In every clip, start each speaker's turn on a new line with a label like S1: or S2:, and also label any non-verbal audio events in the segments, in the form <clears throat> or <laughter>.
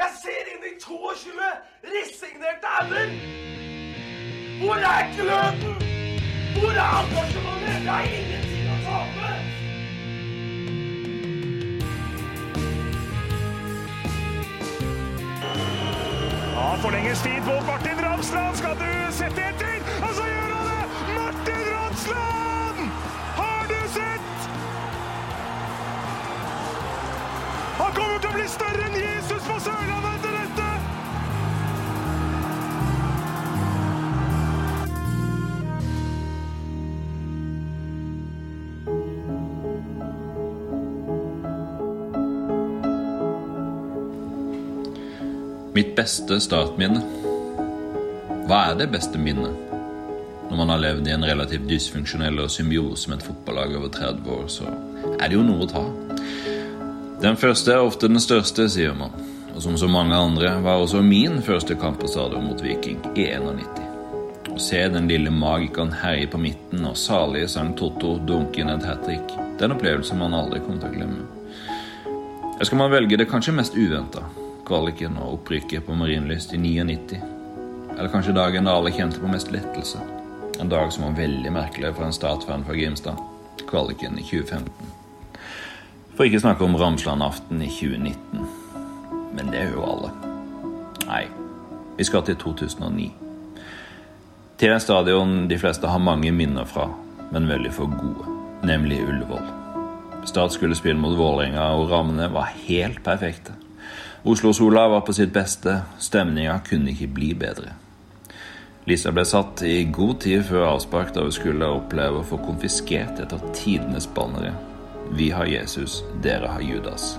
S1: Jeg ser inn i 22 resignerte ender! Hvor er gløden? Hvor er engasjementet? Jeg har ingenting å tape!
S2: Ja, forlenges tid på Martin Ramsland. Skal du sette etter? Og så gjør han det! Martin Ramsland! Har du sett? Han kommer til å bli større enn Jesus på Sørlandet etter dette!
S3: Mitt beste startminne. Hva er det beste minnet? Når man har levd i en relativt dysfunksjonell og symbiose med et fotballag over 30 år, så er det jo noe å ta. Den første er ofte den største, sier man. Og som så mange andre var også min første kamp på stadion mot Viking i 91. Å se den lille magikeren herje på midten og salige sang Totto dunke inn et hat trick, det er en opplevelse man aldri kommer til å glemme. Jeg skal man velge det kanskje mest uventa. Kvaliken og opprykket på Marienlyst i 99. Eller kanskje dagen da alle kjente på mest lettelse. En dag som var veldig merkelig for en startfan fra Grimstad. Kvaliken i 2015. For ikke snakke om Ramsland-aften i 2019. Men det er jo alle. Nei, vi skal til 2009. Til en stadion de fleste har mange minner fra, men veldig for gode. Nemlig Ullevål. Start skulle spille mot Vålerenga, og rammene var helt perfekte. Oslo-sola var på sitt beste, stemninga kunne ikke bli bedre. Lisa ble satt i god tid før avspark, da hun skulle oppleve å få konfiskert et av tidenes bannere. Vi har Jesus, dere har Judas.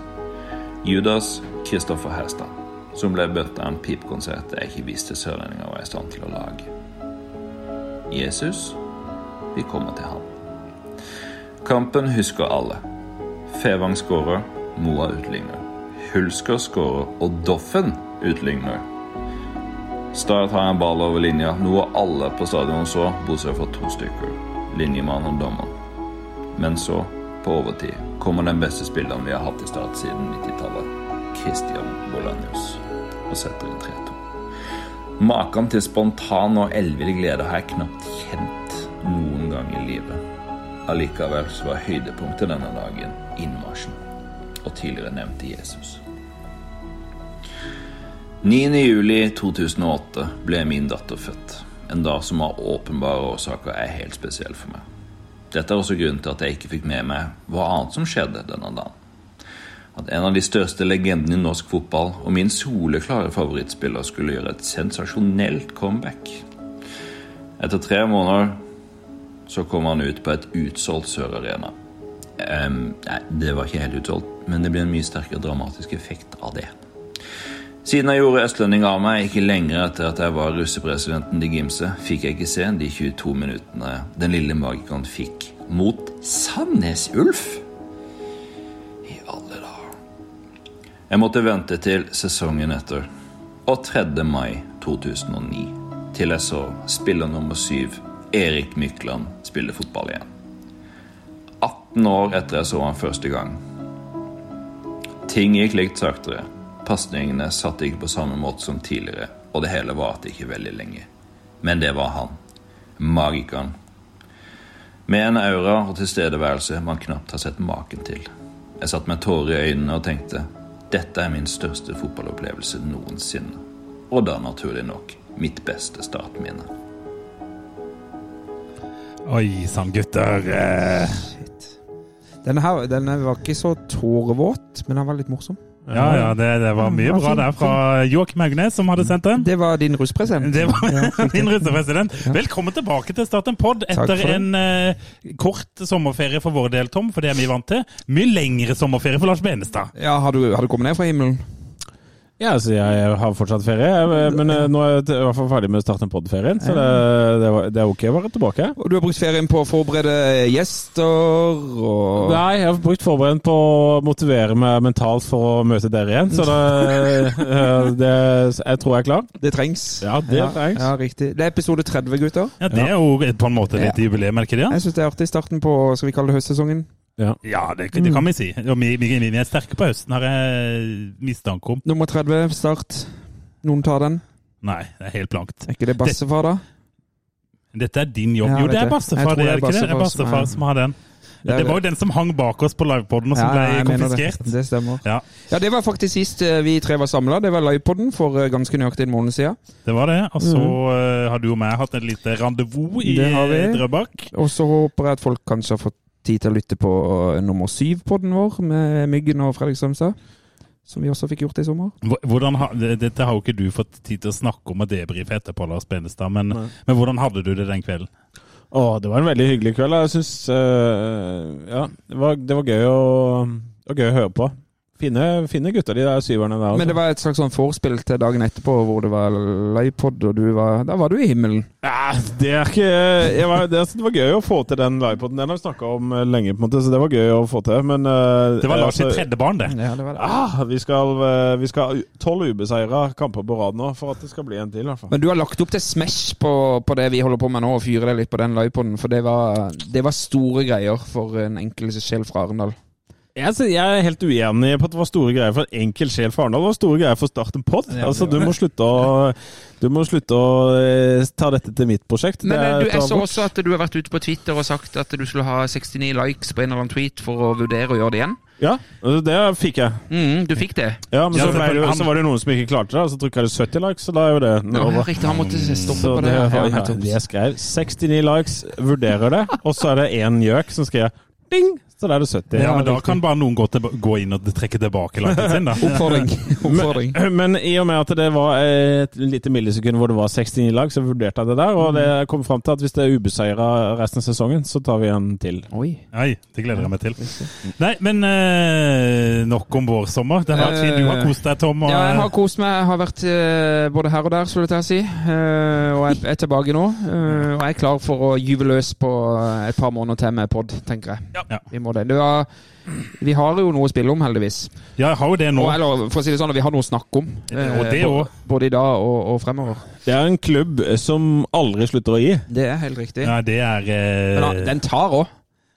S3: Judas Kristoffer Herstad, som ble bøtt av en pipkonsert jeg ikke visste sørlendinger var i stand til å lage. Jesus, vi kommer til han. Kampen husker alle. Fevang skårer, Moa utligner. Hulsker skårer, og Doffen utligner. Start har en ball over linja, noe alle på stadion så, bortsett fra to stykker. Linjemann og dommer. Men så, på overtid, kommer den beste spilleren vi har hatt i Start siden 90-tallet, Christian Bolanius, og setter inn 3-2. Maken til spontan og ellevill glede har jeg knapt kjent noen gang i livet. Allikevel så var høydepunktet denne dagen innmarsjen og tidligere nevnte Jesus. 9. juli 2008 ble min datter født. En dag som av åpenbare årsaker er helt spesiell for meg. Dette er også grunnen til at jeg ikke fikk med meg hva annet som skjedde denne dagen. At en av de største legendene i norsk fotball og min soleklare favorittspiller skulle gjøre et sensasjonelt comeback. Etter tre måneder så kom han ut på et utsolgt Sør-Arena. Ehm, nei, det var ikke helt utsolgt, men det blir en mye sterkere dramatisk effekt av det. Siden jeg gjorde østlending av meg ikke lenger etter at jeg var russepresidenten til Gimse, fikk jeg ikke se de 22 minuttene den lille magikeren fikk mot Sandnes Ulf. I alle dager. Jeg måtte vente til sesongen etter, og 3. mai 2009, til jeg så spiller nummer syv, Erik Mykland, spille fotball igjen. 18 år etter jeg så han første gang. Ting gikk likt saktere. Pasningene satt ikke på samme måte som tidligere, og det hele varte ikke veldig lenge. Men det var han. Magikeren. Med en aura og tilstedeværelse man knapt har sett maken til. Jeg satt med tårer i øynene og tenkte dette er min største fotballopplevelse noensinne. Og da naturlig nok mitt beste startminne.
S4: Oi sann, gutter. Eh,
S5: Denne her denne var ikke så tårevåt, men den var litt morsom.
S4: Ja, ja, det, det var mye bra der fra Joakim Haugnes, som hadde sendt den.
S5: Det var din ruspresent.
S4: Det <laughs>
S5: Ja,
S4: var
S5: fint.
S4: din russepresident. Velkommen tilbake til Start en pod
S5: Takk
S4: etter
S5: for det.
S4: en eh, kort sommerferie for vår del, Tom, for det er vi vant til. Mye lengre sommerferie for Lars Benestad.
S5: Ja, har du, har du kommet ned fra himmelen?
S6: Ja, så jeg har fortsatt ferie, jeg, men eh, nå er jeg t- i hvert fall ferdig med å starte en podferien, så det, det, var- det er ok å være tilbake.
S5: Og du har brukt ferien på å forberede gjester og
S6: Nei, jeg har brukt forberedt på å motivere meg mentalt for å møte dere igjen, så det, eh, det, så jeg tror jeg er klar.
S5: Det trengs.
S6: Ja, det trengs.
S5: Ja, riktig. Det er episode 30, gutter.
S4: Ja, Det er jo på en måte litt jubileum, er det ikke det?
S5: Jeg syns det er artig. Starten på skal vi kalle det høstsesongen.
S6: Ja.
S4: Ja, det, det kan vi si. Og vi, vi, vi er sterke på høsten, har jeg mistanke om.
S5: Nummer 30, start. Noen tar den.
S4: Nei, det er helt blankt.
S5: Er ikke det bassefar, da?
S4: Dette er din jobb.
S5: Ja,
S4: jo,
S5: jeg
S4: det er
S5: vet det. Jeg
S4: Bassefar,
S5: tror
S4: det er det ikke det? Det er
S5: Bassefar som
S4: Bassefar
S5: er-
S4: som har den.
S5: er
S4: Det var jo den som hang bak oss på livepoden, og som
S5: jeg
S4: ble
S5: mener
S4: konfiskert.
S5: Det, det stemmer.
S4: Ja,
S5: Ja, det var faktisk sist eh, vi tre var samla. Det var livepoden for eh, ganske nøyaktig en måned siden.
S4: det var det. Og så eh, har du og meg hatt et lite rendezvous i
S5: Mm. Det har vi.
S4: eh, Drøbak.
S5: Og så håper jeg at folk kanskje har fått tid til å lytte på eh, nummer syv-podden vår med Myggen og Fredrikstrømstad. Som vi også fikk gjort i sommer.
S4: Hvor- Hvordan, ha- det- dette har jo ikke du fått tid til å snakke om og debrife etterpå, Lars Benestad, men, men hvordan hadde du det den kvelden?
S6: Å, det var en veldig hyggelig kveld. da. Jeg syns eh, Ja, det var, det var gøy, å, det var gøy å høre på. Fine, fine gutter, de der syverne der. altså.
S5: Men det var et slags sånn vorspill til dagen etterpå, hvor det var livepod, og du var Da var du i himmelen.
S6: Ja, det er ikke jeg var, det, altså, det var gøy å få til den livepoden. Den har vi snakka om eh, lenge, på en måte, så det var gøy å få til. Men eh,
S4: Det var Lars sitt
S6: altså,
S4: tredje barn, det.
S5: Ja, det var det.
S6: Ah, vi skal eh, Vi skal ha tolv ubeseira kamper på rad nå, for at det skal bli en til, i hvert fall.
S5: Men du har lagt opp til smash på, på det vi holder på med nå, og fyre deg litt på den livepoden. For det var, det var store greier for en enkel sjel fra Arendal.
S6: Jeg, sy- jeg er helt uenig på at det var store greier for en enkel sjel for Arendal. Det var store greier for å starte en pod. Altså, du må slutte å Du må slutte å eh, ta dette til mitt prosjekt.
S5: Men
S6: Det
S5: eh,
S6: er
S5: du, jeg
S6: et
S5: så
S6: alvor.
S5: også at du har vært ute på Twitter og sagt at du skulle ha 69 likes på en eller annen tweet for å vurdere å gjøre det igjen.
S6: Ja, altså, det fikk jeg.
S5: Mm, du fikk det.
S6: Ja, Men
S4: Ja,
S6: så, ble det, jo-
S4: selvfølgelig.
S6: så var det noen som ikke klarte det, og så trykka det 70 likes, så da er jo det
S5: Ja,
S6: over.
S5: riktig, han måtte stoppe
S6: Så
S5: på
S6: det
S5: det.
S6: var,
S5: Ja,
S6: ja, jeg skrev 69 likes, vurderer det, og så er det én gjøk som skrev ding, så da er det 70.
S4: Ja, men da kan bare noen gå, tilba- gå inn og trekke tilbake liken sin, da.
S5: <laughs> Oppfordring. Oppfordring.
S6: <clears throat> Men i og med at det var et lite millisekund hvor det var 69 lag, så vurderte jeg det der. Og
S5: Mm.
S6: det kom fram til at hvis det er ubeseira resten av sesongen, så tar vi en til.
S5: Oi.
S4: Nei, det gleder jeg meg til. Nei, men eh, nok om vår sommer. Den har vært fin. Du har kost deg, Tom. Og,
S5: Eh, Ja, jeg har kost meg. Jeg har vært eh, både her og der, skulle jeg til å si. Eh, og jeg er tilbake nå. eh, og jeg er klar for å gyve løs på eh, et par måneder til med pod, tenker jeg.
S4: Ja.
S5: Vi må det. det var, vi har jo noe å spille om, heldigvis.
S4: ja, jeg har jo det nå.
S5: Og, eller for å si det sånn, vi har noe å snakke om. eh,
S4: Og det
S5: bo-
S4: også.
S5: Både i dag og, og fremover.
S6: Det er en klubb som aldri slutter å gi.
S5: Det er helt riktig.
S4: Ja, det er eh,
S5: Men han- den tar òg.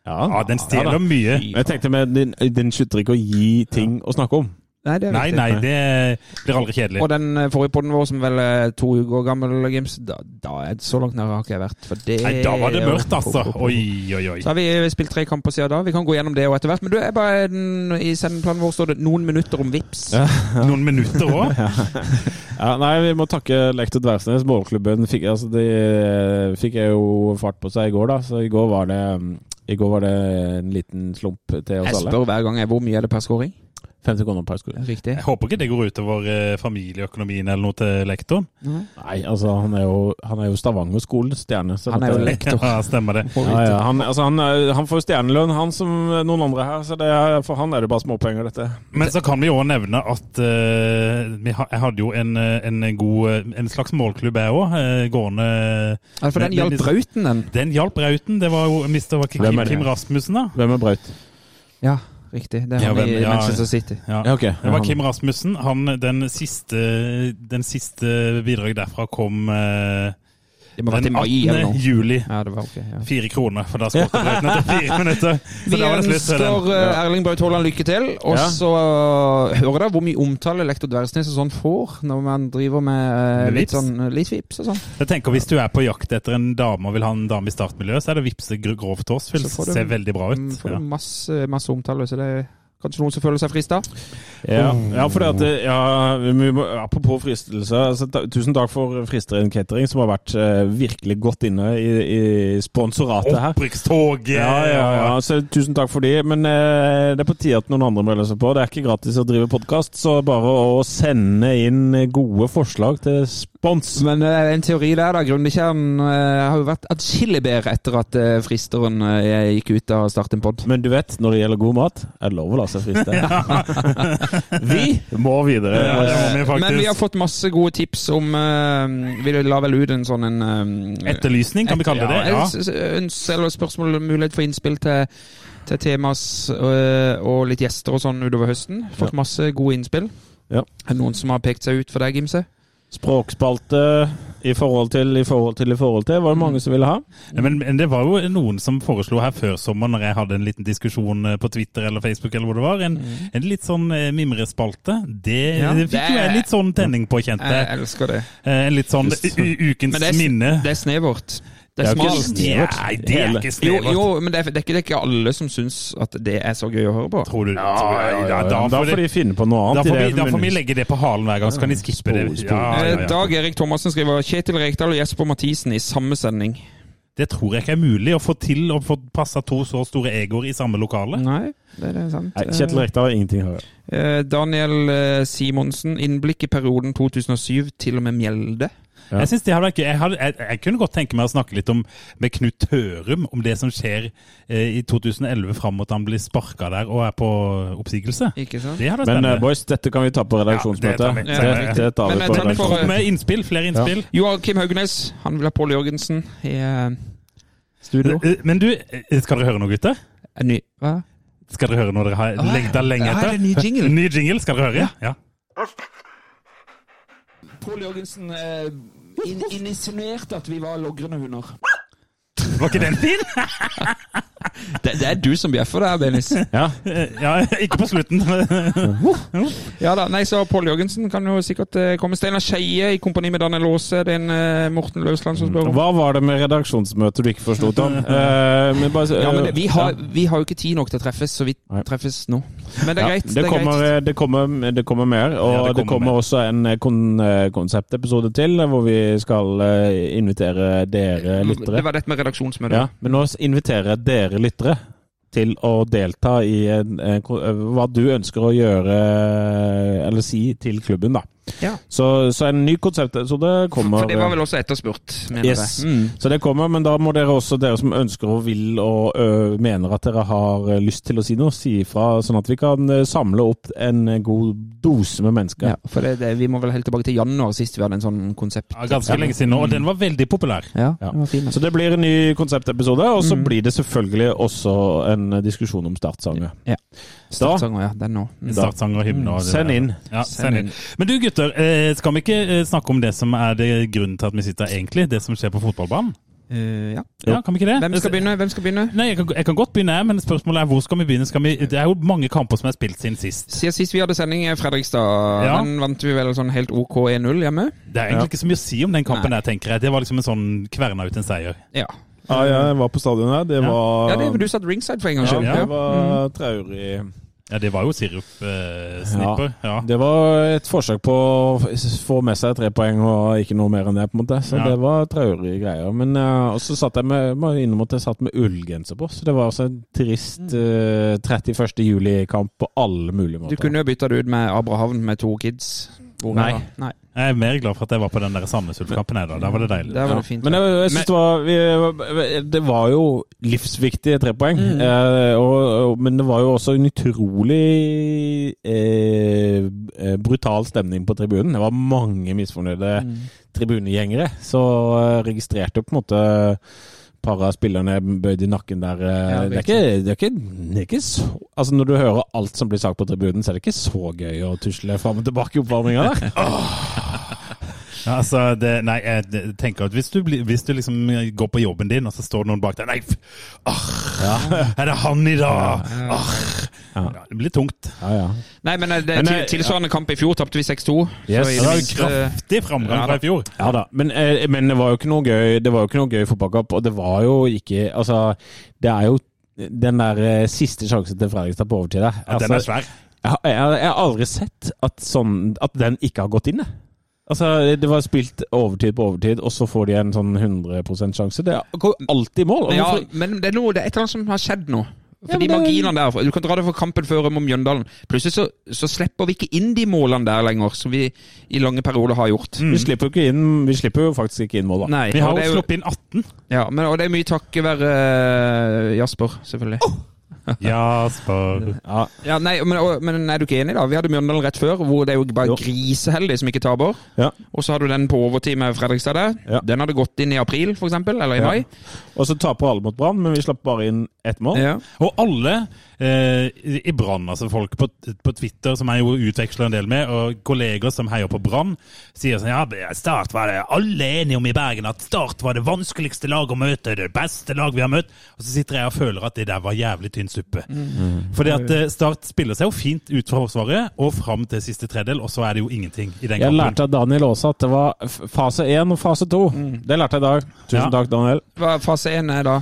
S4: Ja, den stjeler
S6: Ja, da.
S4: mye.
S6: Jeg tenkte med den, den slutter ikke å gi ting å snakke om.
S5: Nei, det er
S4: Nei,
S5: riktig.
S4: nei, det blir aldri kjedelig.
S5: Og den eh, forrige podden vår som vel er to uker gammel, Gims, da, da er så langt nær har ikke jeg vært. For det
S4: Nei, da var det
S5: er jo-
S4: mørkt, altså. Oi, oi, oi.
S5: Så har vi eh, spilt tre kamper siden da. Vi kan gå gjennom det også etter hvert. Men du, jeg bare, den- i sendeplanen vår står det 'noen minutter om vips'.
S6: Ja.
S4: Noen minutter
S5: <laughs>
S4: òg.
S6: Ja, nei, vi må takke Lektor Dversnes. Målklubben fikk, altså, de fikk jeg jo fart på seg i går, da. Så i går var det, i går var det en liten slump til
S5: Jeg
S6: oss alle.
S5: spør hver gang jeg, hvor mye er det per scoring.
S6: 50 kroner per skole.
S5: Riktig.
S4: Jeg håper ikke det går utover eh, familieøkonomien eller noe til lektoren.
S6: Nei, altså, han er jo, han er jo Stavanger-skolens stjerne. så
S5: Han er jo
S6: dette-
S5: lektor.
S4: <laughs> Ja, stemmer det.
S6: Ja, ja. Han, altså, han, er- han får jo stjernelønn, han som eh, noen andre her. Så det er, for han er det bare småpenger, dette.
S4: Men så kan vi òg nevne at eh, vi ha, jeg hadde jo en, eh, en god eh, En slags målklubb, jeg òg, gående
S5: Ja, for
S4: Men-
S5: den
S4: men
S5: hjalp
S4: liksom-
S5: Brauten, den.
S4: Den hjalp Rauten. Det var jo Mr. Var ikke
S6: Hvem
S4: Kim,
S6: er det?
S4: Kim Rasmussen, da.
S6: Hvem er Braut?
S5: Ja, riktig. Det er
S4: Ja,
S5: han
S4: hvem-
S5: i
S4: ja,
S5: Manchester City.
S4: Ja.
S6: ok.
S4: Det var Kim Rasmussen. Han, den, siste, den siste bidraget derfra kom eh,
S5: Det må ha vært i
S4: den
S5: mai eller
S4: 18.
S5: noe.
S4: juli.
S5: Ja, det var ok. Ja.
S4: Fire kroner, for da skåret Brauten etter
S5: <laughs>
S4: fire minutter. Så
S5: Vi
S4: da var det slutt.
S5: ønsker
S4: Ellen.
S5: eh, Erling Braut Haaland lykke til. Og
S6: Ja.
S5: så eh, hører dere hvor mye omtale lektor Dversnes og sånn får når man driver med eh,
S4: Med vips.
S5: litt sånn eh, litt vips og sånn.
S4: Jeg tenker Hvis du er på jakt etter en dame og vil ha en dame i startmiljøet, så er det å vippse gr- grovt til oss. Vil
S5: Så får du-
S4: se veldig bra
S5: Mm,
S4: ut.
S5: Får
S4: Ja.
S5: masse, masse omtale, så det er kanskje noen som føler seg frista.
S6: Ja, ja for at, det- ja, vi må, apropos fristelse. Altså, ta, tusen takk for Fristeren Catering, som har vært eh, virkelig godt inne i, i sponsoratet her.
S4: Opprykkstoget!
S6: Ja, ja, ja. Så, tusen takk for de. Men eh, det er på tide at noen andre melder seg på. Det er ikke gratis å drive podkast, så bare å sende inn gode forslag til spons.
S5: Men eh, en teori der, da. Grundekjern eh, har jo vært atskillig bedre etter at eh, fristeren eh, gikk ut av Start en pod.
S6: Men du vet, når det gjelder god mat, er det lov å la seg friste. <laughs> vi må videre.
S4: Ja, det må vi faktisk.
S5: Men vi har fått masse gode tips om eh, Vi la vel ut en sånn en eh,
S4: Etterlysning, kan vi kalle det
S5: ja, eh,
S4: det? Ja.
S5: et- øns- Eller spørsmål og mulighet for innspill til, til temas eh, og litt gjester og sånn utover høsten. Fått masse gode innspill.
S6: Ja.
S5: Er det noen som har pekt seg ut for deg, Gimse?
S6: Språkspalte i forhold til, i forhold til, i forhold til, var det mange som ville ha.
S4: Nei, Men, men det var jo noen som foreslo her før sommeren, når jeg hadde en liten diskusjon eh, på Twitter eller Facebook, eller hvor det var, en, en litt sånn eh, mimrespalte. Det,
S5: Ja,
S4: det fikk
S5: det-
S4: jo jeg litt sånn tenning på, kjente
S5: Jeg
S4: jeg.
S5: elsker det.
S4: Eh, En litt sånn u- ukens
S5: Men det er,
S4: minne.
S5: det er snevert. Det er
S6: Det er jo ikke
S5: smalt.
S6: snevert.
S4: Nei, det er
S6: Hele-
S4: ikke
S5: Jo,
S4: snevert.
S5: jo, men det er, det, er ikke, det er ikke alle som syns at det er så gøy å høre på.
S4: Tror du ja, ja,
S6: Da,
S4: da, får
S6: får
S4: de,
S6: de finne på noe
S4: da,
S6: annet.
S4: får vi,
S6: i det
S4: da får vi
S6: minnes-
S4: legge det på halen hver gang, så kan de skippe det.
S6: Spor, spor.
S4: Ja, ja,
S5: Eh,
S4: ja.
S5: Dag Erik Thomassen skriver Kjetil Rekdal og Jesper Mathisen i samme sending.
S4: Det tror jeg ikke er mulig å få til å få passa to så store egoer i samme lokale.
S5: Nei, det er det sant.
S6: Nei, Kjetil Rekdal har ingenting å høre.
S5: Eh, Daniel eh, Simonsen, innblikk i perioden 2007 til og med Mjelde.
S6: Ja.
S4: Jeg, synes det hadde vært gøy. Jeg, hadde, jeg, jeg kunne godt tenke meg å snakke litt om, med Knut Hørum om det som skjer eh, i 2011 fram mot han blir sparka der og er på oppsigelse.
S5: Ikke sant?
S4: Det hadde vært
S6: Men eh,
S4: spennende.
S6: boys, dette kan vi ta på redaksjonsmøtet.
S4: Ja, det tar vi.
S6: det, det tar vi
S5: Men
S6: på
S5: jeg tar det for-
S6: redaksjonsmøtet.
S4: med innspill, flere innspill.
S5: Joakim Haugnes, han vil ha Pål Jørgensen i eh, studio.
S4: Eh, Men du, eh, skal dere høre noe, gutter?
S5: En ny Hva?
S4: Skal dere høre når dere har lengta lenge
S5: Ja,
S4: etter?
S5: det er en ny jingle.
S4: Ny jingle, skal dere høre? Ja.
S7: Pål Jørgensen eh, in insinuerte at vi var logrende hunder.
S4: Var ikke den fin? <laughs>
S5: Det, det er du som bjeffer der, Benis.
S6: Ja.
S4: Eh, Ja, ikke på slutten.
S5: <laughs> Ja da, nei, så Pål Jørgensen kan jo sikkert eh, komme. Steinar Skeie i kompani med Daniel Aase. Det er en eh, Morten Løsland som spør om
S6: Hva var det med redaksjonsmøtet du ikke forsto, Tom? Eh, men bare,
S5: Ja, men det, vi, har,
S6: Ja.
S5: vi har jo ikke tid nok til å treffes, så vi
S6: Nei.
S5: treffes nå. Men det
S6: Ja,
S5: er greit.
S6: det, kommer, eh,
S5: greit.
S6: det, kommer, det kommer mer, og
S4: Ja, det
S6: det
S4: kommer
S6: kommer,
S4: mer.
S6: også en eh, kon konseptepisode til hvor vi skal eh, invitere dere lyttere.
S5: eh, Det var dette med redaksjonsmøtet.
S6: Ja, men nå inviterer jeg dere lyttere til å delta i en, en, ko- eh, hva du ønsker å gjøre, eller si, til klubben, da.
S5: Ja.
S6: Så, så en ny konsept, så det kommer.
S5: For det var vel også etterspurt, mener
S6: Yes.
S5: jeg. Mm.
S6: Så det kommer, men da må dere også, dere som ønsker og vil og ø, mener at dere har ø, lyst til å si noe, si ifra, sånn at vi kan ø, samle opp en god dose med mennesker.
S5: Ja, for det, det, vi må vel helt tilbake til januar sist vi hadde en sånn konsept.
S4: Ja, ganske lenge siden nå, og den var veldig populær.
S5: Ja,
S6: Ja.
S5: det var fin.
S6: Så det blir en ny konseptepisode, og
S5: Mm.
S6: så blir det selvfølgelig også en diskusjon om startsanger.
S5: Ja.
S6: Da,
S5: Startsanger, ja. Den nå. Mm.
S4: Startsang og hymne. Og det
S6: send
S4: der.
S6: inn.
S4: Ja, send inn. Men du gutter, eh, skal vi ikke eh, snakke om det som er det grunnen til at vi sitter her egentlig? Det som skjer på fotballbanen?
S5: Eh, ja.
S4: Ja, kan vi ikke det?
S5: Hvem skal begynne? Hvem skal begynne?
S4: Nei, jeg kan, jeg kan godt begynne, jeg, men spørsmålet er hvor skal vi begynne? Skal vi, det er jo mange kamper som er spilt siden sist.
S5: Siden sist vi hadde sending i Fredrikstad,
S4: Ja.
S5: den vant vi vel sånn helt OK 1-0 hjemme.
S4: Det er egentlig ikke så mye å si om den kampen
S5: Nei.
S4: der, tenker jeg. Det var liksom en sånn kverna ut en seier.
S5: Ja.
S6: Ja, jeg var på stadion her. Det
S4: Ja.
S6: var
S5: ja det, du satt ringside for en gangs
S6: Ja,
S5: skyld.
S4: Ja.
S6: det var traurig
S4: Ja, det var jo sirup-snipper. ja.
S6: Det var et forsøk på å f- få med seg tre poeng og ikke noe mer enn det, på en måte. Så
S4: Ja.
S6: det var traurige greier. Men eh, og så satt jeg med må jeg innrømme at jeg satt med ullgenser på, så det var altså en trist eh, 31. juli-kamp på alle
S5: Du
S6: mulige måter.
S5: kunne jo bytta det ut med Abrahavn med to kids. Hvor-
S6: Nei.
S5: Nei.
S4: Jeg er mer glad for at jeg var på den der Sandnes Ulf-kampen her, da. Der var det deilig.
S5: Der var
S6: Ja.
S5: det fint.
S6: Men eh, jeg, jeg synes det, var, vi, det var jo livsviktige tre poeng. Eh, og, og, men det var jo også en utrolig eh, eh, brutal stemning på tribunen. Det var mange misfornøyde tribunegjengere. Så eh, registrerte jo på en måte par av spillerne bøyd i nakken der. eh,
S5: Ja,
S6: det, er ikke, det, er ikke, det er ikke så Altså Når du hører alt som blir sagt på tribunen, så er det ikke så gøy å tusle fram og tilbake i oppvarminga der.
S4: Ja, altså, det, nei, jeg tenker at hvis du, blir- hvis du liksom går på jobben din, og så står det noen bak deg Nei, f- arr, er det han i dag? Arr. Ja, det blir tungt.
S6: Ja, ja.
S5: Nei, men eh, det,
S6: Men,
S5: til,
S6: eh,
S5: tilsvarende kamp i fjor tapte vi 6-2. Så
S6: Yes.
S5: i
S4: Det var jo
S5: minste-
S4: kraftig framgang fra i fjor.
S6: Ja da, men, eh, men det var jo ikke noe gøy Det var jo ikke noe gøy fotballkamp, og det var jo ikke Altså, det er jo den der eh, siste sjansen til Fredrikstad på overtid der.
S4: Ja, den er
S6: Altså,
S4: svær.
S6: jeg, har- jeg, har- jeg har aldri sett at, sånn, at den ikke har gått inn, jeg. Altså, det var spilt overtid på overtid, og så får de en sånn 100 sjanse. Det går alltid i mål. Og
S5: Men, ja,
S6: hvorfor-
S5: men det er, noe, det er et eller annet som har skjedd nå.
S6: Ja,
S5: For
S6: men
S5: de
S6: det er-
S5: marginene der, Du kan dra det for kampen før om Mjøndalen. Plutselig så, så slipper vi ikke inn de målene der lenger, som vi i lange perioder har gjort.
S6: Vi slipper jo ikke inn Vi slipper jo faktisk ikke inn mål, da.
S5: Mm. Nei,
S4: Vi
S5: og
S4: har
S5: det er
S4: jo
S5: jo-
S4: sluppet inn 18.
S5: Ja, men, og det er mye takket være eh, Jasper, selvfølgelig.
S4: Jasper.
S6: Ja.
S5: Ja, nei, men, og, men er du ikke enig, da? Vi hadde Mjøndalen rett før, hvor det er jo bare
S6: Jo.
S5: griseheldig som ikke taper.
S6: Ja.
S5: Og så hadde du den på overtid med Fredrikstad der.
S6: Ja.
S5: Den hadde gått inn i april, for eksempel, eller i
S6: Ja.
S5: mai.
S6: Og så taper alle mot Brann, men vi slapp bare inn ett mål.
S5: Ja.
S4: Og alle eh, i Brann, altså folk på, på Twitter som jeg jo utveksler en del med, og kolleger som heier på Brann, sier sånn ja, Start var det alle er enige om i Bergen, at Start var det vanskeligste lag å møte, det beste lag vi har møtt. Og så sitter jeg og føler at det der var jævlig tynn suppe.
S5: Mm.
S6: Mm.
S4: Fordi at eh, Start spiller seg jo fint ut fra Forsvaret og fram til siste tredel, og så er det jo ingenting i den
S6: Jeg
S4: kampen.
S6: lærte av Daniel Aase at det var f- fase én og fase to. Det lærte jeg i dag. Tusen
S4: Ja.
S6: takk, Daniel.
S5: Hva fase én er da?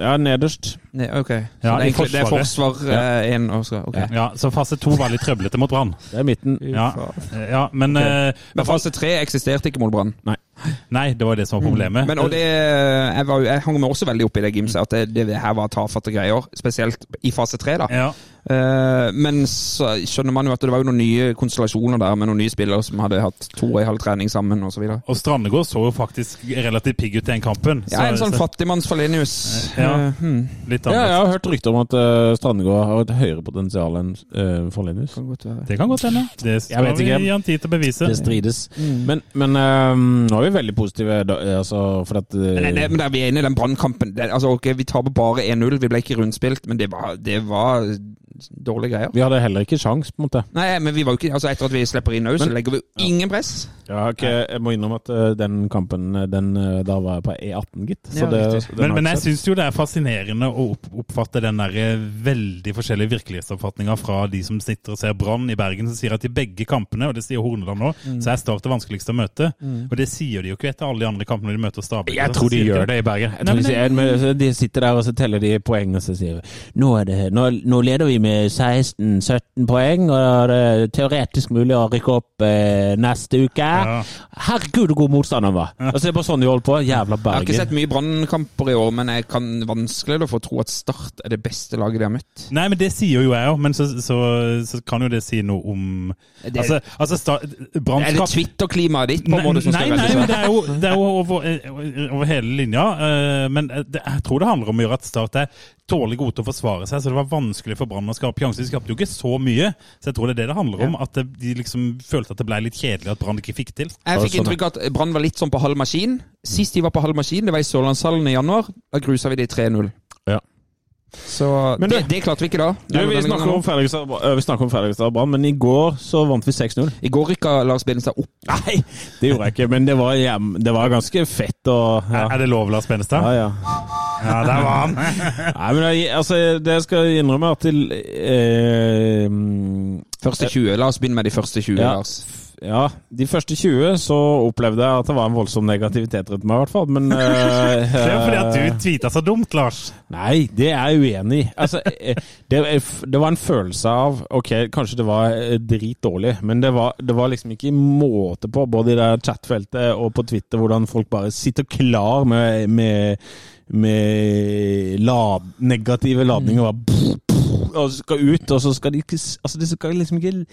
S6: Jeg er nederst.
S5: Nei, ok. Så
S4: Ja,
S5: det, er
S4: i
S5: egentlig, det er
S4: forsvaret.
S5: forsvar én og så Ok.
S4: Ja, så fase to var litt trøblete mot
S6: <laughs>
S4: Brann.
S6: Det er midten.
S4: Ja, ja, men eh,
S5: Men fase tre eksisterte ikke mot Brann.
S4: Nei, det var det som var problemet.
S5: Mm. Men og det, jeg, var, jo- jeg hang meg også veldig opp i det gimset, at det, det her var tafatte greier. Spesielt i fase tre, da.
S4: ja.
S5: Eh, men så skjønner man jo at det var jo noen nye konstellasjoner der, med noen nye spillere som hadde hatt to og en halv trening sammen osv.
S4: Og Strandegård så jo faktisk relativt pigg ut i den kampen.
S5: Ja, en sånn
S4: så
S5: fattigmanns Falenius.
S4: Ja.
S5: Eh, hmm.
S4: litt
S6: Ja, jeg
S4: annerledes.
S6: har hørt rykter om at eh, Strandegård har et høyere potensial enn uh, Forlenius.
S5: Kan godt være.
S4: Det kan godt hende. Det
S6: Jeg
S4: skal
S6: vet
S4: vi
S6: ikke.
S4: gi han tid til å bevise.
S6: Det strides. Men, men eh, nå er vi veldig positive, da, eh, altså, for at eh,
S5: Men det, det, men der vi er inne i den brannkampen det- altså, ok, Vi taper bare 1-0, vi ble ikke rundspilt, men det var, det var dårlige greier.
S6: vi hadde heller ikke sjans, på en måte.
S5: Nei, men vi var jo ikke, altså Etter at vi slipper inn òg, så
S6: Men-
S5: legger vi jo ingen press.
S6: Jeg, har ikke, jeg må innrømme at eh, den kampen eh, den, eh, Da var jeg på E18, gitt. Så
S5: Ja,
S6: det,
S5: riktig.
S6: så den
S4: Men,
S6: har
S4: men
S6: jeg
S4: jeg
S6: ikke
S4: syns jo det er fascinerende å opp oppfatte den der eh, veldig forskjellige virkelighetsoppfatninga fra de som sitter og ser Brann i Bergen, som sier at i begge kampene, og det sier Horneland nå,
S6: Mm.
S4: så er Start det vanskeligste å møte. Og det sier de jo ikke etter alle de andre kampene de møter Stabæk.
S6: sett. jeg tror de gjør det i Bergen. Jeg tror
S4: Nei,
S6: de, sier, men altså, de sitter der og så teller de poeng, og så sier vi nå, er det, nå, nå leder vi med 16-17 poeng, og det er teoretisk mulig å rykke opp eh, neste uke.
S4: Ja.
S6: Herregud, hvor god motstander han var! Og se på sånn de holdt på. Jævla
S5: Jeg har ikke
S6: Bergen.
S5: sett mye brannkamper i år, men jeg kan vanskelig da få tro at Start er det beste laget de har møtt.
S4: Nei, men det sier jo jeg òg, men så, så, så kan jo det si noe om Altså, altså Sta- Brann
S5: Er det
S4: skap-
S5: Twitter-klimaet ditt på en måte som
S4: nei,
S5: skal
S4: nei, men
S5: reddes?
S4: det er jo, det er jo over, eh, over hele linja. eh, Men eh, det, jeg tror det handler om å gjøre at Start er dårlig gode til å forsvare seg. Så det var vanskelig for Brann å skape sjanser. De skapte jo ikke så mye. Så jeg tror det er det det handler om. At det, de liksom følte at det ble litt kjedelig at Brann ikke fikk til.
S5: Jeg
S6: sånn,
S5: fikk inntrykk av at Brann var litt sånn på halv maskin. Sist de var på halv maskin, det var i Sørlandshallen i januar. Da grusa vi de 3-0.
S6: Ja.
S5: Så
S6: Men du-
S5: det, det klarte vi ikke da.
S6: Du, vi
S5: Denne
S6: snakker
S5: gangen.
S6: om Fredrikstad- øh, vi snakker om Fredrikstad og Brann, men i går så vant vi 6-0.
S5: I går rykka Lars Benestad opp.
S6: Nei, det gjorde jeg ikke, men det var, hjem, det var ganske fett og ja.
S4: Er det lov, Lars Benestad?
S6: Ja, ja.
S4: Ja, der var
S5: <laughs>
S4: han!
S6: Nei, men jeg, altså, det skal jeg innrømme at til eh,
S5: Første 20. La oss begynne med de første 20,
S6: Ja.
S5: Lars.
S6: Ja, de første 20 så opplevde jeg at det var en voldsom negativitet rundt meg, i hvert fall, men eh,
S4: Det er jo fordi at du tweeta så dumt, Lars.
S6: Nei, det er jeg uenig i. Altså, eh, det, det var en følelse av Ok, kanskje det var eh, dritdårlig, men det var, det var liksom ikke måte på, både i det chatfeltet og på Twitter, hvordan folk bare sitter klar med, med, med lad, negative ladninger og bare pff, pff, og så skal ut, og så skal de ikke s- Altså, det skal liksom ikke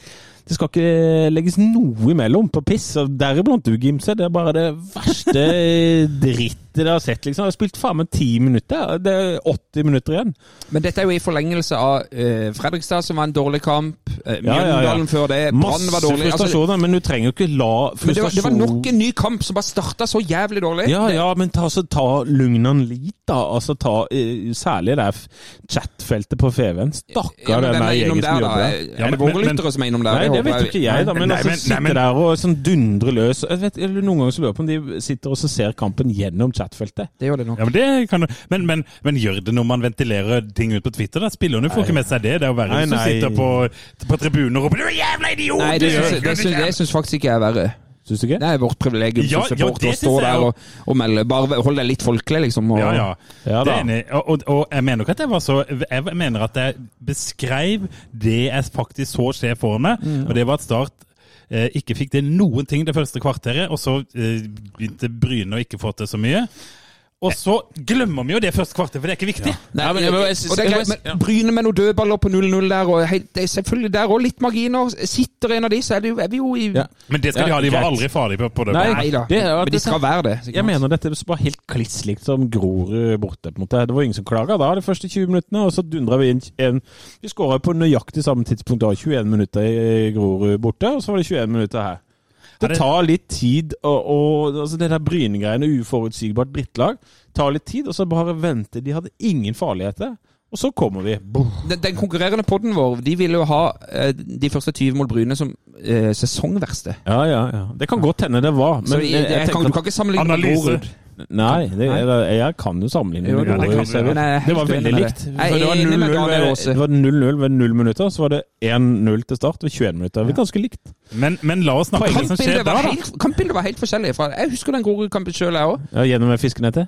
S6: Det skal ikke legges noe imellom på piss, og deriblant du, Gimse. Det er bare det verste <laughs> drittet jeg har sett, liksom. Jeg har spilt faen meg ti minutter. Det er 80 minutter igjen.
S5: Men dette er jo i forlengelse av eh, Fredrikstad, som var en dårlig kamp. Eh,
S6: Ja, ja,
S5: Mjøndalen
S6: ja.
S5: før det. Brann
S6: Masse
S5: var dårlig. Altså,
S6: frustrasjoner, men du trenger jo ikke la
S5: men det, var, det
S6: frustrasjon
S5: var nok en ny kamp som bare starta så jævlig dårlig.
S6: Ja, ja, men ta, altså, ta lugnen litt, da. Altså, ta, eh, særlig det f- chatfeltet på FV-en. Stakkar
S5: Ja, men
S6: den
S5: hvem
S6: der
S5: er
S6: gjengen
S5: innom
S6: som
S5: der, da?
S6: jobber der.
S5: Er
S4: Ja,
S5: det
S4: men-
S5: våre
S4: men-
S5: lyttere som er innom der?
S6: Nei,
S5: Jeg
S6: det
S5: håper
S6: vet jo ikke jeg, da. Men
S4: Nei,
S6: altså,
S4: men- nei,
S6: sitter
S4: men-
S6: der og sånn dundrer løs jeg vet, eller Noen ganger så lurer jeg på om de sitter og så ser kampen gjennom chatfeltet.
S5: Det gjør det nok.
S4: Ja, men, det kan, du- men, men, men gjør det når man ventilerer ting ut på Twitter? Da spillerne får ikke med seg det. Det er jo verre
S6: Nei,
S4: hvis du
S6: nei.
S4: sitter på, på tribunen og roper 'du er jævla idiot'!
S5: Nei, det
S4: du
S5: syns,
S4: kunne
S5: det syns,
S4: ikke
S5: det syns faktisk ikke jeg er verre.
S6: Syns du ikke?
S5: Det er vårt privilegium som
S4: Ja, ja,
S5: supporter
S4: det
S5: å stå
S4: syns jeg
S5: der
S4: jo.
S5: og, og melde. Bare hold deg litt folkelig, liksom. Og,
S4: Ja, ja.
S6: Ja,
S4: det
S6: da.
S4: er enig. Og, og, og jeg mener ikke at jeg var så Jeg mener at jeg beskrev det jeg faktisk så skje foran meg, og det var at Start eh, ikke fikk til noen ting det første kvarteret, og så eh, begynte Bryne å ikke få til så mye. Og så glemmer vi jo det første kvarter, for det er ikke viktig.
S5: Nei,
S6: men
S5: men,
S6: jeg- jeg- jeg-
S5: og det er greit,
S6: jeg-
S5: men Bryne med noen dødballer på 0-0 der, og helt, det er selvfølgelig der òg litt marginer. Sitter en av de, så er, det jo, er vi jo i
S6: Ja.
S4: Men det skal de
S6: Ja,
S4: ha. De var
S6: greit.
S4: aldri farlige på, på det.
S6: Nei.
S5: Nei da,
S6: det er jo
S5: men
S6: at
S5: de
S6: det-
S5: skal være det. sikkert.
S6: Jeg mener dette var helt kliss likt som Grorud borte. på en måte. Det var ingen som klaga da de første 20 minuttene, og så dundra vi inn en Vi skåra på nøyaktig samme tidspunkt da. 21 minutter i Grorud borte, og så var det 21 minutter her.
S4: Er
S6: Det
S4: det-
S6: tar litt tid og, og altså Det der Bryne-greiene, uforutsigbart drittlag, tar litt tid, og så bare vente. De hadde ingen farligheter. Og så kommer vi. Boom.
S5: Den, den konkurrerende podden vår de ville jo ha eh, de første 20 mål Bryne som eh, sesongverste.
S6: Ja, ja, ja. Det kan godt hende det var, men eh,
S5: så jeg, jeg,
S6: tenker
S5: kan,
S6: at-
S5: du kan ikke sammenligne med
S4: Analyse.
S5: Grorud.
S6: Nei, det, jeg, jeg kan jo sammenligne
S5: Jo,
S6: med
S5: det
S4: kan
S6: Grorud.
S4: du.
S6: ser du.
S5: Men jeg er helt
S6: Det var veldig
S5: enig med
S6: likt.
S5: deg.
S6: For
S5: Jeg
S6: Det
S5: er
S6: var
S5: enig med
S6: 0-0
S5: Daniel
S6: ved-
S5: Aase.
S6: det var 0-0 ved 0 minutter, så var det 1-0 til start ved 21 minutter. Det var ganske likt.
S4: Men, men la oss snakke om det som skjer
S5: Kampbildet var,
S4: der, da.
S5: helt- kampbildet var helt forskjellig. Fra, jeg husker den Grorud-kampen sjøl, jeg òg.
S6: Ja, gjennom det fiskenettet?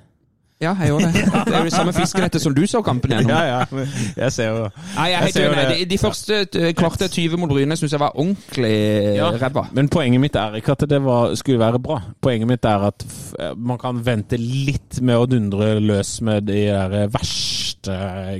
S5: Ja, jeg gjorde det. <laughs> Det er jo det samme fiskenettet som du så kampen gjennom.
S6: <laughs> Ja, ja. men Jeg ser jo
S5: Nei, jeg er helt
S6: Jeg ser jo
S5: enig.
S6: det.
S5: De, de første eh, klarte 20 mot Bryne syns jeg var ordentlig eh,
S6: Ja.
S5: ræva.
S6: Men poenget mitt er ikke at det var, skulle være bra. Poenget mitt er at f man kan vente litt med å dundre løs med de der verste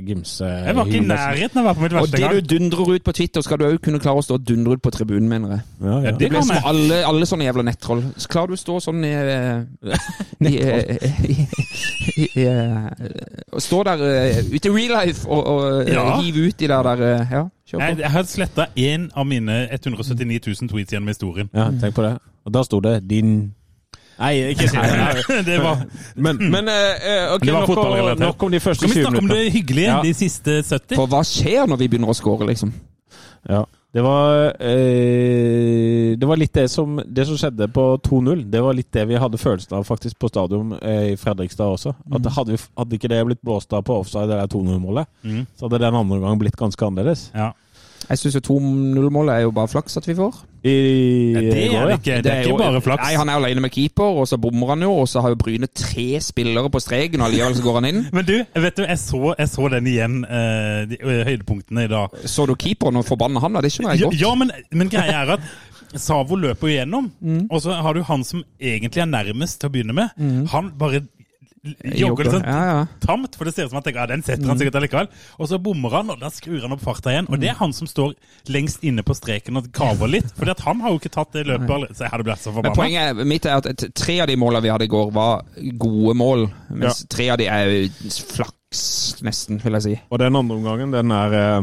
S6: gimse...
S4: Jeg var ikke i nærheten av å være på mitt
S5: Og
S4: verste
S5: det
S4: gang.
S5: du dundrer ut på Twitter, skal du òg kunne klare å stå og dundre ut på tribunen, mener jeg.
S6: Ja, ja.
S4: Det
S5: Som
S4: kan jeg.
S5: alle, alle sånne jævla nettroll. Så klarer du å stå sånn i,
S4: <laughs>
S5: eh, i, eh, i, i, i eh, og Stå der eh, ute i real life og, og eh,
S4: Ja.
S5: hive ut de der, der eh, Ja, kjør
S4: Jeg,
S5: på.
S4: jeg har sletta én av mine 179 000 tweets gjennom historien.
S6: ja, tenk på det. Og da sto det 'din' Nei, ikke si det.
S4: <laughs> Det var,
S6: Men, men eh, eh, ok,
S4: Det var
S6: nok, om,
S4: fotballrelatert.
S6: nok om de første
S4: skal vi
S6: 20
S4: snakke om
S6: minuttene.
S4: det hyggelige?
S6: Ja.
S4: De siste 70?
S5: For hva skjer når vi begynner å score, liksom?
S6: Ja. Det var, eh, det var litt det som, det som skjedde på 2-0. Det var litt det vi hadde følelsen av faktisk på stadion eh, i Fredrikstad også. At hadde, vi, hadde ikke det blitt blåst av på offside, det der 2-0-målet,
S4: Mhm.
S6: så hadde den andre gangen blitt ganske annerledes.
S4: Ja.
S5: Jeg syns 2-0-målet er jo bare flaks at vi får.
S6: I,
S4: Det
S6: går,
S4: er
S6: ja.
S4: ikke, det er ikke
S5: jo-
S4: bare
S5: Nei,
S4: flaks.
S5: Han er alene med keeper, og så bommer han jo. Og så har jo Bryne tre spillere på streken, og allikevel så går han
S4: <laughs>
S5: inn.
S4: Men du, vet du, jeg så, jeg så den igjen, eh, de, eh, høydepunktene i dag.
S5: Så du keeperen og forbanna han, da? Det skjønner jeg
S4: Ja,
S5: godt.
S4: ja men, men greia er at Savo løper jo gjennom, og så har du han som egentlig er nærmest til å begynne med. Han bare jogger litt sånn
S5: Ja, ja.
S4: tamt, for det ser ut som han tenker ja, den setter han sikkert allikevel. Og så bommer han, og da skrur han opp farta igjen. Og det er han som står lengst inne på streken og kaver litt. For han har jo ikke tatt det løpet. alle- Så jeg hadde blitt så
S5: Men
S4: forbanna.
S5: poenget er- mitt er at t- tre av de måla vi hadde i går, var gode mål. Mens tre av de er jo flaks, nesten, vil jeg si.
S6: Og den andre omgangen, den er, eh,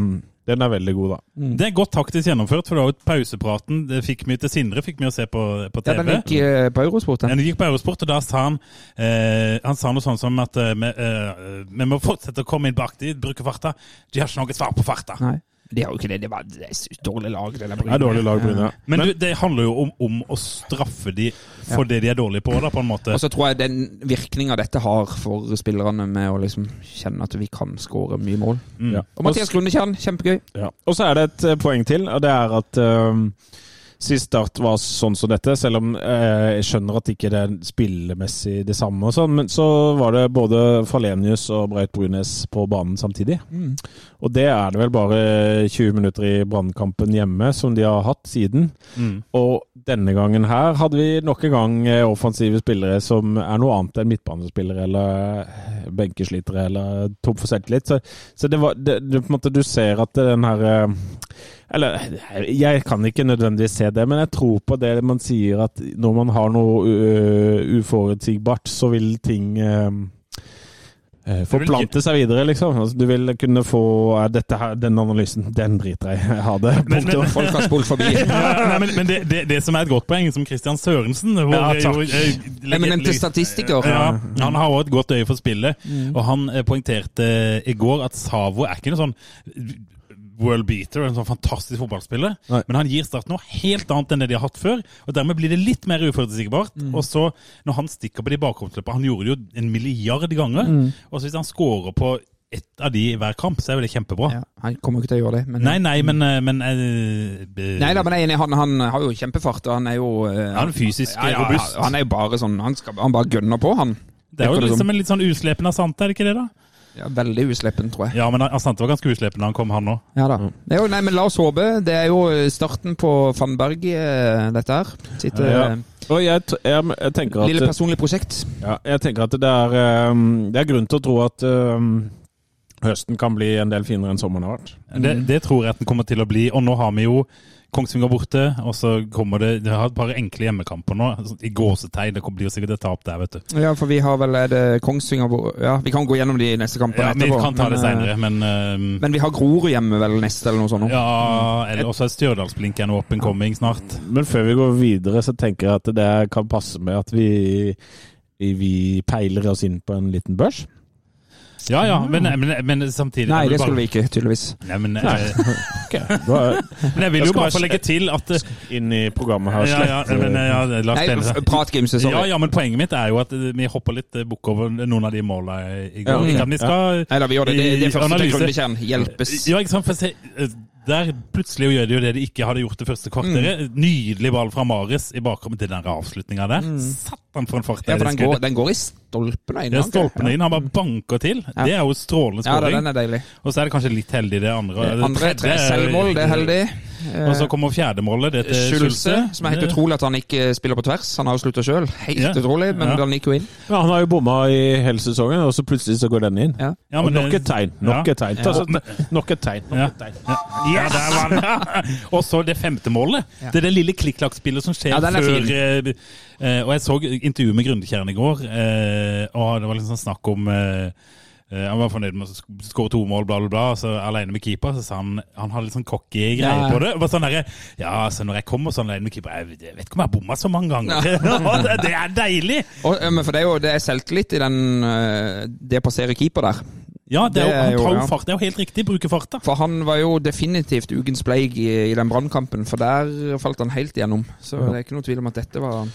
S6: den er veldig god, da.
S4: Det er godt taktisk gjennomført, for det var jo pausepraten. Det fikk vi til Sindre, fikk vi å se på, på
S5: Ja,
S4: TV.
S5: den gikk eh, på Eurosport, den.
S4: Men vi gikk på Eurosport, og da sa han eh, Han sa noe sånn som at eh, vi, eh, vi må fortsette å komme inn bak de, bruke farta. De har ikke noe svar på farta.
S5: Nei. De har jo ikke det. Det var det er et dårlig lag, det der
S6: Det
S5: Bryne.
S6: er dårlig lag, Bryne.
S4: Men, du, det handler jo om, om å straffe de for det de er dårlige på, da, på en måte.
S5: Og så tror jeg den virkninga dette har for spillerne, med å liksom kjenne at vi kan skåre mye mål.
S4: Mm.
S6: Ja.
S5: Og Mathias Grundekjern, kjempegøy.
S6: Ja. Og så er det et eh, poeng til, og det er at ehm, sist start var sånn som dette, selv om eh, jeg skjønner at ikke det er spillemessig det samme og sånn, men så var det både Falenius og Braut Brunes på banen samtidig. Og det er det vel bare 20 minutter i brannkampen hjemme som de har hatt siden.
S4: Mm.
S6: Og denne gangen her hadde vi nok en gang eh, offensive spillere som er noe annet enn midtbanespillere eller eh, benkeslitere eller tom for selvtillit. Så, så det var det, det, på en måte, Du ser at den her eh, Eller jeg kan ikke nødvendigvis se det, men jeg tror på det man sier at når man har noe ø, uforutsigbart, så vil ting eh, eh, Forplante seg videre, liksom. Altså, du vil kunne få eh, dette her, Den analysen, den driter jeg i. <laughs> Ha det.
S4: Men- men-
S6: Punktum.
S5: Folk har spolt forbi.
S4: <laughs> Ja, nei, men men det, det, det som er et godt poeng, som Christian Sørensen hvor,
S6: Ja, takk.
S4: jo, eh, legger-
S5: Eminente statistiker. Mm.
S4: Ja, han har også et godt øye for spillet, og han eh, poengterte i går at Savo er ikke noe sånn world beater, en sånn fantastisk fotballspiller,
S6: Nei.
S4: men han gir Start noe helt annet enn det de har hatt før, og dermed blir det litt mer uforutsigbart.
S5: Mm.
S4: Og så, når han stikker på de bakromsløpene, han gjorde det jo en milliard ganger,
S5: Mm.
S4: og så hvis han scorer på ett av de i hver kamp, så er jo det kjempebra.
S5: Ja, han kommer jo ikke til å gjøre det. Men,
S4: Nei, nei, men, eh, men eh,
S5: Nei da, men jeg er enig, han, han har jo kjempefart, og han er jo eh,
S4: Han er fysisk
S5: ja, ja,
S4: robust.
S5: Han er jo bare sånn Han, skal, han bare gønner på, han.
S4: Det er jo
S5: Virker det
S4: liksom
S5: som.
S4: en litt sånn uslepen Asante, er det ikke det, da?
S5: Ja, veldig usleppen, tror jeg.
S4: Ja, men Asante var ganske uslepen da han kom, han òg.
S5: Ja da. Det er jo, nei, men la oss håpe. Det er jo starten på Van Berg, eh, dette her. Sitter
S6: Ja, ja.
S5: eh,
S6: Og jeg, t- jeg, jeg tenker at
S5: Lille personlig prosjekt.
S6: Ja, jeg tenker at det er, eh, det er grunn til å tro at eh, høsten kan bli en del finere enn sommeren har vært.
S4: Det, det tror jeg at den kommer til å bli. Og nå har vi jo Kongsvinger borte, og så kommer det De har et par enkle hjemmekamper nå. altså, I gåsetegn. Det blir jo sikkert et tap der, vet du.
S5: Ja, for vi har vel er det Kongsvinger hvor- Ja, vi kan gå gjennom de neste kampene
S4: Ja, vi
S5: etterpå.
S4: kan ta det
S5: men, eh,
S4: seinere, men Mm. eh,
S5: Men vi har Grorud hjemme vel neste, eller noe sånt? nå.
S4: Ja, eller også er Stjørdalsblink en open coming snart.
S6: Men før vi går videre, så tenker jeg at det kan passe med at vi, vi, vi peiler oss inn på en liten børs.
S4: Ja ja, men, men, men samtidig
S5: Nei,
S4: jeg vil
S5: det
S4: bare-
S5: skulle vi ikke, tydeligvis.
S4: Nei, men, eh,
S6: Da-
S4: men jeg vil jo
S6: Jeg
S4: bare
S6: skal bare-
S4: få legge til at eh,
S6: Inn i programmet her.
S4: Ja, ja,
S6: slett,
S4: men, eh, ja, la oss
S5: Nei,
S4: dele det.
S5: f- prat, Gimse. Sorry.
S4: Ja, ja, men poenget mitt er jo at eh, vi hopper litt eh, bukk over noen av de måla eh, i går.
S5: Ja, ok.
S4: Ikke at vi skal
S5: Nei da, vi gjør det. Det, det er første til
S4: Analyse.
S5: kundekjern. Hjelpes.
S4: Ja, ikke sant? For se, eh, der plutselig gjør de jo det de ikke hadde gjort det
S5: Mm.
S4: første kvarteret. Nydelig ball fra Mares i bakrommet til den avslutninga der. Satan, for en fart!
S5: Mm. Ja,
S4: det
S5: for den
S4: skuddet.
S5: går, den går i stolpene inn.
S4: Det er
S5: ikke?
S4: stolpene inn. Han bare banker til. Det er jo strålende
S5: Ja, da,
S4: skåring.
S5: den er deilig.
S4: og så er det kanskje litt heldig, det andre. Det
S5: Andre
S4: tredje
S5: tre
S4: er jo-
S5: selvmål, det er heldig.
S4: Og så kommer fjerdemålet, det til
S5: Skjulse,
S4: Eh, Schulze.
S5: som er helt
S4: Det-
S5: utrolig at han ikke spiller på tvers. Han har jo slutta sjøl, helt
S4: Ja.
S5: utrolig, men
S4: Ja.
S5: han gikk jo inn.
S6: Ja, han har jo bomma i hele sesongen, og så plutselig så går den inn.
S5: Ja.
S4: Ja,
S6: og
S4: men
S6: nok
S4: det-
S6: et tegn. Nok
S4: Ja.
S6: et tegn. Ta- så- Nok et tegn.
S4: Ja. Ja, der var den. <laughs> Og så det femte målet. Det er det lille klikk-klakk-spillet som skjer
S5: Ja, den er
S4: før
S5: fin.
S4: eh, eh, Og jeg så intervjuet med Grundekjern i går, eh, og det var liksom snakk om eh, eh, han var fornøyd med å sk- skåre to mål, bla, bla, bla. Så alene med keeper, så sa han han hadde litt sånn cocky greier
S5: Ja.
S4: på det. Det Var sånn derre Ja, så når jeg kommer sånn alene med keeper Jeg jeg vet ikke om jeg har bomma så mange ganger. <laughs> det, det er deilig!
S5: Og, eh, men for det er jo det er selvtillit i den eh, det å passere keeper der.
S4: Ja, det er, jo-
S5: Det er jo-
S4: han tar
S5: ja.
S4: jo fart. Det er jo helt riktig. Bruker farta.
S5: For han var jo definitivt ukens pleig i, i den brannkampen, for der falt han helt igjennom. Så det er ikke noe tvil om at dette var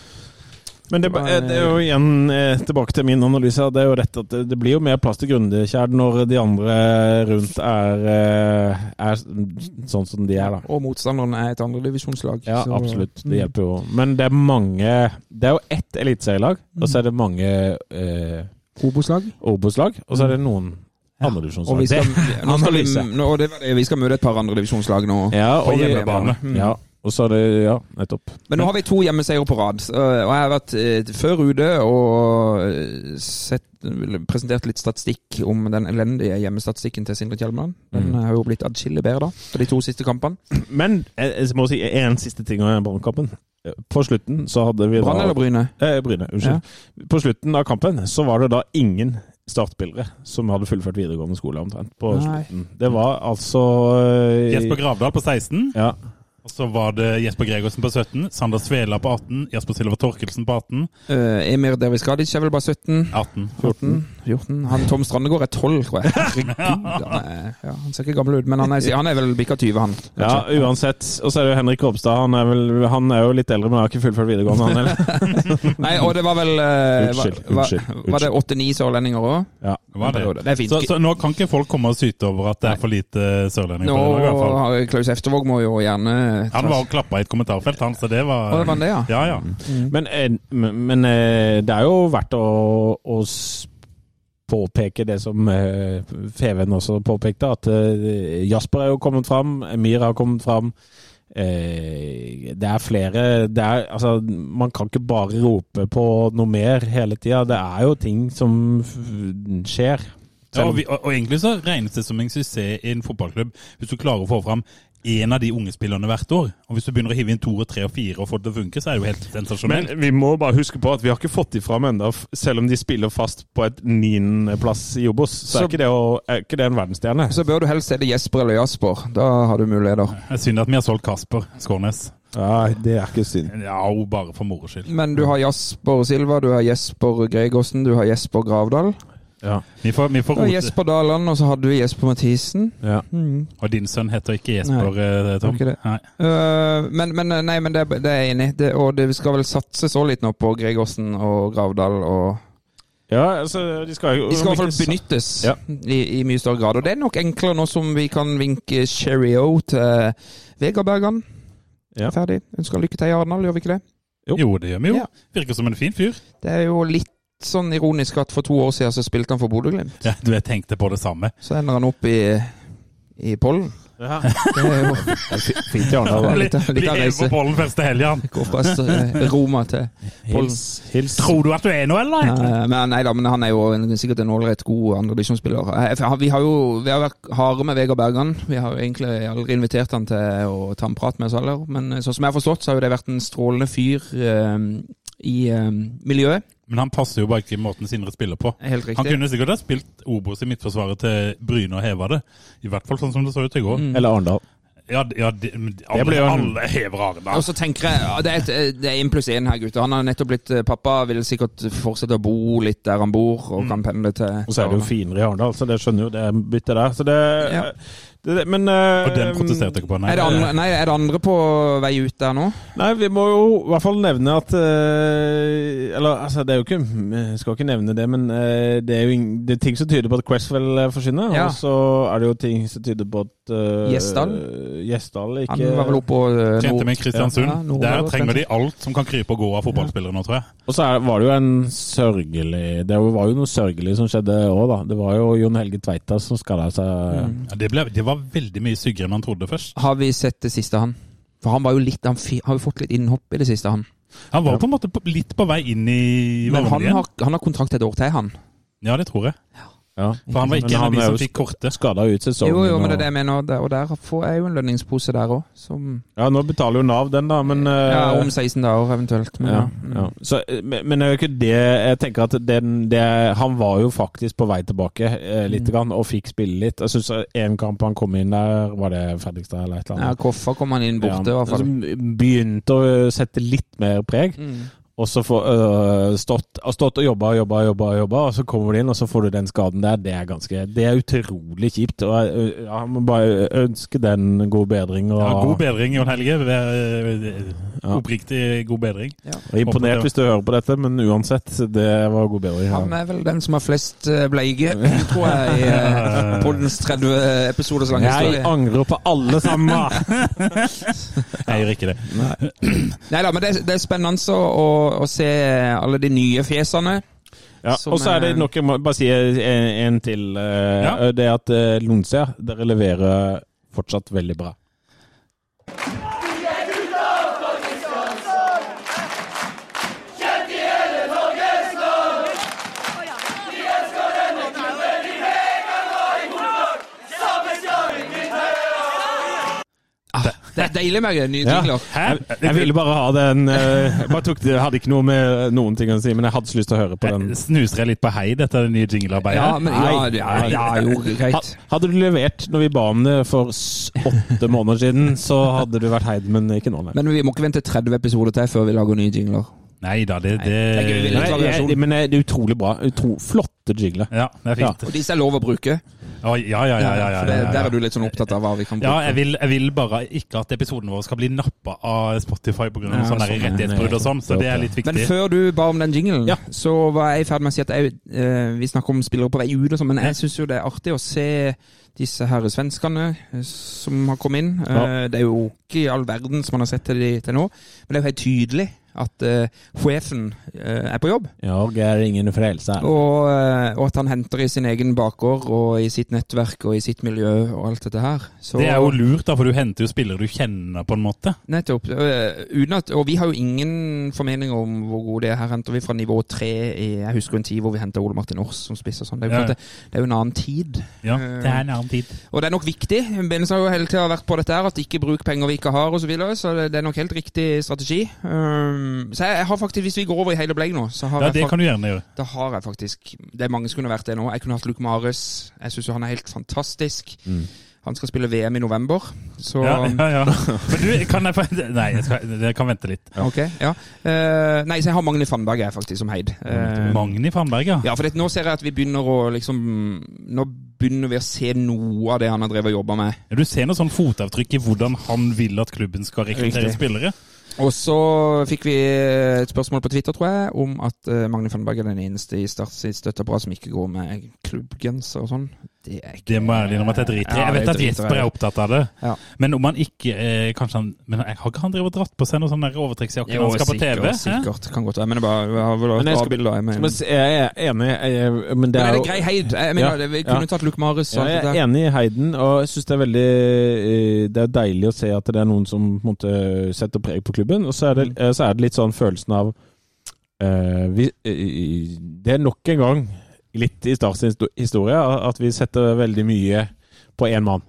S6: Men det,
S5: Det var-
S6: det er jo igjen eh, tilbake til min analyse. at Det er jo rett at det, det blir jo mer plass til Grundekjær når de andre rundt er, eh, er sånn som de er, da.
S5: Og motstanderen er et andredivisjonslag.
S6: Ja, absolutt. Det hjelper jo. Men det er mange Det er jo ett eliteserielag, og så er det mange eh,
S5: Obos-lag.
S6: Obos-lag, og så er det noen
S5: Ja. Og, vi
S6: andredivisjonslag.
S5: skal,
S6: <laughs>
S5: nå skal vi,
S6: Analyse.
S5: nå, og det var det, vi skal møte et par andredivisjonslag nå.
S6: Ja, og
S5: På
S6: vi-
S5: hjemmebane. Mm.
S6: Ja, og så er det Ja, nettopp.
S5: Men nå har vi to hjemmeseier på rad. så, øh, Og jeg har vært øh, før ute og øh, sett, presentert litt statistikk om den elendige hjemmestatistikken til Sindre Kjelmeland.
S6: Mm.
S5: Den eh, har jo blitt adskillig bedre da, på de to siste kampene.
S6: Men jeg, jeg må si en siste ting om brannkampen. På slutten så hadde vi da
S5: Brann eller Bryne?
S6: Eh, Bryne, unnskyld. På slutten av kampen så var det da ingen startspillere som hadde fullført videregående skole, omtrent. På
S5: Nei.
S6: slutten. Det var altså eh,
S4: Jesper Gravdal på 16.
S6: Ja.
S4: Og så var det Jesper Gregersen på 17, Sander Svela på 18, Jesper Silver Torkelsen på 18.
S5: Øh, Emir Derviskadic er vel bare 17?
S4: 18.
S5: 14. 14. Han Tom Strandegård er 12, tror jeg.
S6: <laughs>
S5: Herregud, han, er, ja, han ser ikke gammel ut, men han er, han er vel bikka 20, han.
S6: Ja,
S5: kanskje.
S6: uansett. Og så er det jo Henrik Ropstad. Han er, vel, han er jo litt eldre, men har ikke fullført videregående, han heller.
S5: <laughs> Nei, og det var vel øh, var-
S6: Unnskyld,
S5: var-
S6: unnskyld,
S5: Var det åtte-ni sørlendinger òg?
S6: Ja.
S4: Var det?
S5: Det er fint.
S4: Så, så nå kan ikke folk komme og syte over at det er for lite sørlendinger på det laget, i hvert fall.
S5: Nå, Klaus Eftervåg må jo gjerne
S4: Han var og klappa i et kommentarfelt, han, så det var
S5: Å, det var det, ja. Mm.
S4: Ja, ja.
S6: Men, eh, men men, eh, det er jo verdt å, å s- påpeke det som eh, Feven også påpekte, at eh, Jasper er jo kommet fram, Emir har kommet fram. Eh, det er flere det er, altså, Man kan ikke bare rope på noe mer hele tida. Det er jo ting som f- skjer.
S4: ja og, vi, og, og egentlig så regnes det som en suksess i en fotballklubb hvis du klarer å få fram én av de unge spillerne hvert år. Og hvis du begynner å hive inn to og tre og fire og få det til å funke, så er det jo helt
S8: Men
S4: sensasjonelt.
S8: vi må bare huske på at vi har ikke fått de fram ennå, selv om de spiller fast på et niendeplass i Obos. Så,
S5: Så-
S8: er, ikke det å, er ikke det en verdensstjerne.
S5: Så bør du helst se det Jesper eller Jasper. Da har du muligheter.
S4: Det er synd at vi har solgt Kasper Skårnes.
S6: Nei, det er ikke synd.
S4: Ja, og bare for moro skyld.
S5: Men du har Jasper Silva, du har Jesper Gregersen, du har Jesper Gravdal.
S4: Vi får, vi får
S5: Du har
S4: rote.
S5: Jesper Daland, og så hadde du Jesper Mathisen.
S6: Ja.
S5: Mm.
S4: Og din sønn heter ikke Jesper, eh, Tom?
S5: ikke det.
S4: Nei.
S5: Øh, men, men nei, men det, det er jeg enig i. Det- Og det, vi skal vel satse så litt nå på Gregersen og Gravdal og
S6: Ja, altså, de skal jo
S5: De skal i hvert
S6: om
S5: fall
S6: ikke så-
S5: benyttes
S6: Ja.
S5: i, i mye større grad. Og det er nok enklere nå som vi kan vinke Sherry O til Vegard Bergan.
S6: Ja.
S5: Ferdig. Ønsker lykke til i Arendal, gjør vi ikke det?
S6: Jo.
S4: Jo, det gjør vi jo.
S5: Ja.
S4: Virker som en fin fyr.
S5: Det er jo litt sånn ironisk at for to år siden så spilte han for Bodø-Glimt.
S4: Ja, du, jeg tenkte på det samme.
S5: Så ender han opp i, i pollen. Det er jo
S6: Fint i Arendal. da.
S5: var
S4: Bli,
S5: litt av- litt
S4: bli
S5: av
S4: med
S5: reise.
S4: på bollen første helgen.
S5: Går fra eh, Roma til Polen.
S6: Hils.
S4: Tror du at du er noe, eller?
S5: Eh, Men nei da, men han er jo en, sikkert en ålreit god andredivisjonsspiller. Eh, for han- Vi har jo vi har vært harde med Vegard Bergan. Vi har jo egentlig aldri invitert han til å ta en prat med oss heller. Men eh, sånn som jeg har forstått, så har jo det vært en strålende fyr eh, i eh, miljøet.
S4: Men han passer jo bare ikke i måten Sindre spiller på.
S5: Helt
S4: Han
S5: riktig.
S4: kunne sikkert ha spilt Obos i midtforsvaret til Bryne og heva det. I hvert fall sånn som det så ut i går.
S5: Mm.
S6: Eller Arendal.
S4: Ja, d- ja de, men de- alle,
S6: ble jo en-
S4: alle hever
S5: Og
S4: Arendal.
S5: så tenker jeg, ja, Det er, et, det er en pluss én her, gutter. Han har nettopp blitt eh, pappa, vil sikkert fortsette å bo litt der han bor, og kan pendle til
S6: Og så er det jo finere i Arendal, så det skjønner jo det byttet der. Så det,
S5: Ja.
S6: det, det Men eh,
S4: Og den protesterte jeg ikke på. Nei,
S5: Er det, andre, nei, er det andre på vei ut der nå?
S6: Nei, vi må jo i hvert fall nevne at eh, Eller altså, det er jo ikke Jeg skal ikke nevne det, men eh, det er jo ing, det er ting som tyder på at Cresswell eh, forsvinner.
S5: Ja.
S6: Og så er det jo ting som tyder på at eh,
S5: Gjesdal?
S6: Gjesdal ikke
S5: Han var vel oppe og eh,
S4: Kjente med
S5: Ja,
S4: Kristiansund.
S5: Nordland
S4: Der
S5: var
S4: trenger de alt som kan krype og gå av fotballspillere nå, tror jeg.
S6: Og så er, var det jo en sørgelig Det var jo noe sørgelig som skjedde òg, da. Det var jo Jon Helge Tveita som skada seg.
S4: Ja, det, ble, det var veldig mye styggere enn man trodde først.
S5: har vi sett det siste han? For han var jo litt, han fi, har jo fått litt innhopp i det siste, han.
S4: Han var på en måte på, litt på vei inn i
S5: Men
S4: varmen
S5: han
S4: igjen.
S5: har, han har kontrakt et år til, han.
S4: Ja, det tror jeg.
S6: Ja.
S4: For han var ikke
S6: Men
S4: en av
S6: han
S4: de
S6: er
S4: som
S6: jo
S4: fikk korte.
S6: Skada ut sesongen.
S5: Jo, jo, men det
S6: og-
S5: er det jeg mener. der- Og der får jeg jo en lønningspose der òg, som
S6: Ja, nå betaler jo Nav den, da, men eh,
S5: ja, Om 16 dager eventuelt. Men, ja.
S6: Ja, ja. Så, eh, men men det er jo ikke det Jeg tenker at den, det, han var jo faktisk på vei tilbake eh, litt
S5: Mm.
S6: grann, og fikk spille litt. Jeg syns én kamp han kom inn der, var det Fredrikstad eller et eller
S5: ja,
S6: annet?
S5: Koffa kom han inn borte, i
S6: Ja,
S5: hvert
S6: Altså,
S5: fall.
S6: som begynte å sette litt mer preg.
S5: Mm.
S6: Og så får øh, stått, har stått og jobba og jobba og jobba, og jobba, og så kommer du inn, og så får du den skaden der. Det er ganske Det er utrolig kjipt. Og jeg øh, ja, må bare ønske den god bedring. Og,
S4: Ja, god bedring, Jon Helge. Vær-
S6: Ja.
S4: Oppriktig god bedring.
S6: og imponert hvis du hører på dette, men uansett, det var god bedring. ja.
S5: Han er vel den som har flest
S4: <laughs>
S5: eh, bleige, tror jeg, i eh, poddens 30 episoders lange
S6: Jeg
S5: historie.
S6: angrer på alle sammen!
S5: <laughs>
S4: Jeg gjør ikke det.
S5: Nei da, men det, det er spennende å, å, å se alle de nye fjesene.
S6: Ja,
S5: Som
S6: og så er
S5: er-
S6: det nok Jeg må bare si en, en til. eh,
S4: Ja.
S6: Det er at eh, Lonsia, dere leverer fortsatt veldig bra.
S5: Det er deilig med nye jingler.
S4: Hæ?
S6: Jeg, jeg ville bare ha den eh, Jeg bare tok det, jeg hadde ikke noe med noen ting å si, men jeg hadde så lyst til å høre på den.
S4: Snuser jeg litt på heid etter det nye jinglearbeidet?
S5: Mm. Ja, men ja,
S6: Nei.
S5: ja, ja, jo, greit.
S6: Ha- Hadde du levert når vi ba om det for s- åtte måneder siden, så hadde du vært heid, men ikke nå. nei.
S5: Men vi må ikke vente 30 episoder til før vi lager nye jingler.
S4: Nei da, det, det
S5: Nei, jeg vil
S6: Nei,
S5: ikke.
S6: jeg, eh, men det er utrolig bra. Utro, flotte jingler.
S4: Ja, det er fint.
S5: Og disse er lov å bruke.
S4: Å, Ja, ja, ja. ja, ja,
S5: For det,
S4: ja, ja.
S5: Der er du litt sånn opptatt av hva vi kan
S4: Ja,
S5: bruke.
S4: jeg vil, jeg vil bare ikke at episoden vår skal bli nappa av Spotify pga.
S5: Ja,
S4: av sånne
S5: sånn,
S4: der rettighetsbrudd og sånn, så det er litt
S5: Men
S4: viktig.
S5: før du ba om den jinglen,
S6: Ja.
S5: så var jeg i ferd med å si at jeg, eh, vi snakker om spillere på vei ut og sånn, men jeg syns jo det er artig å se disse her svenskene eh, som har kommet inn. Eh, Det er jo ikke i all verden som man har sett til, de, til nå, men det er jo helt tydelig at uh, sjefen eh, er på jobb.
S6: Ja, jeg er ingen frelser.
S5: Og, eh, og at han henter i sin egen bakgård og i sitt nettverk og i sitt miljø og alt dette her. Så,
S4: Det er jo lurt, da, for du henter jo spillere du kjenner, på en måte.
S5: Nettopp. eh, uten at, og vi har jo ingen formening om hvor gode det er. Her henter vi fra nivå tre i Jeg husker en tid hvor vi henta Ole Martin Aars som spiss og sånn. Det, er jo
S4: Ja,
S5: klart det, det er jo en annen tid.
S4: Ja,
S5: Eh,
S4: Det er en annen tid.
S5: Og det er nok viktig. Benz har jo hele tida vært på dette her, at ikke bruk penger vi ikke har osv. Så, videre, så det, det er nok helt riktig strategi. Um, så jeg, jeg har faktisk, hvis vi går over i hele Bleik nå, så har
S4: Ja,
S5: jeg
S4: Det
S5: fak-
S4: kan du gjerne gjøre.
S5: da har jeg faktisk Det er mange som kunne vært det nå. Jeg kunne hatt Luke Mares. Jeg syns jo han er helt fantastisk. Han skal spille VM i november, så
S4: Mm. Ja, ja, ja. Men du, kan jeg få Nei, jeg, skal, jeg kan vente litt.
S5: Ok, ja. Eh, nei, så jeg har Magnhild Fannberg jeg, faktisk som heid. Eh,
S4: Magni Fannberg, ja.
S5: ja, for det, nå ser jeg at vi begynner å liksom Nå begynner vi å se noe av det han har drevet og jobba med.
S4: Ja, Du ser noe sånn fotavtrykk i hvordan han vil at klubben skal rekruttere
S5: Riktig.
S4: spillere.
S5: Og så fikk vi eh, et spørsmål på Twitter, tror jeg, om at eh, Magnhild Fannberg er den eneste i Start sitt støtteapparat som ikke går med klubbgenser og sånn. Det er ikke
S4: Det må jeg ærlig innrømme at jeg driter i.
S5: Ja,
S4: Jeg vet
S5: det
S4: at
S5: driter
S4: Jesper
S5: jeg
S4: er
S5: i.
S4: opptatt av det.
S5: Ja.
S4: Men om han ikke eh, kanskje han, Men jeg har ikke han drevet og dratt på seg noen sånne der overtrekksjakker
S5: Jo,
S4: når han skal på TV?
S5: sikkert,
S4: hæ?
S5: sikkert. Kan godt være. Men det er bare, jeg har vel
S6: Men jeg
S5: et
S6: skal-
S5: bra bilde. Jeg mener.
S6: Men s- jeg er enig, jeg, men det
S5: Men
S6: er
S5: er
S6: jo
S5: det grei heid? Jeg mener,
S6: Ja,
S5: det- Vi
S6: ja.
S5: kunne tatt Luke Marius.
S6: ja,
S5: og alt
S6: jeg
S5: det der.
S6: er enig i Heiden, og jeg syns det er veldig eh, Det er deilig å se at det er noen som på en måte, setter preg på klubben. Og så er det, eh, så er det litt sånn følelsen av eh, vi, eh, Det er nok en gang, litt i Stars histo- historie, at vi setter veldig mye på én mann.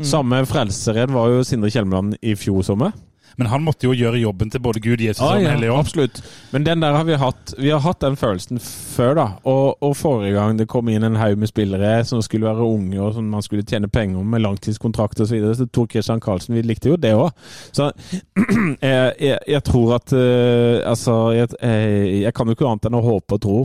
S6: Samme frelseredd var jo Sindre Kjelmeland i fjor sommer.
S4: Men han måtte jo gjøre jobben til både Gud, Jesus og Den hellige ånd.
S6: Ah, absolutt. Men den der har vi hatt Vi har hatt den følelsen før, da. Og, og forrige gang det kom inn en haug med spillere som skulle være unge, og som man skulle tjene penger om med langtidskontrakt osv. Så, videre, så Tor Christian Karlsen, vi likte jo det òg. Så <clears throat> jeg, jeg, jeg tror at eh, Altså, jeg, jeg, jeg kan jo ikke annet enn å håpe og tro.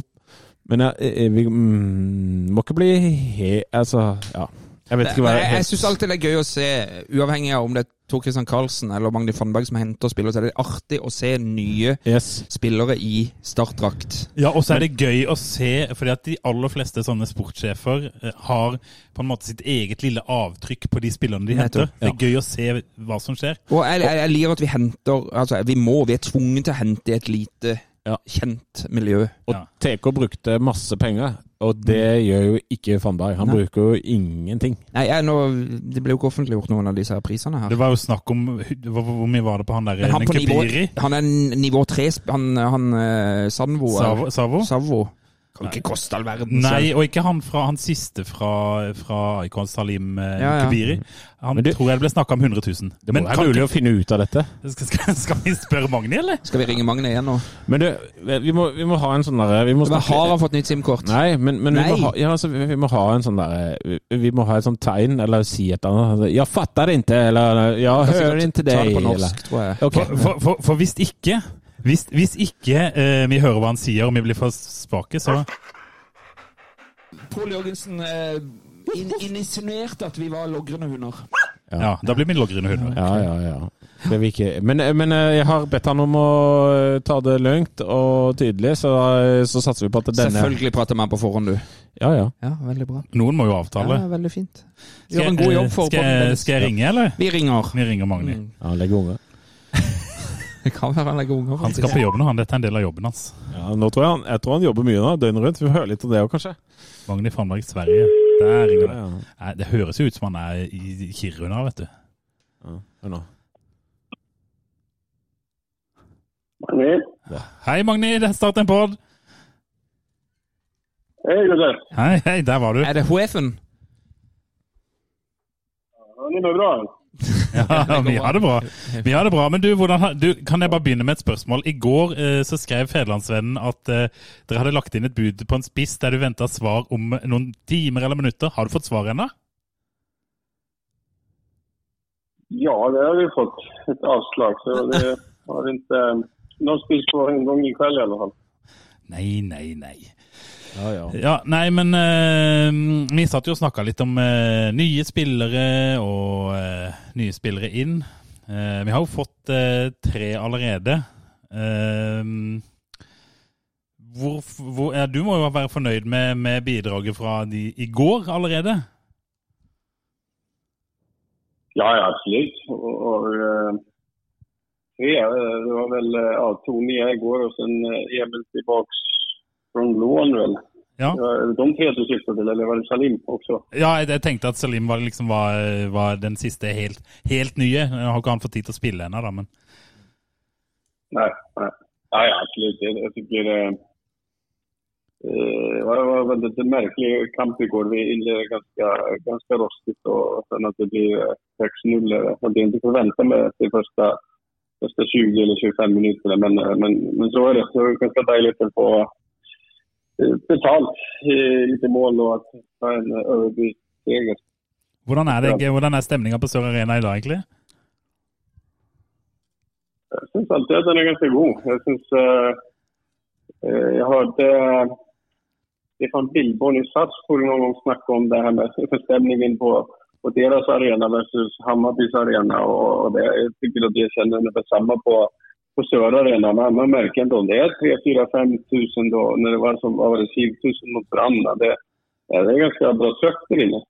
S6: Men jeg, jeg, vi mm, må ikke bli he... Altså, ja. Jeg vet ikke hva
S5: Men jeg jeg syns alltid det er gøy å se, uavhengig av om det er Tor Christian Karlsen eller Magni Fannberg som henter spillere, så er det artig å se nye
S6: Yes.
S5: spillere i startdrakt.
S4: Ja, og så er det gøy å se, fordi at de aller fleste sånne sportssjefer eh, har på en måte sitt eget lille avtrykk på de spillerne de henter.
S5: Nettopp,
S4: Det er gøy å se hva som skjer.
S5: Og jeg, jeg, jeg liker at vi henter Altså, vi må, vi er tvunget til å hente i et lite,
S6: Ja.
S5: kjent miljø.
S6: Og
S4: Ja.
S6: TK brukte masse penger, og det gjør jo ikke Fannberg. Han
S5: Mm. Nei.
S6: bruker jo ingenting.
S5: Nei, jeg, nå, Det ble jo ikke offentliggjort noen av disse her prisene her.
S4: Det var jo snakk om hva- Hvor hvor mye var det på han der
S5: Men han, på nivå,
S4: Nekepiri?
S5: han er n- nivå tre sp- Han, han eh, Sandvo er-
S4: Savo? Savo?
S5: Savo. Kan ikke koste all verden.
S4: Nei, og ikke han fra han siste fra, fra Icons Salim eh,
S5: Ja, ja.
S4: Kubiri. Han
S6: Men du-
S4: tror jeg det ble snakka om 100 000.
S6: Det må være mulig å finne ut av dette.
S4: skal, skal, skal vi spørre Magni, eller?
S5: Skal vi ringe Magne igjen nå?
S6: Men du, vi må, vi må ha en sånn derre vi må
S5: Men
S6: snakke-
S5: har han fått nytt SIM-kort?
S6: Nei, men, men Vi,
S5: Nei.
S6: må ha, ja, altså, vi, vi må ha en sånn derre vi, vi må ha et sånt tegn, eller si et eller annet. Altså, Ja, fattar ikke, eller Ja,
S5: Kan sikkert
S6: hører ikke
S5: Ta det
S6: deg,
S5: på
S6: eller
S5: norsk, tror jeg.
S6: Ok.
S4: For, for, for, for hvis ikke Hvis, hvis ikke eh, vi hører hva han sier, og vi blir for spake, så
S7: Pål Jørgensen eh, in insinuerte at vi var logrende hunder.
S4: Ja, da blir vi logrende hunder.
S6: Ja, ja, ja. Det vil ikke men, men eh, jeg har bedt han om å eh, ta det langt og tydelig, så, eh, så satser vi på at denne
S5: Selvfølgelig prater man på forhånd, du.
S6: Ja, ja.
S5: Ja, veldig bra.
S4: Noen må jo
S5: Ja,
S4: avtale.
S5: veldig fint.
S4: Skal
S5: Gjør en
S4: jeg-
S5: god jobb for
S4: skal, jeg-
S5: Podden.
S4: skal jeg ringe, eller?
S5: Vi ringer.
S4: Vi ringer Magni.
S5: Mm.
S6: ja legg unge.
S5: Det kan være han legger unger,
S4: Han skal
S5: faktisk.
S4: på jobben, og han. Dette er en del av jobben hans.
S6: Ja, nå tror jeg, han, jeg tror han jobber mye nå, døgnet rundt. Vi hører litt om det òg, kanskje.
S4: Magni Fannberg, Sverige. Der ringer det.
S6: Ja, ja.
S4: Nei, Det høres jo ut som han er i Kiruna, vet du.
S6: Hør nå.
S9: Hei,
S4: Hei, Magni. det er Start en pod.
S9: hei gutter.
S4: Hei, hei, der var du. <laughs>
S5: Er det HF-en?
S9: Ja, Ni mår bra?
S4: Ja, vi har det bra. Vi har det bra, Men du, hvordan, har- du, kan jeg bare begynne med et spørsmål? I går eh, så skrev Federlandsvennen at eh, dere hadde lagt inn et bud på en spiss der du venta svar om noen timer eller minutter. Har du fått svar ennå?
S9: Ja, det har vi fått. Ett avslag. Så det har eh, inte... Någon spist på en gång ikväll i alla fall.
S4: Nei, nei, nei.
S6: Ja, ja.
S4: Ja, nei, men eh, vi satt jo og snakka litt om eh, nye spillere og eh, nye spillere inn. Eh, vi har jo fått eh, tre allerede. Eh, hvor, hvor, ja, du må jo være fornøyd med, med bidraget fra de i går allerede?
S9: Ja, ja, absolut. Och, och, eh, tre, eh, det var väl eh, ja, Tony igår och sen eh, Emil tillbaks från lån väl.
S4: Ja,
S9: Det var De tre du syftade till, eller var det Salim också?
S4: ja jeg, jeg tenkte at Salim var, liksom, var, var den siste helt, helt nye. Nå har ikke han fått tid til å spille ennå, da, men
S9: Nej, nej. Ja, ja, absolut. Jag, jag tycker det... Eh, det var en väldigt märklig kamp igår. Vi inledde ganska, ganska rostigt och sen att det blir eh, 6-0. Jag hade inte förväntat mig att det första, första 20 eller 25 minuterna, men, eh, men, men så är det. Så det är ganska dejligt att få eh, betalt eh, lite mål och att ta en eh, överbyseger.
S4: hvordan er, det- hvordan er stemninga på Sør Arena i dag, egentlig? <laughs>
S9: Jeg syns alltid at den er ganske god. Jeg syns eh, eh, Jeg hørte Stefan Billborn i Sarpsborg noen gang snakke om det her med forstemningen på, på deres arena versus Hammarbys arena. Og, og det, jeg syns at jeg kjenner det samme på, på Sør Arena. Men man merker ikke om det er 3000-4000 da, når det var som var det 7000 mot Brann. da. Det, eh, det är ganska bra tröck där inne.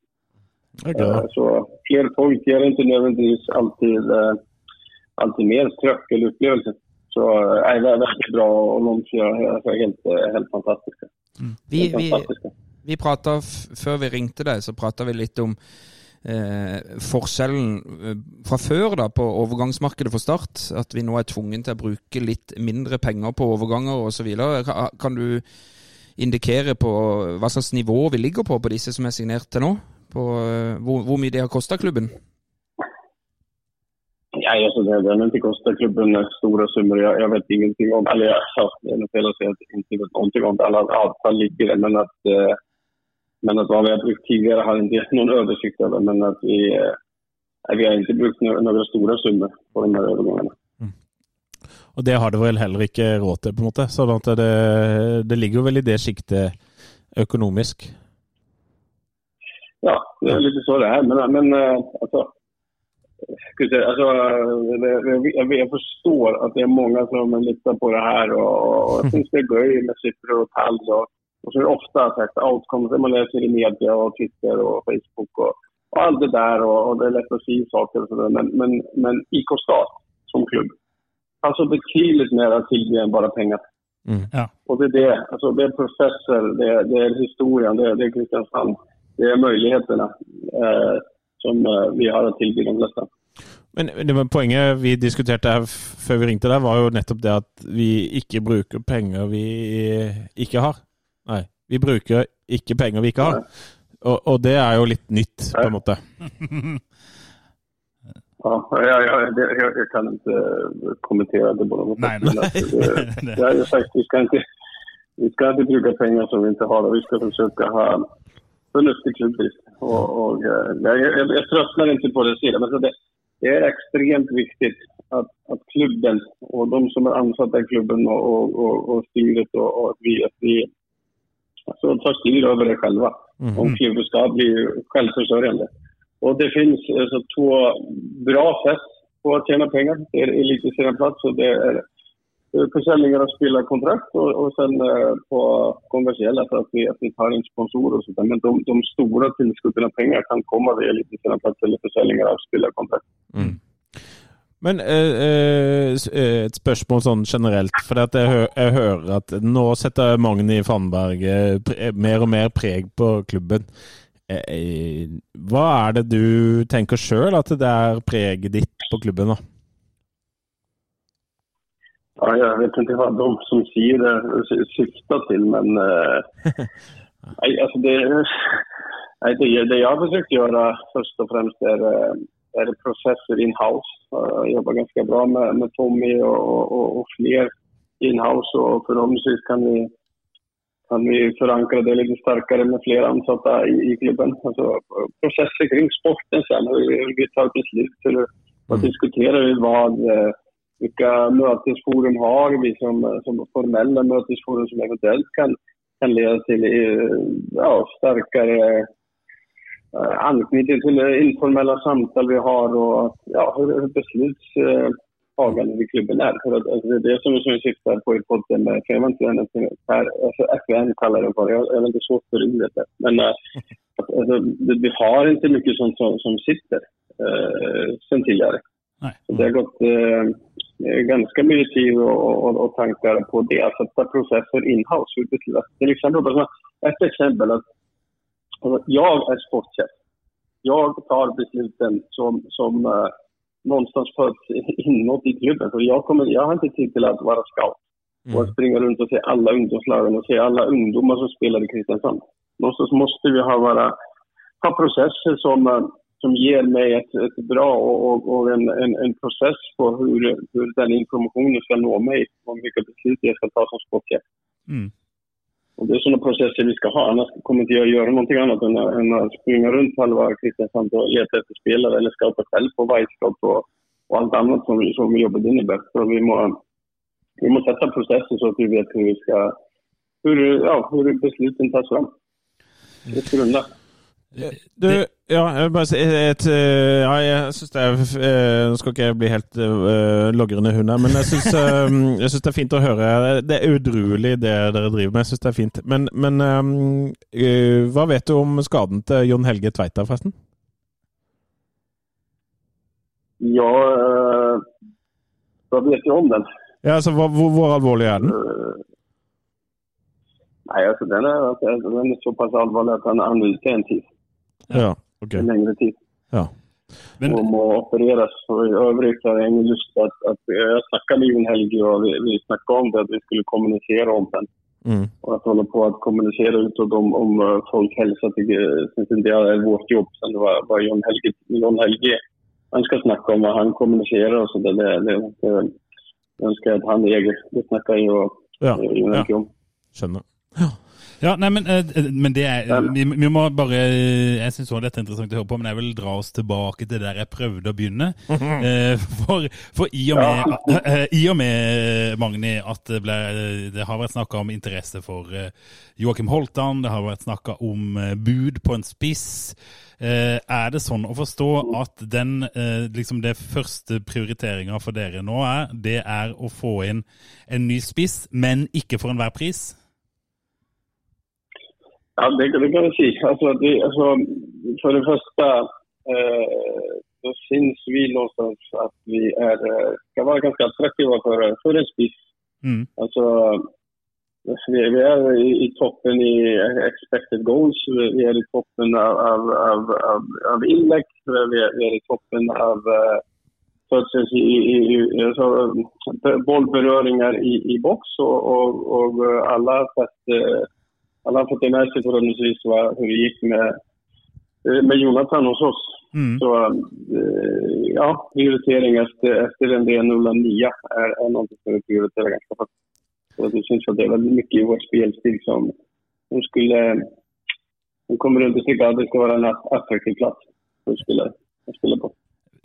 S9: Eh, Så fler folk ger inte nödvändigtvis alltid, eh, alltid mer tröck eller upplevelse. Så eh, nej, det är väldigt bra och de är alltså, helt, eh, helt fantastiska.
S5: Vi,
S9: helt
S5: vi,
S9: fantastiska.
S5: vi prata, f- Før vi ringte deg, så prata vi litt om eh, forskjellen eh, fra før da på overgangsmarkedet for Start. At vi nå er tvungen til å bruke litt mindre penger på overganger osv. Kan, kan du indikere på hva slags nivå vi ligger på på disse som er signert til nå? På, eh, hvor, hvor mye de har kosta klubben?
S9: Nej, alltså det den inte kostar klubben stora summor. Jag, jag vet ingenting om, eller jag, ja, det är nog fel att säga att jag inte vet någonting om det. Alla avtal ligger där, men att, eh, men att vad vi har brukt tidigare har jag inte någon översikt över. Men att vi, eh, nej, vi har inte brukt no- några stora summor på de här övergångarna.
S6: Og det har det vel heller ikke råd til, på en måte. Sånn at det, det ligger jo vel i det siktet økonomisk.
S9: Ja, det är lite så det är. Men, men eh, alltså, ska vi säga, alltså, det- jag, jag, jag förstår att det är många som litar på det här och, och jag syns det är göj med siffror och tall. Och, och så är det ofta sagt outcomes, det man läser i media och Twitter och Facebook och, och allt det där och, och det är lätt att säga saker och sådär. Men, men, men IK Stat som klubb, altså, alltså betydligt mer tillgänglig än bara pengar.
S4: Ja.
S9: Och det är det, alltså det är processer, det är, det är historien, det är, det är Kristiansand, det är möjligheterna eh, som eh, vi har att tillby de flesta.
S6: Men det var poenget vi diskuterte her f- før vi ringte deg, var jo nettopp det at vi ikke bruker penger vi ikke har. Nei, vi bruker ikke penger vi ikke har. Og, og det er jo litt nytt, på en måte.
S9: Ja, jag, jag, det- jag, jag kan inte eh, kommentera det på något
S4: Nej,
S9: sätt. eh, Det- Jag har ju sagt vi ska inte, vi ska inte bruka pengar som vi inte har och vi ska försöka ha förnuftig klubbdrift. Och, och, eh, jag, jag, jag tröttnar inte på det sidan, men så det, det är extremt viktigt att, att klubben och de som är ansatta i klubben och, och, och, och styret och, och att vi, att vi alltså, tar styr över det själva. Om klubben ska bli självförsörjande. Och det finns alltså, två bra sätt på att tjäna pengar. Det är elitserieplats och det är eh, försäljningar av spelarkontrakt och, och sen eh, på kommersiella för att vi, att vi tar in sponsorer och sånt där. Men de, de stora tillskotten av pengar kan komma via elitserieplats eller försäljningar av spelarkontrakt.
S6: Men eh, eh, s- eh, et spørsmål sånn generelt. For at jeg, hø jeg hører at nå setter Magni Fannberg eh, pre mer og mer preg på klubben. Eh, eh, hva er det du tenker sjøl at det er preget ditt på klubben, da?
S9: Ja, jag vet inte vad de som säger det sy- syftar till, men... Eh, nej, alltså det, nej, det, det jag har försökt göra först och främst är, eh, är processer in-house. Eh, Jag jobbar ganska bra med, med Tommy och, och- och, och fler in-house och förhoppningsvis kan vi, kan vi förankra det lite starkare med fler ansatta i, i klubben. Alltså, processer kring sporten sen, hur hur vi tar beslut, hur, vad diskuterar vi vad... Eh, vilka mötesforum har vi som, som formella mötesforum som eventuellt kan, kan leda till eh, ja, starkare eh, anknytning till eh, informella samtal vi har och att, ja, hur, hur beslutstagandet i klubben är. För att, alltså, det är det som, som vi syftar på i podden. Med, för jag vet inte vad den heter, alltså, FN kallar den för. Jag, jag vet inte så för ordet. där. Men eh, att, alltså, det, vi har inte mycket sånt som, som sitter eh, sen tidigare.
S4: Nej.
S9: Så Det har gått eh, ganska mycket tid och, och, och tankar på det. Att sätta processer in-house. hur beslut- Till exempel, bara så- ett exempel att alltså, jag är sportchef. Jag tar besluten som, som eh, någonstans föds <laughs> inåt i klubben. Så jag, kommer, jag har inte tid till att vara scout och att springa runt och se alla ungdomslagen och se alla ungdomar som spelar i Kristiansand. Någonstans måste vi ha, våra, ha processer som eh, som ger mig ett, ett bra och, och, och en, en, en process på hur, hur den informationen ska nå mig och vilka beslut jag ska ta som sportchef.
S4: Mm.
S9: Och det är sådana processer vi ska ha, annars kommer inte jag göra någonting annat än, att- än att springa runt halva Kristiansand och leta efter spelare eller scouta själv på Weisscout och, och allt annat som, vi- som jobbet innebär. Så vi må, vi må sätta processer så att vi vet hur vi ska, hur, ja, hur besluten tas fram. Det är grunda.
S6: Eh, Du, ja, jeg vil bare si et, eh, Ja, jeg syns det er eh, Nå skal ikke jeg bli helt eh, logrende hund her, men jeg syns, eh, <laughs> jeg synes det er fint å høre. Det er udruelig det dere driver med. Jeg syns det er fint. Men, men eh, eh, hva vet du om skaden til Jon Helge Tveita, forresten?
S9: Ja, eh, da vet jeg om den.
S6: Ja, altså, hva, hvor, hvor alvorlig er den?
S9: Eh, Nei, altså den er, altså, den er såpass alvorlig at han han er ute en tid.
S6: Ja, ok.
S9: En lengre tid.
S4: Men-
S9: og må opereres. Og i øvrigt har jeg ingen lyst til at, at Jeg snakket med Jon Helge, og vi, vi snakket om det, at vi skulle kommunisere om den.
S6: Mm.
S9: Og at holde på å kommunisere utad om, om eh, folkhälsa. at jeg, eh, synes inte Det er vårt jobb. Sen det var, var Jon Helge, Jon Helge han skal snakke om, og han kommuniserer og så det, det, det, det ønsker jeg at han eier. Det snakker jeg og
S6: Ja,
S9: eh, Jon
S6: ja.
S9: Helge om.
S6: Skjønner.
S4: Ja, nei, men, eh, men det er vi, vi må bare eh, Jeg syns også dette er interessant å høre på, men jeg vil dra oss tilbake til der jeg prøvde å begynne. Eh, For, for i, og med, eh, i og med, Magni, at det, ble, det har vært snakka om interesse for eh, Joakim Holtan, det har vært snakka om eh, bud på en spiss. Eh, Er det sånn å forstå at den eh, liksom det første prioriteringa for dere nå er, det er å få inn en ny spiss, men ikke for enhver pris?
S9: Ja, det, det kan jeg si. Altså, at vi, altså, for det første eh, så syns vi någonstans at vi er, eh, skal være ganske attraktive for, for en spiss.
S4: Mm.
S9: Altså, vi, vi er i, i toppen i expected goals, vi vi er i toppen av, av, av, av, av innlegg, vi er, vi er i toppen av eh, touches i, i, i, altså, bollberøringer i, i boks, og, og, og eh, alle har sett eh, alle har fått det med sig förhoppningsvis va, hur det gick med, eh, med Jonathan hos oss.
S4: Mm.
S9: Så eh, ja, prioritering efter, efter den där 09 är, är någonting som vi prioriterar ganska högt. Och det syns att det är väldigt mycket i vår spelstil som, som skulle... Hon kommer runt och tycker att det ska vara en att- attraktiv plats. Som skulle, som skulle på.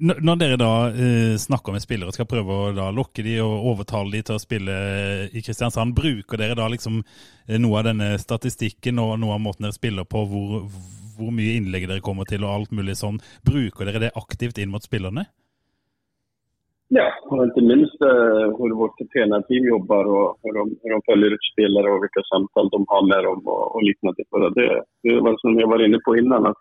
S4: N- Når dere da eh, snakker med spillere og skal prøve å da lokke de og overtale de til å spille eh, i Kristiansand, bruker dere da liksom eh, noe av denne statistikken og noe av måten dere spiller på, hvor, hvor mye innlegg dere kommer til og alt mulig sånn, bruker dere det aktivt inn mot spillerne?
S9: Ja, och inte minst eh, hur vårt tränarteam jobbar och hur de, hur de följer ut spelare och vilka samtal de har med dem och, och liknande. För att det, det var som jag var inne på innan, att,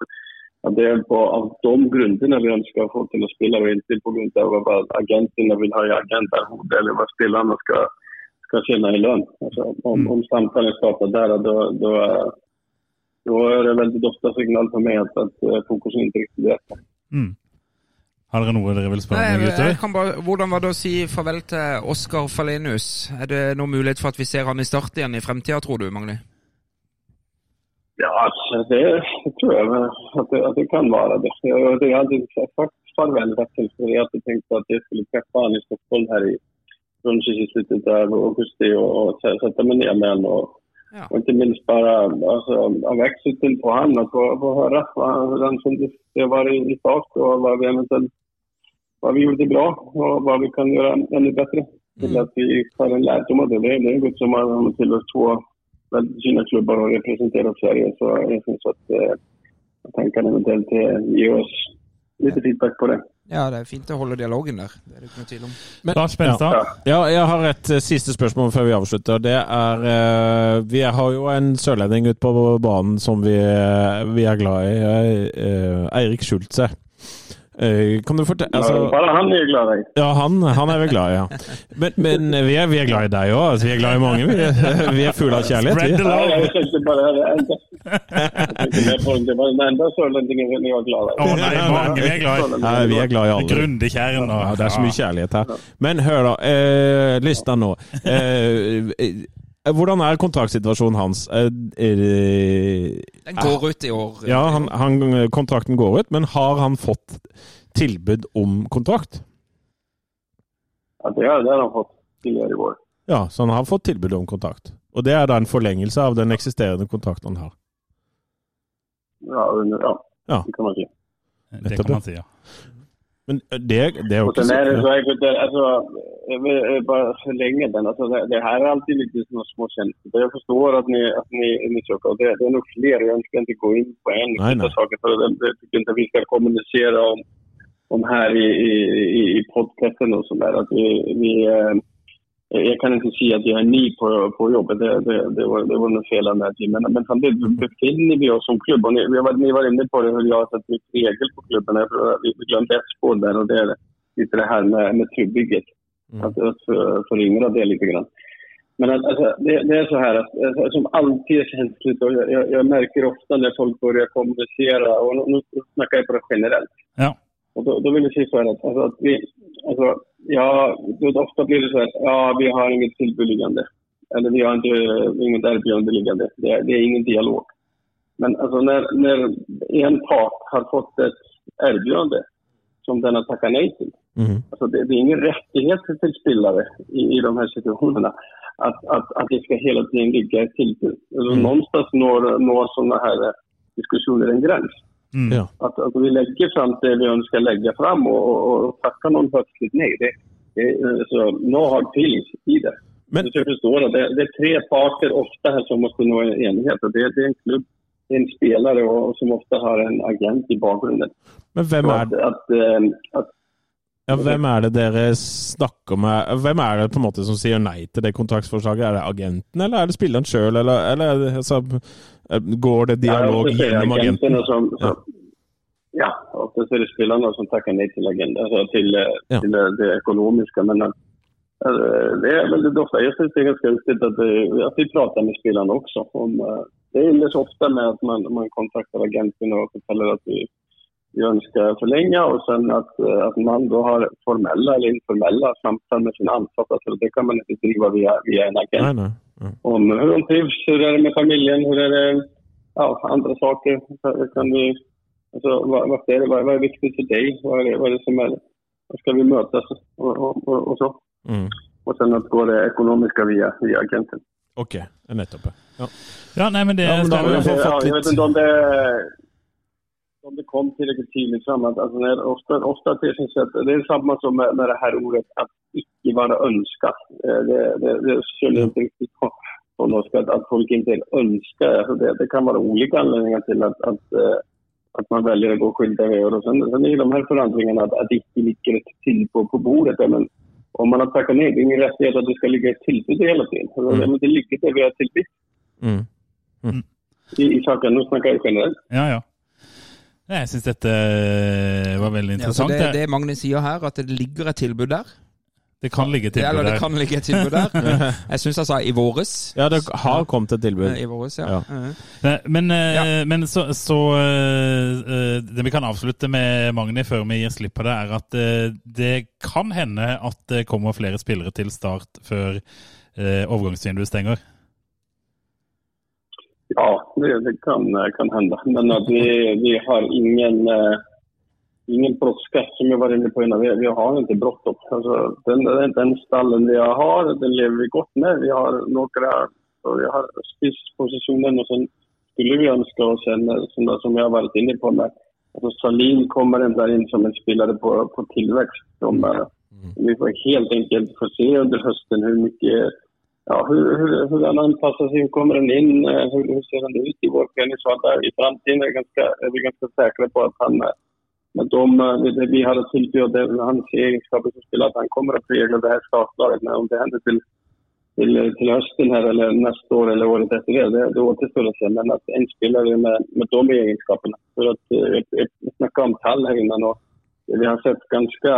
S9: att det är på av de grunderna vi önskar få till att spela och inte på grund av vad agenterna vill ha i agentarvode eller vad spelarna ska, ska tjäna i lön. Alltså, om, om samtalen startar där, då, då, eh, då är det väldigt ofta signal för mig att, att eh, fokus inte riktigt är rätt.
S4: Mm. Har dere noe dere vil
S5: Nei,
S4: spørre om,
S5: jeg, jeg
S4: gutter?
S5: kan bare, hvordan var det å si farvel til Oskar Falenius? Er det noen mulighet for at vi ser han i start igjen i fremtida, tror du, Magni?
S9: Ja, alltså, det tror jag väl att det, att det kan vara det. Jag, det- jag hade faktiskt farväl rätt till för jag hade tänkt att jag skulle träffa honom i Stockholm här i runt i slutet av augusti och, och så- sätta mig ner med honom. Och,
S5: Ja.
S9: och inte minst altså, bara alltså, av exiten på honom, att få, få höra vad han- den som det- det var i, i start och vad vi eventuellt vad vi gjorde bra och vad vi kan göra ännu bättre. Till att vi tar en lärdom av det. Det är det är en gud som har tillhört två väldigt fina klubbar och representerar Sverige. Så jag syns att eh, jag tänker att eventuellt eh, ge oss lite feedback på det.
S5: Ja, det er fint å holde dialogen der. Det er det ikke noe tvil om.
S4: Lars Benstad?
S6: Ja, jeg har et eh, siste spørsmål før vi avslutter. Det er eh, Vi har jo en sørlending ute på banen som vi, eh, vi er glad i. eh, eh, Eirik Schultze. Eh, kan du fortelle altså,
S9: Bara han är glad i.
S6: Ja, han, han er vi glad i, ja. Men, men vi, er, vi er glad i deg òg. Altså, vi er glad i mange. Vi, <laughs> vi er fulle av
S4: Spread
S6: kjærlighet.
S4: the
S6: Vi.
S9: Ja,
S4: love!
S9: jag tänkte bara... Jag tänkte mer på det. Det var den enda sörlänningen jag var glad i.
S4: Å nei, mange vi er glad i.
S6: Nei, vi er glad i alle.
S4: Grundekjern og
S6: Ja, det er så mye kjærlighet her. Men hør, da. Eh, Lysta nå. Eh, eh, hvordan er kontraktsituasjonen hans? Eh, eh,
S5: Den går ut i år. eh,
S6: Ja, han,
S8: eh,
S6: han, kontrakten går ut, men har han fått tilbud om kontrakt?
S9: Ja, det har det har de fått tidigare i år.
S6: Ja, så han har fått tilbud om kontrakt. Og det er da en forlengelse av den eksisterende kontrakten han har.
S9: Ja, under, ja,
S6: Ja.
S9: det kan man säga.
S4: Det kan man si, ja.
S8: Men eh, det, det er jo
S9: Og
S8: ikke
S9: sen är det
S8: sikkert.
S9: så här, det, alltså, jag vill eh, bara förlänga den. Alltså, det, det här är alltid lite såna små känslor. Jag förstår att ni, att ni undersöker. Och Det, det är nog fler. Jag ska inte gå in på en
S8: Nej, nej.
S9: saker. För det, det tycker inte vi ska kommunicera om, om här i, i, i- i podcasten och sådär. Att vi, vi, eh, jag kan inte säga att jag är ny på, på jobbet. Det, det, det, var, det var nog fel av mig. Men, men samtidigt befinner vi oss som klubb. Och ni, vi var, ni var inne på det hur jag har satt mitt regel på klubben. Jag tror att Vi vi glömde ett spår där och det är lite det här med, med trubbygget. Att, att för- föryngra det lite grann. Men att, alltså, det, det är så här att alltså, som alltid är känsligt och jag, jag, jag märker ofta när folk börjar kommunicera och nu, nu snackar jag på det generellt.
S4: Ja.
S9: Och då, då vill jag säga så här att, alltså, att vi, alltså, ja, då- ofta blir det så här att ja, vi har inget tillbud liggande. Eller vi har inte, inget erbjudande liggande. Det, är- det är ingen dialog. Men alltså när, när en part har fått ett erbjudande som den har tackat nej till.
S8: Mhm.
S9: Alltså det, det är ingen rättighet till spelare i, i de här situationerna att, att, att det ska hela tiden ligga ett tillbud. Alltså Någonstans når, når sådana här eh, diskussioner en gräns.
S4: Mm.
S8: Ja.
S9: Att, att vi lägger fram det vi önskar lägga fram och, och, och tackar någon plötsligt nej. Det, det, är, eh, så, no hard feelings i det.
S8: Men-
S9: Så jag förstår att det, det är tre parter ofta här som måste nå en enighet. Och det, det är en klubb, det är en spelare och, och som ofta har en agent i bakgrunden.
S8: Men hvem
S9: Så
S8: er,
S9: Att, att, eh, att
S8: ja, hvem er det dere snakker med? Hvem er det på en måte som sier nei til det kontraktsforslaget? Er det agenten, eller er det spilleren sjøl? Eller, eller er det, altså, går det dialog
S9: ofta så är det
S8: gjennom agenten?
S9: agenterna Som, som, ja, oftast är det spelarna som tackar nej till agenten, alltså till, eh,
S8: Ja.
S9: till eh, det ekonomiska. Men eh, eh, det är väldigt ofta, jag tycker det är ganska viktigt att, eh, att vi pratar med spelarna också. Om, eh, det är så ofta med att man, man kontaktar agenten och förtäller att vi, vi önskar förlänga och sen att, eh, att man då har formella eller informella samtal med sina ansatta. Så det kan man inte driva via, via en agent
S8: Nei, nei.
S9: om hur de trivs, hur är det med familjen, hur är det ja, andra saker. Så Kan vi, alltså, vad, vad, är det, vad, vad är viktigt för dig? Vad är det, vad är det som är, vad ska vi mötas och, och, och, och så.
S8: Mm.
S9: Och sen att gå det ekonomiska via, via agenten.
S8: Ok, nettopp. ja. Ja.
S4: Ja, nej, men det
S8: Ja, men da-
S4: skal vi
S8: har fått
S9: ja,
S8: litt-
S9: jag vet inte om det, om det kom tillräckligt tydligt fram. Att, alltså, när, ofta, ofta det, finns ett, det är samma som med, med det här ordet att icke vara önskad. Eh, Det, det, det skulle inte riktigt på, på norska att, att folk inte önskar. Alltså, det, det kan vara olika anledningar till att, att, eh, att man väljer att gå skilda vägar. Och sen, sen är ju de här förändringarna att, att icke ligger ett till på, på bordet. Ja, Men, om man har tackat nej, det är ingen rättighet att det ska ligga ett tillbud hela tiden. Alltså,
S8: Mm.
S9: Men det ligger det vi har tillbud
S8: Mm.
S9: i, i saken. Nu snackar jag generellt.
S4: Ja, ja. Nei, Jeg syns dette eh, var veldig
S5: Ja, så
S4: interessant.
S5: det,
S4: det,
S5: det Magnus sier her, at det ligger et tilbud der.
S4: kan ligge til
S5: Eller
S4: der.
S5: det kan ligge et tilbud der. Jeg syns han sa i våres.
S8: ja, det har kommet et tilbud.
S5: Eh, I våres, ja.
S8: Ja.
S5: Eh.
S4: Nei, Men, eh, men så, så eh, eh, Det vi kan avslutte med Magni før vi gir slipp på det, er at eh, det kan hende at det kommer flere spillere til start før eh, overgangsvinduet stenger.
S9: Ja, det, det kan, kan hända. Men att vi, vi har ingen, eh, ingen brådska, som jag var inne på innan. Vi, vi har inte bråttom. Alltså, den, den, den stallen vi har, den lever vi gott med. Vi har några och vi har spisspositionen och sen skulle vi önska oss en, eh, sån där som jag har varit inne på, med Alltså Salin kommer ändå in som en spelare på, på tillväxt. Som, eh, Vi får helt enkelt få se under hösten hur mycket ja, hur, hur, hur han anpassar sig, hur kommer han in, eh, hur, hur ser han ut i vår träningsvardag i framtiden? Är vi ganska, är vi ganska säkra på att han, eh, med de, eh, det vi hade tillbjudit, det- hans egenskaper som spelar, att han kommer att prägla det här startlaget. Men om det händer till, till, till hösten här eller nästa år eller året efter det, det, det återstår att se. Men att en spelare med, med de egenskaperna. För att eh, jag, jag snackade om Tall här innan och vi har sett ganska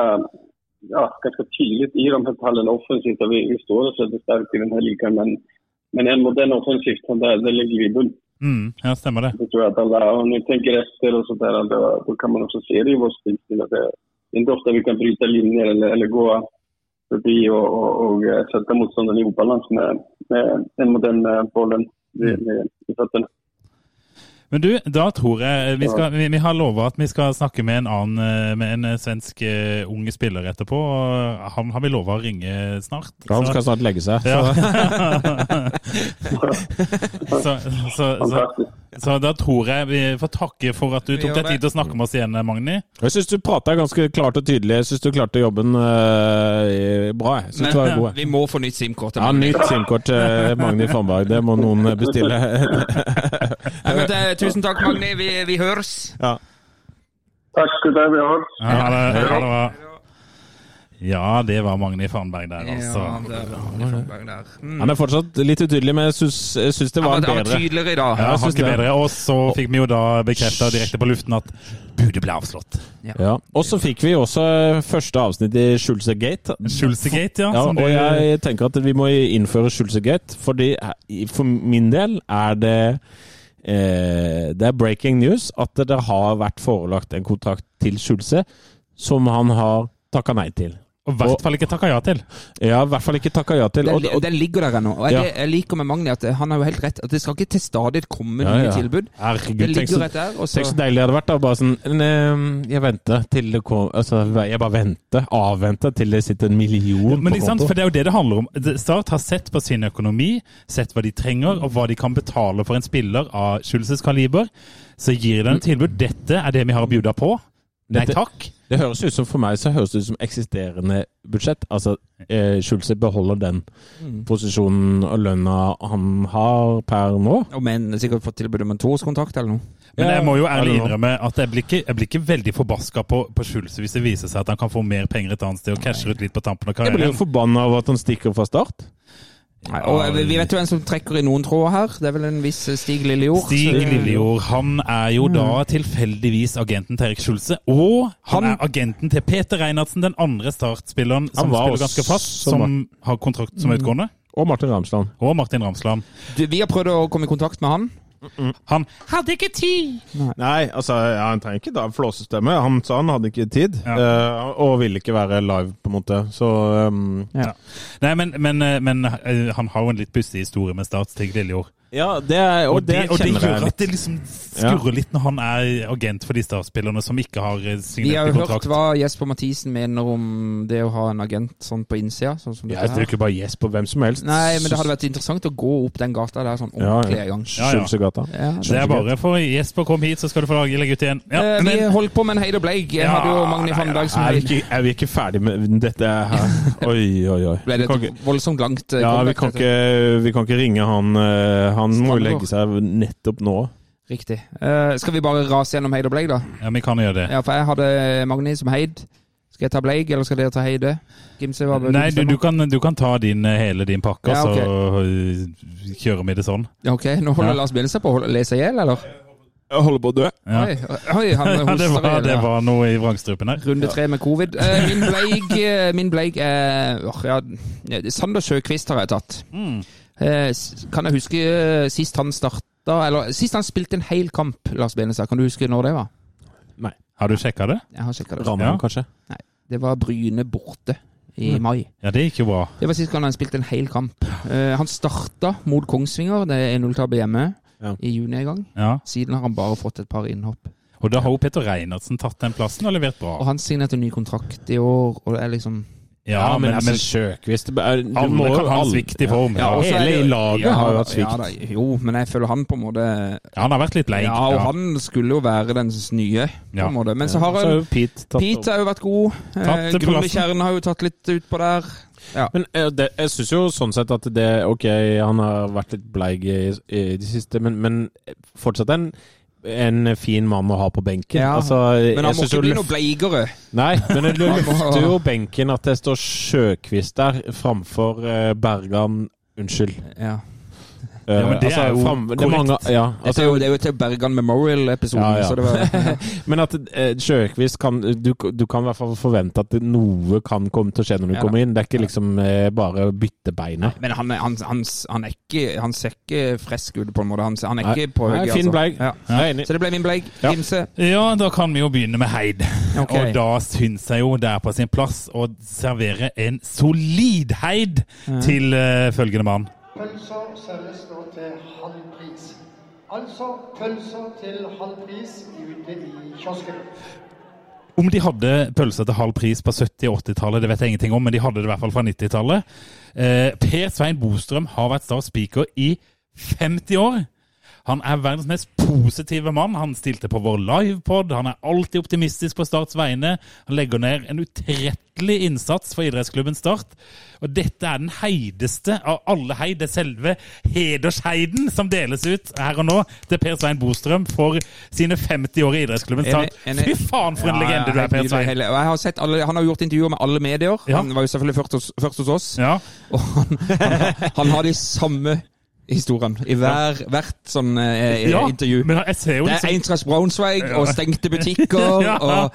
S9: ja, ganska tydligt i de här fallen offensivt. Och vi, vi står oss väldigt starkt i den här ligan. Men, men en modell offensivt, sånt där, det ligger vi i bull.
S4: Mm, ja, stemmer det.
S9: Det tror jag att alla, om ni tänker efter och sådär, då, då kan man också se det i vår spelstil. att Det det är inte ofta vi kan bryta linjer eller, eller gå förbi och, och, och eh, sätta motståndaren i obalans med, med en modell med bollen i, i, i fötterna.
S4: Men du, da tror jeg eh, Vi, skal, vi, vi har lova at vi skal snakke med en annen eh, Med en eh, svensk eh, ung spiller etterpå. og Han har vi lova å ringe snart.
S6: Ja, Han
S4: så-
S6: skal snart legge seg. <laughs>
S4: ja. <laughs> så, så, så,
S9: Fantastisk.
S4: så da tror jeg vi får takke for at du tok
S5: gjør
S4: deg
S5: det.
S4: tid til å snakke med oss igjen, Magni.
S6: Jeg syns du prata ganske klart og tydelig. Jeg syns du klarte jobben eh, bra. Jeg syns du var god.
S5: Vi må få nytt SIM-kort.
S6: Ja, nytt eh, SIM-kort til Magni Fannberg. Det må noen eh, bestille.
S5: Nei, men, eh, tusen takk, Magni. Vi, vi høres.
S9: Takk til deg, vi har.
S4: Ja, ha det, ha det bra. ja, det var Magni Farnberg der, altså.
S5: Ja, der, der, der. Mm.
S6: Han er fortsatt litt utydelig, men jeg syns, jeg syns det var
S5: Han var, han var
S6: bedre.
S5: tydeligere i dag.
S4: Ja,
S6: jeg synes
S4: hakket
S6: det.
S4: bedre. Og så fikk vi jo da bekrefta direkte på luften at budet ble avslått.
S6: Ja. Og så fikk vi også eh, første avsnitt i Schulze Gate.
S4: Schulzegate, ja.
S6: Ja,
S4: som
S6: og
S4: du-
S6: jeg tenker at vi må innføre Schulze Gate, fordi eh, for min del er det eh, Det er breaking news at det har vært forelagt en kontrakt til Schulze som han har takka nei til.
S4: Og i hvert fall ikke takka ja til.
S6: Ja, i hvert fall ikke takka ja til.
S5: Den,
S6: Og, og,
S5: den ligger der ennå. Og jeg,
S6: Ja.
S5: jeg liker med Magni at han har jo helt rett. At det skal ikke til stadig komme
S6: Ja,
S5: nye
S6: ja.
S5: tilbud. Det
S6: herregud, tenk
S5: ligger
S6: så,
S5: rett der. Og så,
S6: tenk så deilig det hadde vært. da, bare sånn, «Nei, Jeg venter til det kom, altså, jeg bare venter, avventer til det sitter en million
S4: Men
S6: på
S4: ikke sant,
S6: konto.
S4: for det er jo det det handler om. Start har sett på sin økonomi, sett hva de trenger, og hva de kan betale for en spiller av Schulzes kaliber. Så gir de et tilbud. Dette er det vi har å bjuda på. Nei
S6: Dette-
S4: takk.
S6: Det høres ut som for meg så høres det ut som eksisterende budsjett. Altså, eh, Schulze beholder den
S5: Mm.
S6: posisjonen og lønna han har per nå.
S5: og men sikkert fått tilbud om en toårskontrakt eller noe.
S4: Men jeg må jo ærlig
S6: eller noe.
S4: innrømme at jeg blir ikke, jeg blir ikke veldig forbaska på, på Schulze hvis det viser seg at han kan få mer penger et annet sted og casher ut litt på tampen av
S6: Jeg blir jo
S4: karrieren.
S6: forbanna av at han stikker fra start.
S5: Nei, og vi- vi vet jo en som trekker i noen tråder her. Det er vel en viss Stig Eh, Lillejord.
S4: Stig
S6: eh,
S5: Så-
S4: Lillejord han er jo
S6: Mm.
S4: da tilfeldigvis agenten til Erik Schulze. Og han,
S5: Han-
S4: er agenten til Peter Reinhardsen, den andre startspilleren som
S6: var
S4: spiller
S6: også- Mm.
S4: ganske fast, som har kontrakt som utgående.
S6: Og Martin Ramsland.
S4: Og Martin Ramsland.
S5: Du, Vi har prøvd å komme i kontakt med han.
S4: Han hadde ikke tid!
S8: Nei, altså, ja, han trenger ikke da flåsestemme. Han sa han hadde ikke tid, eh, og ville ikke være live, på en måte. Så ehm,
S4: Nei, men, men, eh, men eh, han har jo en litt pussig historie med Start, Stig Lillejord.
S6: Ja, det er, og,
S4: Og, det- og det
S6: kjenner jeg
S4: gjør at
S6: litt.
S4: det liksom skurrer litt når han er agent for de Start-spillerne som ikke har eh,
S5: Vi har
S4: signert i
S5: jo hørt
S4: kontrakt.
S5: hva Jesper Mathisen mener om det å ha en agent sånn på innsida. Sånn som
S6: Jeg
S5: dette
S6: tror
S5: her.
S6: ikke bare yes på hvem som helst.
S5: Nei, men det hadde vært interessant å gå opp den gata der sånn
S6: Ja,
S5: ordentlig
S6: ja.
S5: en gang.
S4: Ja, ja.
S6: Schulzegata.
S5: Ja,
S4: Det er bare for Jesper, kom hit, så skal du få lage- legge ut igjen. Ja,
S5: Eh,
S4: men-
S5: vi holdt på med en Heid og Bleik. Jeg
S4: Ja,
S5: hadde jo Magni
S4: nei,
S5: Fannberg som
S6: Er vi,
S5: heid.
S6: ikke, er vi ikke ferdig med dette her? Oi, oi, oi.
S5: Ble det
S6: Kan
S5: et
S6: ikke-
S5: voldsomt langt eh,
S6: ja, vi
S5: comeback,
S6: kan,
S5: dette?
S6: ikke, vi kan ikke ringe han. eh, Han må jo
S5: Strandegård.
S6: legge seg nettopp nå.
S5: Riktig. Eh, skal vi bare rase gjennom Heid og Bleik, da?
S4: ja, vi kan gjøre det.
S5: Ja, for jeg hadde Magni som heid. Skal jeg ta Bleik, eller skal dere ta Heide? Gimse, hva bør
S4: Nei, du, du, kan, du kan ta din, eh, hele din pakke,
S5: liksom-
S4: og
S5: Ja,
S4: så eh, kjører vi det sånn.
S5: Ja, ok, nå holder Lars Bjelle seg på å holde- lese i hjel, eller?
S6: Jeg holder på å dø.
S4: Ja.
S5: Oi, oi,
S4: <laughs>
S5: han
S4: Ja, det,
S5: hoster
S4: var,
S5: i hjel.
S4: det
S5: ja.
S4: var noe i vrangstrupen her.
S5: Runde tre med covid. Eh, min bleik, eh, min bleik er åh, ja, Sander Sjøkvist har jeg tatt.
S4: Mm.
S5: Eh, s- kan jeg huske eh, sist han starta Eller sist han spilte en hel kamp, Lars Benestad. Kan du huske når det var?
S4: Har du sjekka det?
S5: Jeg har sjekka det.
S6: Rammen,
S4: Ja.
S6: kanskje.
S5: Det var Bryne borte
S4: Mm.
S5: i mai.
S4: Ja, det gikk jo bra.
S5: Det var sist gang han spilte en hel kamp. Eh, han starta mot Kongsvinger, det er 1-0-tap hjemme,
S6: Ja.
S5: i juni en gang.
S4: Ja.
S5: Siden har han bare fått et par innhopp.
S4: Og da har jo Petter Reinertsen tatt den plassen og levert
S5: Og
S4: bra.
S5: han signerte ny kontrakt i år, og det er liksom
S4: Ja, men, men
S6: altså,
S5: altså,
S6: Sjøkvist det er- du må
S4: alle
S6: jo-
S4: kan ha en
S6: alle-
S4: svikt i form.
S5: Ja,
S4: Ja,
S5: og så er
S6: Hele
S5: det-
S6: i laget har jo hatt svikt.
S5: Ja, da, jo, men jeg føler han på en måte
S4: han har vært litt leik.
S5: Ja, og han skulle jo være den nye, på
S4: Ja.
S5: en måte. Men så har
S6: Så har
S5: han
S6: jo Pete tatt
S5: Pete har jo vært god. Eh,
S4: Tatt til plassen.
S5: Gullekjerren har jo tatt litt utpå der.
S6: Men eh, det, jeg syns jo sånn sett at det Ok, han har vært litt bleig i, i det siste, men, men fortsatt en en fin mann å ha på benken.
S5: Ja,
S6: altså,
S5: Men
S6: jeg
S5: han må
S6: synes jo
S5: ikke bli
S6: løft-
S5: noe bleigere.
S6: Nei, men
S5: <laughs>
S6: det
S5: Han må-
S6: løfter jo benken at det står Sjøkvist der framfor eh, Bergan Unnskyld.
S5: Ja.
S6: Eh,
S4: Ja, men det er jo
S6: det er mange, ja, altså,
S5: det, er jo, det er jo til Bergan Memorial-episoden,
S6: Ja, ja.
S5: så det
S6: <laughs>
S5: var
S6: Men at eh, Sjøkvist kan du, du kan i hvert fall forvente at noe kan komme til å skje når du
S5: Ja da.
S6: kommer inn. Det er ikke liksom eh, bare å bytte beinet.
S5: Men han, er- han, han, han, er ikke, han ser ikke frisk ut, på en måte. Han, ser- han er ikke på
S6: Nei,
S5: høyre.
S6: fin bleig.
S5: Ja.
S6: Jeg er enig.
S5: Så det ble min bleig.
S6: Ja.
S5: Gimse.
S4: Ja, da kan vi jo begynne med Heid.
S5: Ok.
S4: Og da syns jeg jo det er på sin plass å servere en solid Heid til eh, følgende mann.
S10: Pølser selges nå til halv pris.
S11: Altså pølser til halv pris ute i kiosken.
S4: Om de hadde pølser til halv pris på 70- og 80-tallet, det vet jeg ingenting om, men de hadde det i hvert fall fra 90-tallet. Eh, per Svein Bostrøm har vært Stars speaker i 50 år. Han er verdens mest positive mann. Han stilte på vår livepod. Han er alltid optimistisk på Starts vegne. Han legger ned en utrettelig innsats for idrettsklubben Start. Og dette er den heideste av alle heid, det selve hedersheiden, som deles ut her og nå til Per Svein Bostrøm for sine 50 år i idrettsklubben Start.
S5: Enig, enig.
S4: Fy faen, for en legende du er, Per Svein!
S5: Hele- og jeg har sett alle, han har gjort intervjuer med alle medier.
S4: Ja.
S5: Han var jo selvfølgelig først hos, først hos oss.
S4: Ja.
S5: Og han, han, har- <laughs> han har de samme historiene i hver, hvert sånn eh,
S4: ja,
S5: intervju.
S4: men jeg ser jo
S5: Det er
S4: liksom
S5: Eintracht Braunschweig og stengte butikker
S4: <laughs> Ja.
S5: og,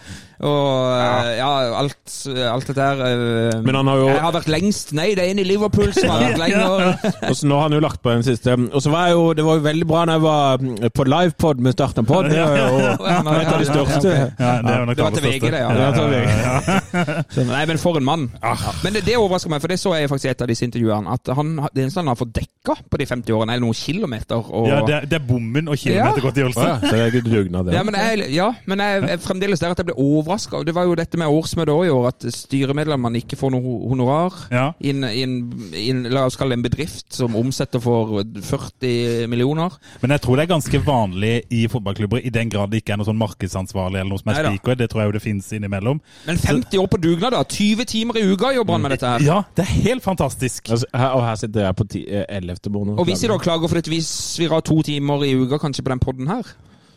S5: og eh, ja, alt, alt dette her. eh,
S6: Men han har jo-
S5: Jeg har vært lengst. Nei, det er en i Liverpool som har vært
S4: <laughs>
S5: lenger.
S6: Og så nå har han jo lagt på den siste. Og så var jeg jo, det var jo veldig bra når jeg var eh, på livepod med Starten pod. Det var jo et av de største.
S4: ja, det, er jo nok
S5: Det var
S4: aller
S5: til VG,
S4: største.
S5: det. ja.
S6: Ja, det var VG.
S5: Så, Nei, men for en mann.
S4: Ah.
S5: Ja. Men det, det overrasker meg, for det så jeg faktisk i et av disse intervjuene. At han, det eneste han har fått dekka på de 50 årene, er noen kilometer. Og,
S4: Ja, det, er- det er bommen og kilometergodtgjørelsen.
S6: Ja, så det er ikke dugnad,
S5: Ja,
S6: det.
S5: men jeg, ja, men jeg er fremdeles der at jeg ble overraska. Det var jo dette med årsmøtet òg i år, at styremedlemmene ikke får noe honorar.
S4: Ja.
S5: I en- i en- i en- la oss kalle det en bedrift som omsetter for 40 millioner.
S4: Men jeg tror det er ganske vanlig i fotballklubber, i den grad det ikke er noe sånn markedsansvarlig eller noe som er
S5: Neida.
S4: spiker. Det tror jeg jo det finnes innimellom.
S5: Men 50 år på dugnad, da! 20 timer i uka jobber han med dette her.
S4: Ja, det er helt fantastisk.
S6: Altså, her, og her sitter jeg på ti- eh, 11. måned.
S5: Og vi sitter og klager fordi vi svir av to timer i uka kanskje på den podden her.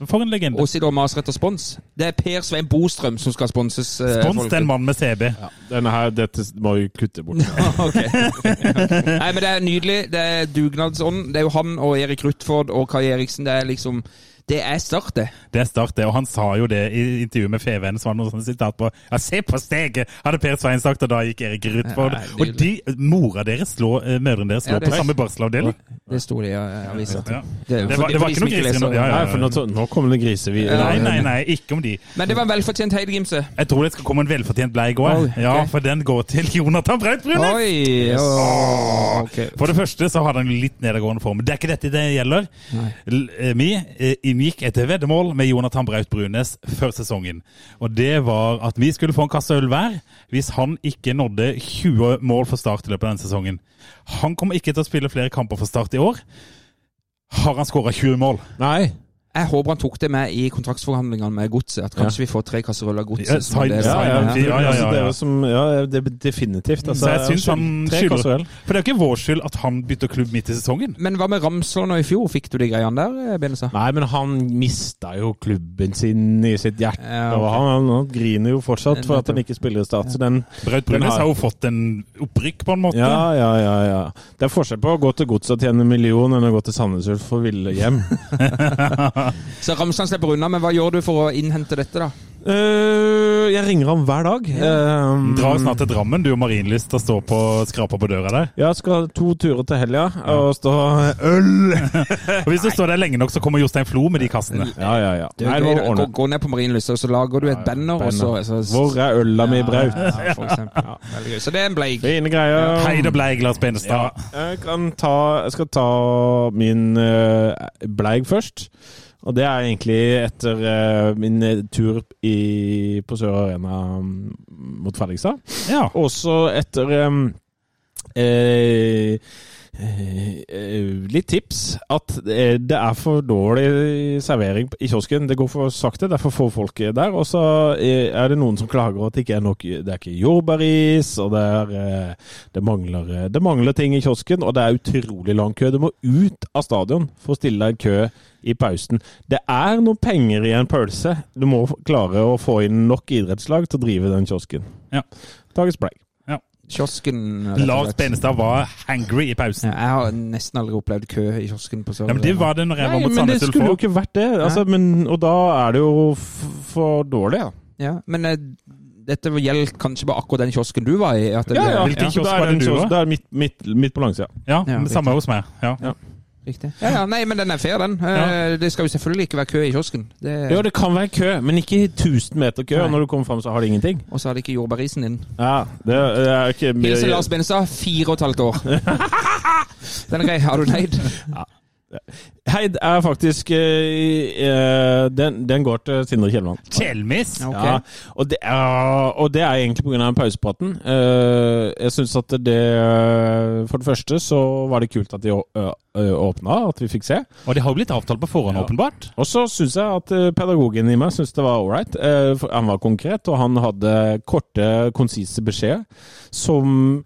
S4: For en legende.
S5: Og sitter og maser etter spons. Det er Per Svein Bostrøm som skal sponses. eh,
S4: Spons
S5: folket.
S4: til en mann med CB.
S6: Denne her, dette må vi kutte bort.
S5: <laughs> Nei, men det er nydelig. Det er dugnadsånd. Det er jo han og Erik Rutford og Kai Eriksen. Det er liksom Det er start, det.
S4: Det er start, det. Og han sa jo det i intervjuet med Feven. Så var det noe sånt sitat på Ja, se på steget! hadde Per Svein sagt, og da gikk Erik Rutford.
S5: Ja,
S4: Og de, mora deres slå, eh, mødrene deres
S5: Ja,
S4: slår
S5: det er
S4: på samme barselavdeling.
S5: Det sto det i eh, avisa.
S4: Ja.
S5: Det er
S4: Det
S5: for-
S4: var, det
S5: for
S4: var
S5: de
S4: ikke
S5: som
S4: noe
S5: ikke
S4: griser
S5: leser.
S4: nå. Ja, ja,
S6: Nei,
S4: ja.
S6: for nå, nå kommer det grisevi.
S4: Nei, nei, nei, ikke om de.
S5: Men det var en velfortjent heidegimse.
S4: Jeg tror det skal komme en velfortjent bleik òg.
S5: Oi,
S4: Ja,
S5: ok.
S4: for den går til Jonathan Braut Brune!
S5: Oi! åh, ok.
S4: For det første så hadde han litt nedadgående form. Det er ikke dette det gjelder. L- eh, Vi eh, inngikk et veddemål med Jonathan Braut Brunes før sesongen. Og det var at vi skulle få en kasse øl hver hvis han ikke nådde 20 mål for Start i løpet av denne sesongen. Han kommer ikke til å spille flere kamper for Start i år. Har han skåra 20 mål?
S6: Nei.
S5: Jeg håper han tok det med i kontraktsforhandlingene med Godset. At kanskje vi får tre kasseruller
S4: Ja,
S5: Godset. som
S4: sign-
S5: det er
S4: ja,
S6: Ja,
S5: sign-
S6: ja,
S4: ja, ja, ja.
S6: Det er jo som, ja det er definitivt. Altså,
S4: Så jeg syns han
S6: tre
S4: skylder
S6: kasserøl.
S4: For det er jo ikke vår skyld at han bytter klubb midt i sesongen.
S5: Men hva med Ramsland og i fjor? Fikk du de greiene der, eh, Benesa?
S6: Nei, men han mista jo klubben sin i sitt hjerte.
S5: Ja,
S6: Og
S5: ok.
S6: han, han, han griner jo fortsatt for at han ikke spiller i Start. Så den
S4: Braut
S6: Den
S4: Brunes
S6: har-
S4: har jo fått en opprykk, på en måte.
S6: Ja, ja, ja, ja. Det er forskjell på å gå til godset og tjene en million enn å gå til Sandnes Ulf og ville hjem. <laughs>
S5: Så Ramsland slipper unna, men hva gjør du for å innhente dette, da?
S6: Eh, jeg ringer ham hver dag. Eh,
S4: Drar snart til Drammen, du og Marienlyst, og står på skrapa på døra der.
S6: jeg skal ha to turer til helga og stå øl!
S4: <laughs> Og Hvis du står der lenge nok, så kommer Jostein Flo med de kassene.
S6: Ja, ja, ja.
S5: Det er
S6: Nei,
S5: jo
S6: det
S5: gøy,
S6: må
S5: da.
S6: ordne.
S5: Gå- Gå ned på Marienlyst, og så lager du et banner, og så, så
S6: Hvor er øla mi, Braut?
S5: Ja, for eksempel. Veldig gøy. Så det er en bleik.
S6: Fine greier.
S4: Hei, det ble Lars Benestad.
S6: Jeg, kan ta, jeg skal ta min uh, bleig først. Og det er egentlig etter eh, min tur i, på Sør Arena mm, mot Fredrikstad.
S4: Ja.
S6: Også etter em, eh, eh, eh, litt tips at eh, det er for dårlig servering i kiosken. Det går for sakte, det er for få folk der. Og så eh, er det noen som klager at det ikke er nok eh, Det er ikke jordbæris, og det, er, eh, det, mangler, eh, det mangler ting i kiosken. Og det er utrolig lang kø. Du må ut av stadion for å stille deg i kø i pausen. Det er noen penger i en pølse. Du må klare å få inn nok idrettslag til å drive den kiosken.
S4: Ja.
S6: Dagens bleik.
S5: Kiosken rett og
S4: Lars
S5: slett.
S4: Benestad var hangry i
S5: Ja,
S4: pausen.
S5: Jeg har nesten aldri opplevd kø i kiosken på Sør.
S4: Ja, men Det var det når jeg var
S6: Nei,
S4: mot
S6: men det
S4: Sandnes Ulf
S6: skulle jo
S4: òg.
S6: ikke vært det. Altså, men, og da er det jo f for dårlig, da.
S5: Ja, men eh, dette gjelder kanskje bare akkurat den kiosken du var i? At det ble-
S4: Hvilken kiosk
S6: Da er
S4: var
S6: den
S4: det du
S6: kiosken-
S4: var?
S6: Da er det midt, midt, midt på langsida.
S4: Ja,
S5: Ja,
S4: samme hos meg. Ja.
S5: Riktig. Ja, ja, nei, men den er fair, den.
S4: Ja.
S5: Eh, Det skal jo selvfølgelig ikke være kø i kiosken. Det...
S6: Jo, det kan være kø, men ikke 1000 meter kø.
S5: Nei.
S6: Og når du kommer fram, så har det ingenting.
S5: Og så har de ikke jordbærisen din.
S6: Ja, det er ikke
S5: Hilsen Lars Benestad, fire og et halvt år. Den er grei. Har du neid?
S6: Heid er faktisk eh, eh, den, den går til Sindre Kjelland.
S4: Kjelmis!
S6: Ja, og, det er, og det er egentlig pga. pausepraten. Eh, jeg syns at det For det første så var det kult at de å- ø- ø- åpna, at vi fikk se.
S4: Og det har jo blitt avtalt på forhånd,
S6: Ja.
S4: åpenbart.
S6: Og så syns jeg at eh, pedagogen i meg syns det var ålreit. Han var konkret, og han hadde korte, konsise beskjeder som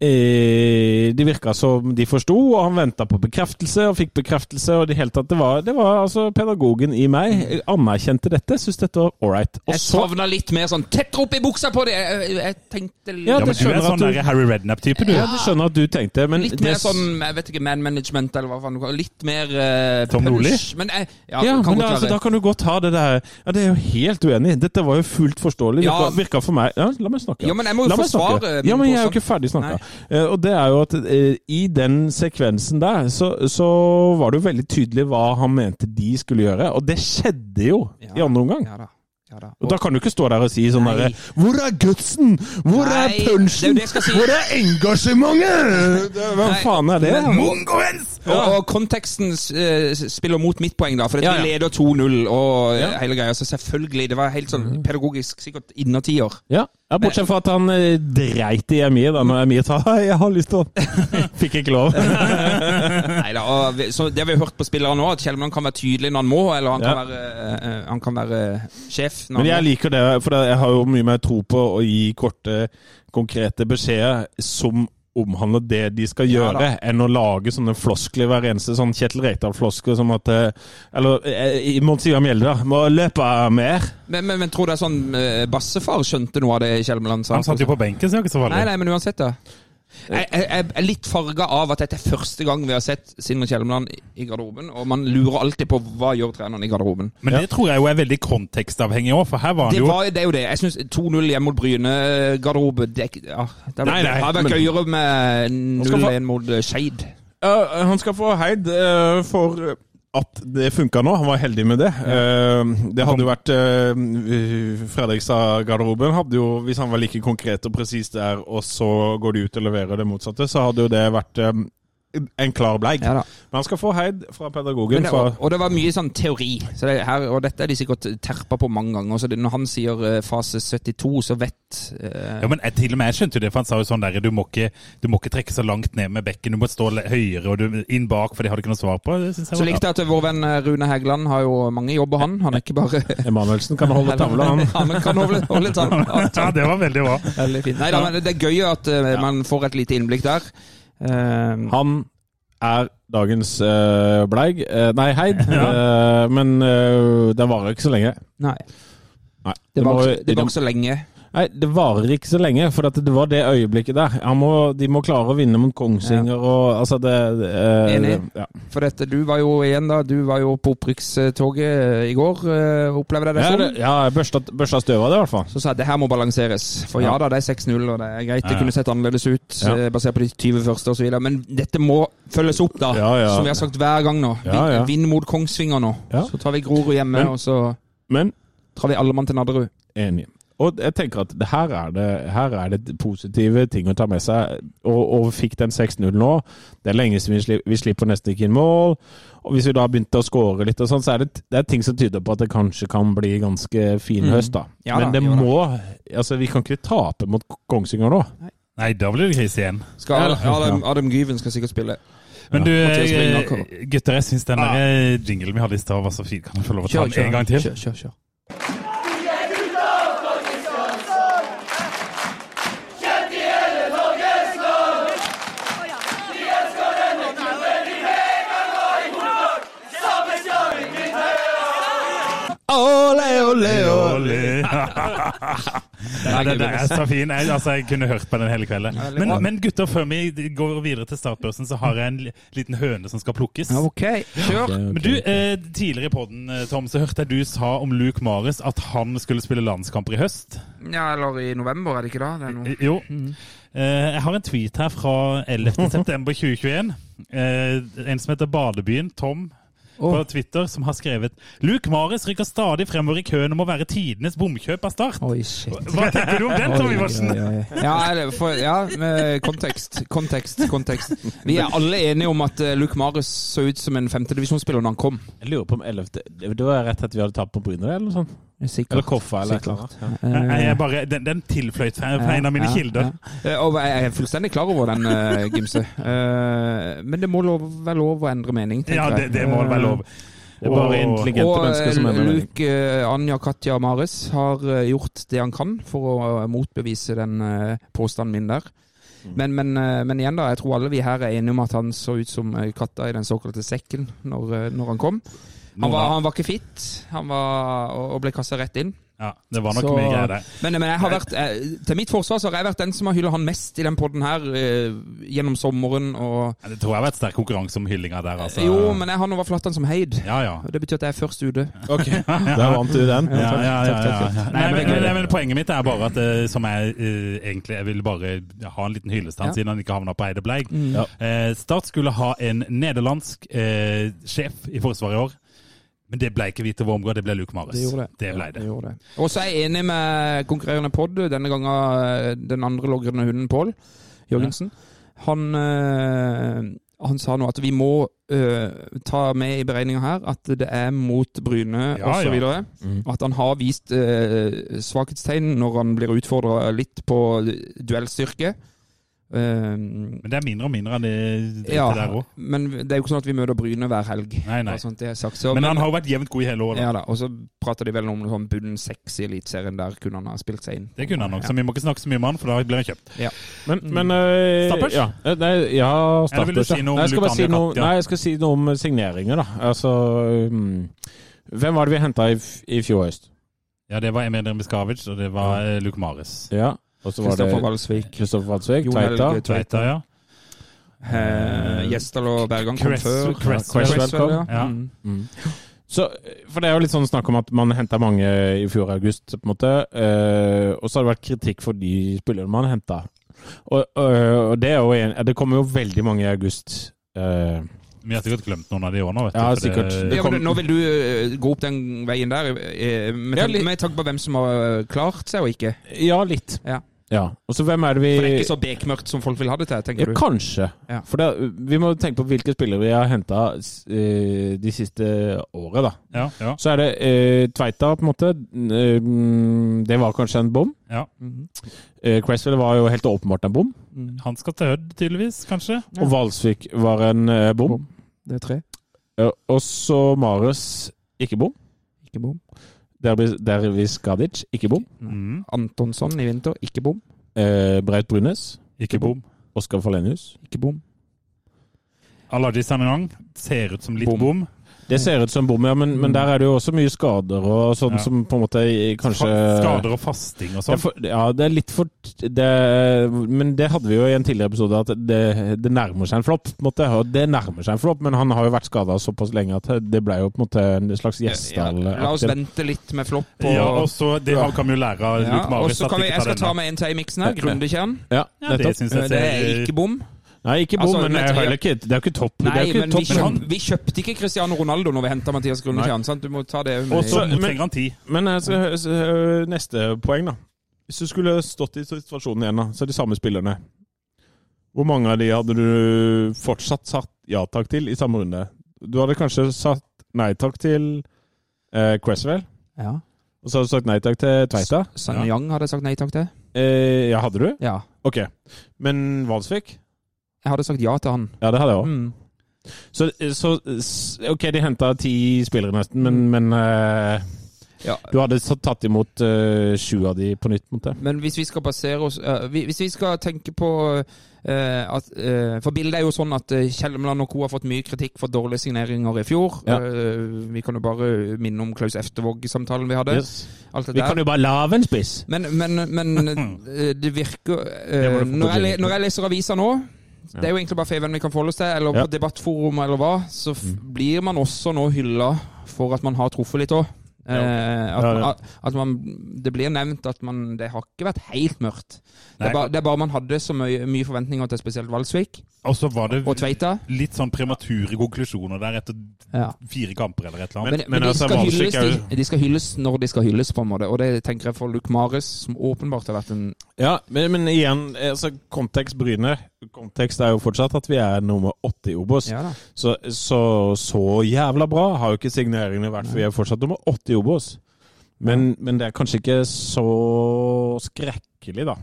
S6: eh, det virka som de forsto, og han venta på bekreftelse og fikk bekreftelse. og Det hele tatt, det var, det var altså pedagogen i meg eh, anerkjente dette, syntes dette var ålreit. Og
S5: Mm. Jeg
S6: så
S5: sovna litt mer sånn tett opp i buksa på det! Jeg, jeg- jeg tenkte litt,
S6: Ja,
S4: Ja, men
S6: det
S4: du er
S6: skjønner at
S4: sånn
S6: du-
S4: der Harry Rednap-type, du.
S6: Ja, du skjønner at du tenkte, men
S5: litt
S6: det-
S5: mer sånn jeg vet ikke, man management, eller hva faen du kaller Litt mer uh,
S4: Tom Nordli?
S5: Men jeg ja,
S6: ja,
S5: kan
S6: men da,
S5: godt
S6: altså, da
S5: være.
S6: kan du godt ha det der Ja, det er jeg jo helt uenig i. Dette var jo fullt forståelig. Det
S5: Ja.
S6: virka- virka for meg ja, La meg snakke.
S5: Ja, men jeg må jo eh,
S6: La meg
S5: forsvare
S6: snakke.
S5: min
S6: Ja, men jeg er jo
S5: påstand.
S6: ikke ferdig snakka. Eh, og det er jo at eh, i den sekvensen der, så, så var det jo veldig tydelig hva han mente de skulle gjøre. Og det skjedde jo
S5: Ja.
S6: i andre omgang.
S5: Ja da. Ja, da.
S6: Og da kan du ikke stå der og si sånn
S5: Nei.
S6: derre Hvor er gutsen? Hvor
S5: Nei,
S6: er
S5: det er jo
S6: punchen?
S5: det jeg skal si.
S6: Hvor er engasjementet? Det- Hva
S5: Nei,
S6: faen er det?
S5: men-
S4: Mongoens!
S5: Og, og konteksten eh, spiller mot mitt poeng, da, for at
S6: Ja, ja.
S5: vi leder 2-0 og eh, hele greia. Så selvfølgelig, det var helt sånn
S6: Mm.
S5: pedagogisk sikkert
S6: <laughs>
S5: innertier.
S6: Ja, ja Bortsett fra at han eh, dreit i Emir da når Emir <laughs> sa «Hei, 'jeg har lyst til å <laughs> Fikk ikke lov.
S5: Neida, og vi- så det har vi hørt på spillere nå, at Kjellmann kan være tydelig når han må, eller han kan
S6: Ja.
S5: være, eh, eh, han kan være sjef når
S6: Men jeg
S5: han må.
S6: liker det, for jeg har jo mye mer tro på å gi korte, konkrete beskjeder som omhandler det de skal
S5: Ja
S6: gjøre, enn å lage sånne floskler hver eneste sånn Kjetil Rekdal-floskler som at eh, Eller eh, i Monsiva Mjelde, da. Må løpe mer.
S5: Men, men, men tror du det er sånn eh, bassefar skjønte noe av det Kjellmann sa?
S4: Han satt jo på benken, så det er jo ikke så farlig.
S5: Nei, nei, men uansett, da. Jeg, jeg, jeg er litt farga av at dette er første gang vi har sett Sindre Kjelmeland i garderoben. Og man lurer alltid på hva gjør treneren i garderoben.
S4: Men det tror jeg jo er veldig kontekstavhengig òg, for her var han
S5: Det,
S4: jo
S5: var, det er jo det. Jeg syns 2-0 hjemme mot Bryne-garderobe Det, er ikke- ja, det hadde
S6: Nei, nei,
S5: det hadde vært
S6: men-
S5: gøyere med
S6: skal få-
S5: 0-1 mot eh, Skeid.
S6: Ja, han skal få heid eh, for at det funka nå. Han var heldig med det. Eh, det hadde jo vært eh, Fredrikstad-garderoben hadde jo, hvis han var like konkret og presis der, og så går de ut og leverer det motsatte, så hadde jo det vært eh, en klar bleig.
S5: Ja da.
S6: Men han skal få heid fra
S5: Men
S6: pedagogen.
S5: det-
S6: fra,
S5: Og, og det var mye sånn teori. Så det her, og dette er de sikkert terpa på mange ganger. Så det, når han sier eh, fase 72, så vet eh,
S4: ja, men jeg, til og med jeg skjønte jo det, for han sa jo sånn der du må, ikke, du må ikke trekke så langt ned med bekken, du må stå le- høyere og du, inn bak, for det har du ikke noe svar på. Det synes jeg
S5: Så
S4: var
S5: likte jeg at vår venn eh, Rune Hægeland har jo mange jobber, han. Han er ikke bare
S6: Emanuelsen kan holde tavla, han.
S5: <laughs> Ja, men kan holde, holde tavla.
S6: <laughs>
S4: bra. <laughs> Ja, det var veldig bra.
S5: Veldig fint. Nei da, men det er gøy at eh, man får et lite innblikk der. Eh,
S6: Han er dagens eh, bleig. Eh, nei, heid. Eh, men eh, den varer ikke så lenge.
S5: nei.
S6: Nei,
S5: Det var,
S6: må-
S5: ikke- det var ikke så lenge.
S6: Nei, det varer ikke så lenge, for at det var det øyeblikket der. Han må, de må klare å vinne mot Kongsvinger og altså det, det eh,
S5: Enig.
S6: Ja.
S5: For dette, du var jo igjen da, du var jo på opprykkstoget eh, i går. eh, Opplevde jeg det
S6: Ja,
S5: sånn?
S6: det, ja, jeg børsta, børsta støv av det, i hvert fall.
S5: Så sa jeg det her må balanseres. For ja da, det er 6-0, og det er greit. Det kunne sett annerledes ut
S6: Ja.
S5: eh, basert på de 20 første osv. Men dette må følges opp, da.
S6: Ja, ja.
S5: Som vi har sagt hver gang nå.
S6: Ja, ja.
S5: Vinn- Vinn mot Kongsvinger nå.
S6: Ja.
S5: Så tar vi Grorud hjemme,
S6: Men-
S5: og så
S6: Men
S5: tar vi alle mann til Nadderud.
S6: enig. Og jeg tenker at det her, er det, her er det positive ting å ta med seg. Og, og vi fikk den 6-0 nå. Det er lenge siden vi, sli, vi slipper nesten ikke inn mål. Og hvis vi da begynte å score litt og sånn, så er det, det er ting som tyder på at det kanskje kan bli ganske fin høst, Mm. da.
S5: Ja
S6: Men
S5: da,
S6: det
S5: jo da.
S6: må Altså, vi kan ikke tape mot Kongsvinger nå.
S4: Nei, da blir det krise igjen.
S5: Skal
S6: Ja, ja.
S5: Adam, Adam Gyven skal sikkert spille.
S4: Men du,
S5: Mathias Ringaker.
S4: eh, gutter, jeg syns den der eh, jinglen vi hadde i stad var så fin. Kan vi få lov å ta den en gang til?
S5: Kjør, kjør, kjør.
S4: Nei, den er så fin. Jeg, altså, jeg kunne hørt på den hele kvelden. Men, men gutter, før vi går videre til startbørsen, så har jeg en li- liten høne som skal plukkes.
S5: Ok, kjør.
S4: Men du, eh, Tidligere i podden, eh, Tom, så hørte jeg du sa om Luke Marius at han skulle spille landskamper i høst.
S5: Ja, eller i november, er det ikke da? Det er noe.
S4: Eh, Jo. Eh, jeg har en tweet
S6: <laughs>
S4: her fra 11. september 2021. Eh, en som heter Badebyen. Tom. på Twitter som har skrevet Luke Maris rykker stadig fremover i køen om å være tidenes bomkjøp av Start.
S5: Oi, shit.
S4: Hva tenker du om den, Tommy Watsen?
S5: Ja, eller for, ja med kontekst, kontekst, kontekst. Vi er alle enige om at eh, Luke Marius så ut som en femtedivisjonsspiller når han kom.
S6: Jeg lurer på om 11. Det var rett etter vi hadde tapt på Bryne, eller noe sånt?
S5: Sikkert.
S6: Eller Koffa, eller et eller annet. Ja.
S4: Nei, jeg bare, den, den tilfløyt fra fra en av mine kilder.
S5: Eh, Og jeg er fullstendig klar over den, eh, Gimse. Eh, Men det må lov, være lov å endre mening, tenker
S4: Ja, det,
S5: jeg.
S4: det må være lov.
S6: Det er bare
S4: Og-
S6: intelligente mennesker som
S5: Og
S6: er
S5: eh,
S6: med.
S5: Luke, eh, Anja, Katja og Maris har eh, gjort det han kan for å eh, motbevise den eh, påstanden min der. Men, men, eh, men igjen, da. Jeg tror alle vi her er enige om at han så ut som eh, katta i den såkalte sekken når, eh, når han kom. Han var, han var ikke fit, han var, og- og ble kasta rett inn.
S4: Ja, det var nok
S5: Så-
S4: mye greier der.
S5: Men, men jeg har vært, eh, til mitt forsvar så har jeg vært den som har hylla han mest i den podden her eh, gjennom sommeren. Og,
S4: Ja, Det tror jeg har vært sterk konkurranse om hyllinga der, altså.
S5: jo, men jeg har nå i hvert fall hatt han som heid.
S4: Ja, ja.
S5: Og Det betyr at jeg er først ute.
S6: <laughs> Da vant du den.
S4: Ja, ja, ja, ja,
S5: takk,
S4: ja.
S5: takk.
S4: Nei,
S5: Nei,
S4: men,
S5: men-
S4: men, men Poenget mitt er bare at eh, som jeg eh, egentlig Jeg vil bare ha en liten hyllestans siden han ikke havna på Eide Bleig. Eh, Start skulle ha en nederlandsk eh, sjef i Forsvaret i år. Men det ble ikke Vito Wormgård, det ble Luke Maris.
S5: Det gjorde det.
S4: ble det.
S5: gjorde det. Og så er jeg enig med konkurrerende pod, denne gangen eh, den andre logrende hunden Pål Jørgensen. Han, eh, han sa nå at vi må eh, ta med i beregninga her at det er mot Bryne
S4: Ja, ja.
S5: og
S4: Mm.
S5: osv. videre Og at han har vist eh, svakhetstegn når han blir utfordra litt på duellstyrke. Eh,
S4: Men det er mindre og mindre av det dritet der
S5: ja,
S4: òg.
S5: men det er jo ikke sånn at vi møter Bryne hver helg.
S4: Nei, nei.
S5: Bare sånn at det er sagt. Så,
S4: Men han har jo vært jevnt god i hele år. Da.
S5: ja da, og så prater de vel om noe sånn bunnen seks i Eliteserien. Der kunne han ha spilt seg inn.
S4: Det kunne han nok, så vi må ikke snakke så mye om han, for da blir han kjøpt.
S6: Men,
S5: Mm.
S6: men øh,
S4: Stappers?
S6: Ja, øh, nei, ja
S4: Eller vil du
S6: Stappers, ja.
S4: si noe om
S6: Nei, jeg skal bare
S4: Lukan
S6: si noe,
S4: Jakarta?
S6: nei, jeg skal si noe om signeringer, da. Altså mm, Hvem var det vi henta i, f- i fjor høst?
S4: Ja, det var Emil Biskavic, og det var eh, Luke Maris.
S6: Ja. Og så var det
S5: Kristoffer Valsvik,
S6: Kristoffer Walsvik,
S5: Jon
S6: Tveita.
S5: Helge
S4: Tveita, ja.
S5: eh, Gjesdal og Bergan kom
S4: Cress-
S5: før.
S4: Cress-
S6: Cresswell kom.
S4: Ja.
S5: Mm.
S6: Så, for det er jo litt sånn snakk om at man henta mange i fjor august, på en måte. eh, og så har det vært kritikk for de spillerne man henta. Og, og- og det er jo en, Det kommer jo veldig mange i august. eh,
S4: Vi har sikkert glemt noen av de òg nå, vet du.
S6: Ja,
S4: for det-
S6: sikkert.
S5: Ja, men nå vil du eh, gå opp den veien der, eh, med,
S6: Ja,
S5: tanke-
S6: litt-
S5: med tanke på hvem som har eh, klart seg og ikke.
S6: ja, litt.
S5: Ja.
S6: Og så hvem er det vi
S5: For det er ikke så bekmørkt som folk vil ha det til,
S6: Ja,
S5: tenker du.
S6: kanskje.
S5: Ja.
S6: For det, vi må tenke på hvilke spillere vi har henta de siste året, da.
S4: Ja, ja,
S6: Så er det eh, Tveita, på en måte. Eh, mm, det var kanskje en bom.
S4: ja.
S6: Eh, Cresswell var jo helt åpenbart en bom.
S4: Han skal til Hødd, tydeligvis, kanskje?
S6: Og Valsvik var en eh, bom.
S5: Det er tre.
S6: Eh, og så Marius, ikke bom.
S5: Ikke bom.
S6: Dervis Dervis Gadic, ikke bom.
S4: Mm.
S5: Antonsson i vinter, ikke bom.
S6: Eh, Braut Brunes,
S4: Ikke bom.
S6: Oskar Falenius.
S5: Ikke bom.
S4: Alaji Sanengang ser ut som litt bom.
S5: Bom.
S6: Det ser ut som bom, ja, men, men der er det jo også mye skader og
S4: Mm.
S6: sånn
S4: Ja.
S6: som på en måte eh, kanskje
S4: Fa- Skader og fasting og
S6: Det
S4: sånn.
S6: er for, ja, det er litt for det, Men det hadde vi jo i en tidligere episode, at det, det nærmer seg en flopp. på en måte, og Det nærmer seg en flopp, men han har jo vært skada såpass lenge at det ble jo på en måte en slags Gjesdal.
S5: La oss vente litt med flopp og
S4: Ja, og så Det har- kan vi jo lære av
S5: Ja,
S4: Luke
S5: og
S4: Marius.
S5: så
S4: at
S5: kan vi,
S4: ikke
S5: jeg skal ta
S4: denne.
S5: med en til i miksen her. Grundekjern.
S6: Ja,
S4: Ja, det
S6: nettopp.
S4: syns jeg
S5: Det er
S4: ser
S5: ikke bom.
S6: Nei, ikke bom,
S5: Altså,
S6: men det
S5: men-
S6: er, jo heller ikke, det er jo ikke topp. det er
S5: Nei,
S6: jo
S5: men
S6: ikke
S5: vi,
S6: topp.
S4: men
S5: kjøp,
S4: han-
S5: vi kjøpte ikke Cristiano Ronaldo når vi henta Mathias Grundekjern. sant? Du må ta det med.
S4: Og så
S6: Men-
S4: trenger han tid.
S6: Men eh, så- så- neste poeng, da. Hvis du skulle stått i situasjonen igjen, da, så er de samme spillerne. Hvor mange av de hadde du fortsatt satt ja takk til i samme runde? Du hadde kanskje satt nei takk til eh, Cresswell,
S5: ja.
S6: og så hadde du sagt nei takk til Tveita.
S5: Sun Yang hadde jeg sagt nei takk til.
S6: Eh, ja, hadde du?
S5: Ja.
S6: Ok. Men Valsvik?
S5: Jeg hadde sagt ja til han.
S6: Ja, det hadde jeg òg.
S5: Mm.
S6: Så, eh, så s- OK, de henta ti spillere nesten, men, men eh,
S5: Ja.
S6: du hadde så tatt imot eh, sju av de på nytt, på en måte.
S5: Men hvis vi skal basere oss eh, vi- Hvis vi skal tenke på eh, at eh, For bildet er jo sånn at eh, Kjelmeland og co. har fått mye kritikk for dårlige signeringer i fjor.
S6: Ja.
S5: Eh, vi kan jo bare minne om Klaus Eftervåg-samtalen vi hadde.
S6: Yes.
S5: Alt det
S6: Vi
S5: der.
S6: kan jo bare lage en spiss.
S5: Men, men,
S6: <laughs>
S5: men eh, det virker eh,
S6: Det var det for-
S5: når, jeg, le- når jeg leser aviser nå Det er jo egentlig bare Feven vi kan forholde oss til, eller
S6: Ja. Mm.
S5: på debattforum eller hva, så f blir man også nå hylla for at man har truffet litt òg. Eh, at,
S6: Ja, ja.
S5: at, at man, det blir nevnt at man, det har ikke vært helt mørkt. Det
S4: Nei.
S5: er, bare, det er bare man hadde så mye, mye forventninger til spesielt Valsvik
S4: Og så var det
S5: og Tveita.
S4: litt sånn premature konklusjoner der etter
S5: Ja.
S4: fire kamper eller et eller annet.
S5: Men, men,
S6: men
S5: de,
S6: altså,
S5: skal
S6: Valsvik
S5: hylles,
S6: er jo-
S5: de, de skal hylles når de skal hylles, på en måte. Og det tenker jeg for Luke Marius, som åpenbart har vært en
S6: Ja, men, men igjen, altså, kontekst Bryne. Kontekst er jo fortsatt at vi er nummer åtte i Obos.
S5: Ja da.
S6: Så, så så jævla bra har jo ikke signeringene vært, for vi er fortsatt nummer åtte i Obos. Men, men det er kanskje ikke så skrekkelig, da.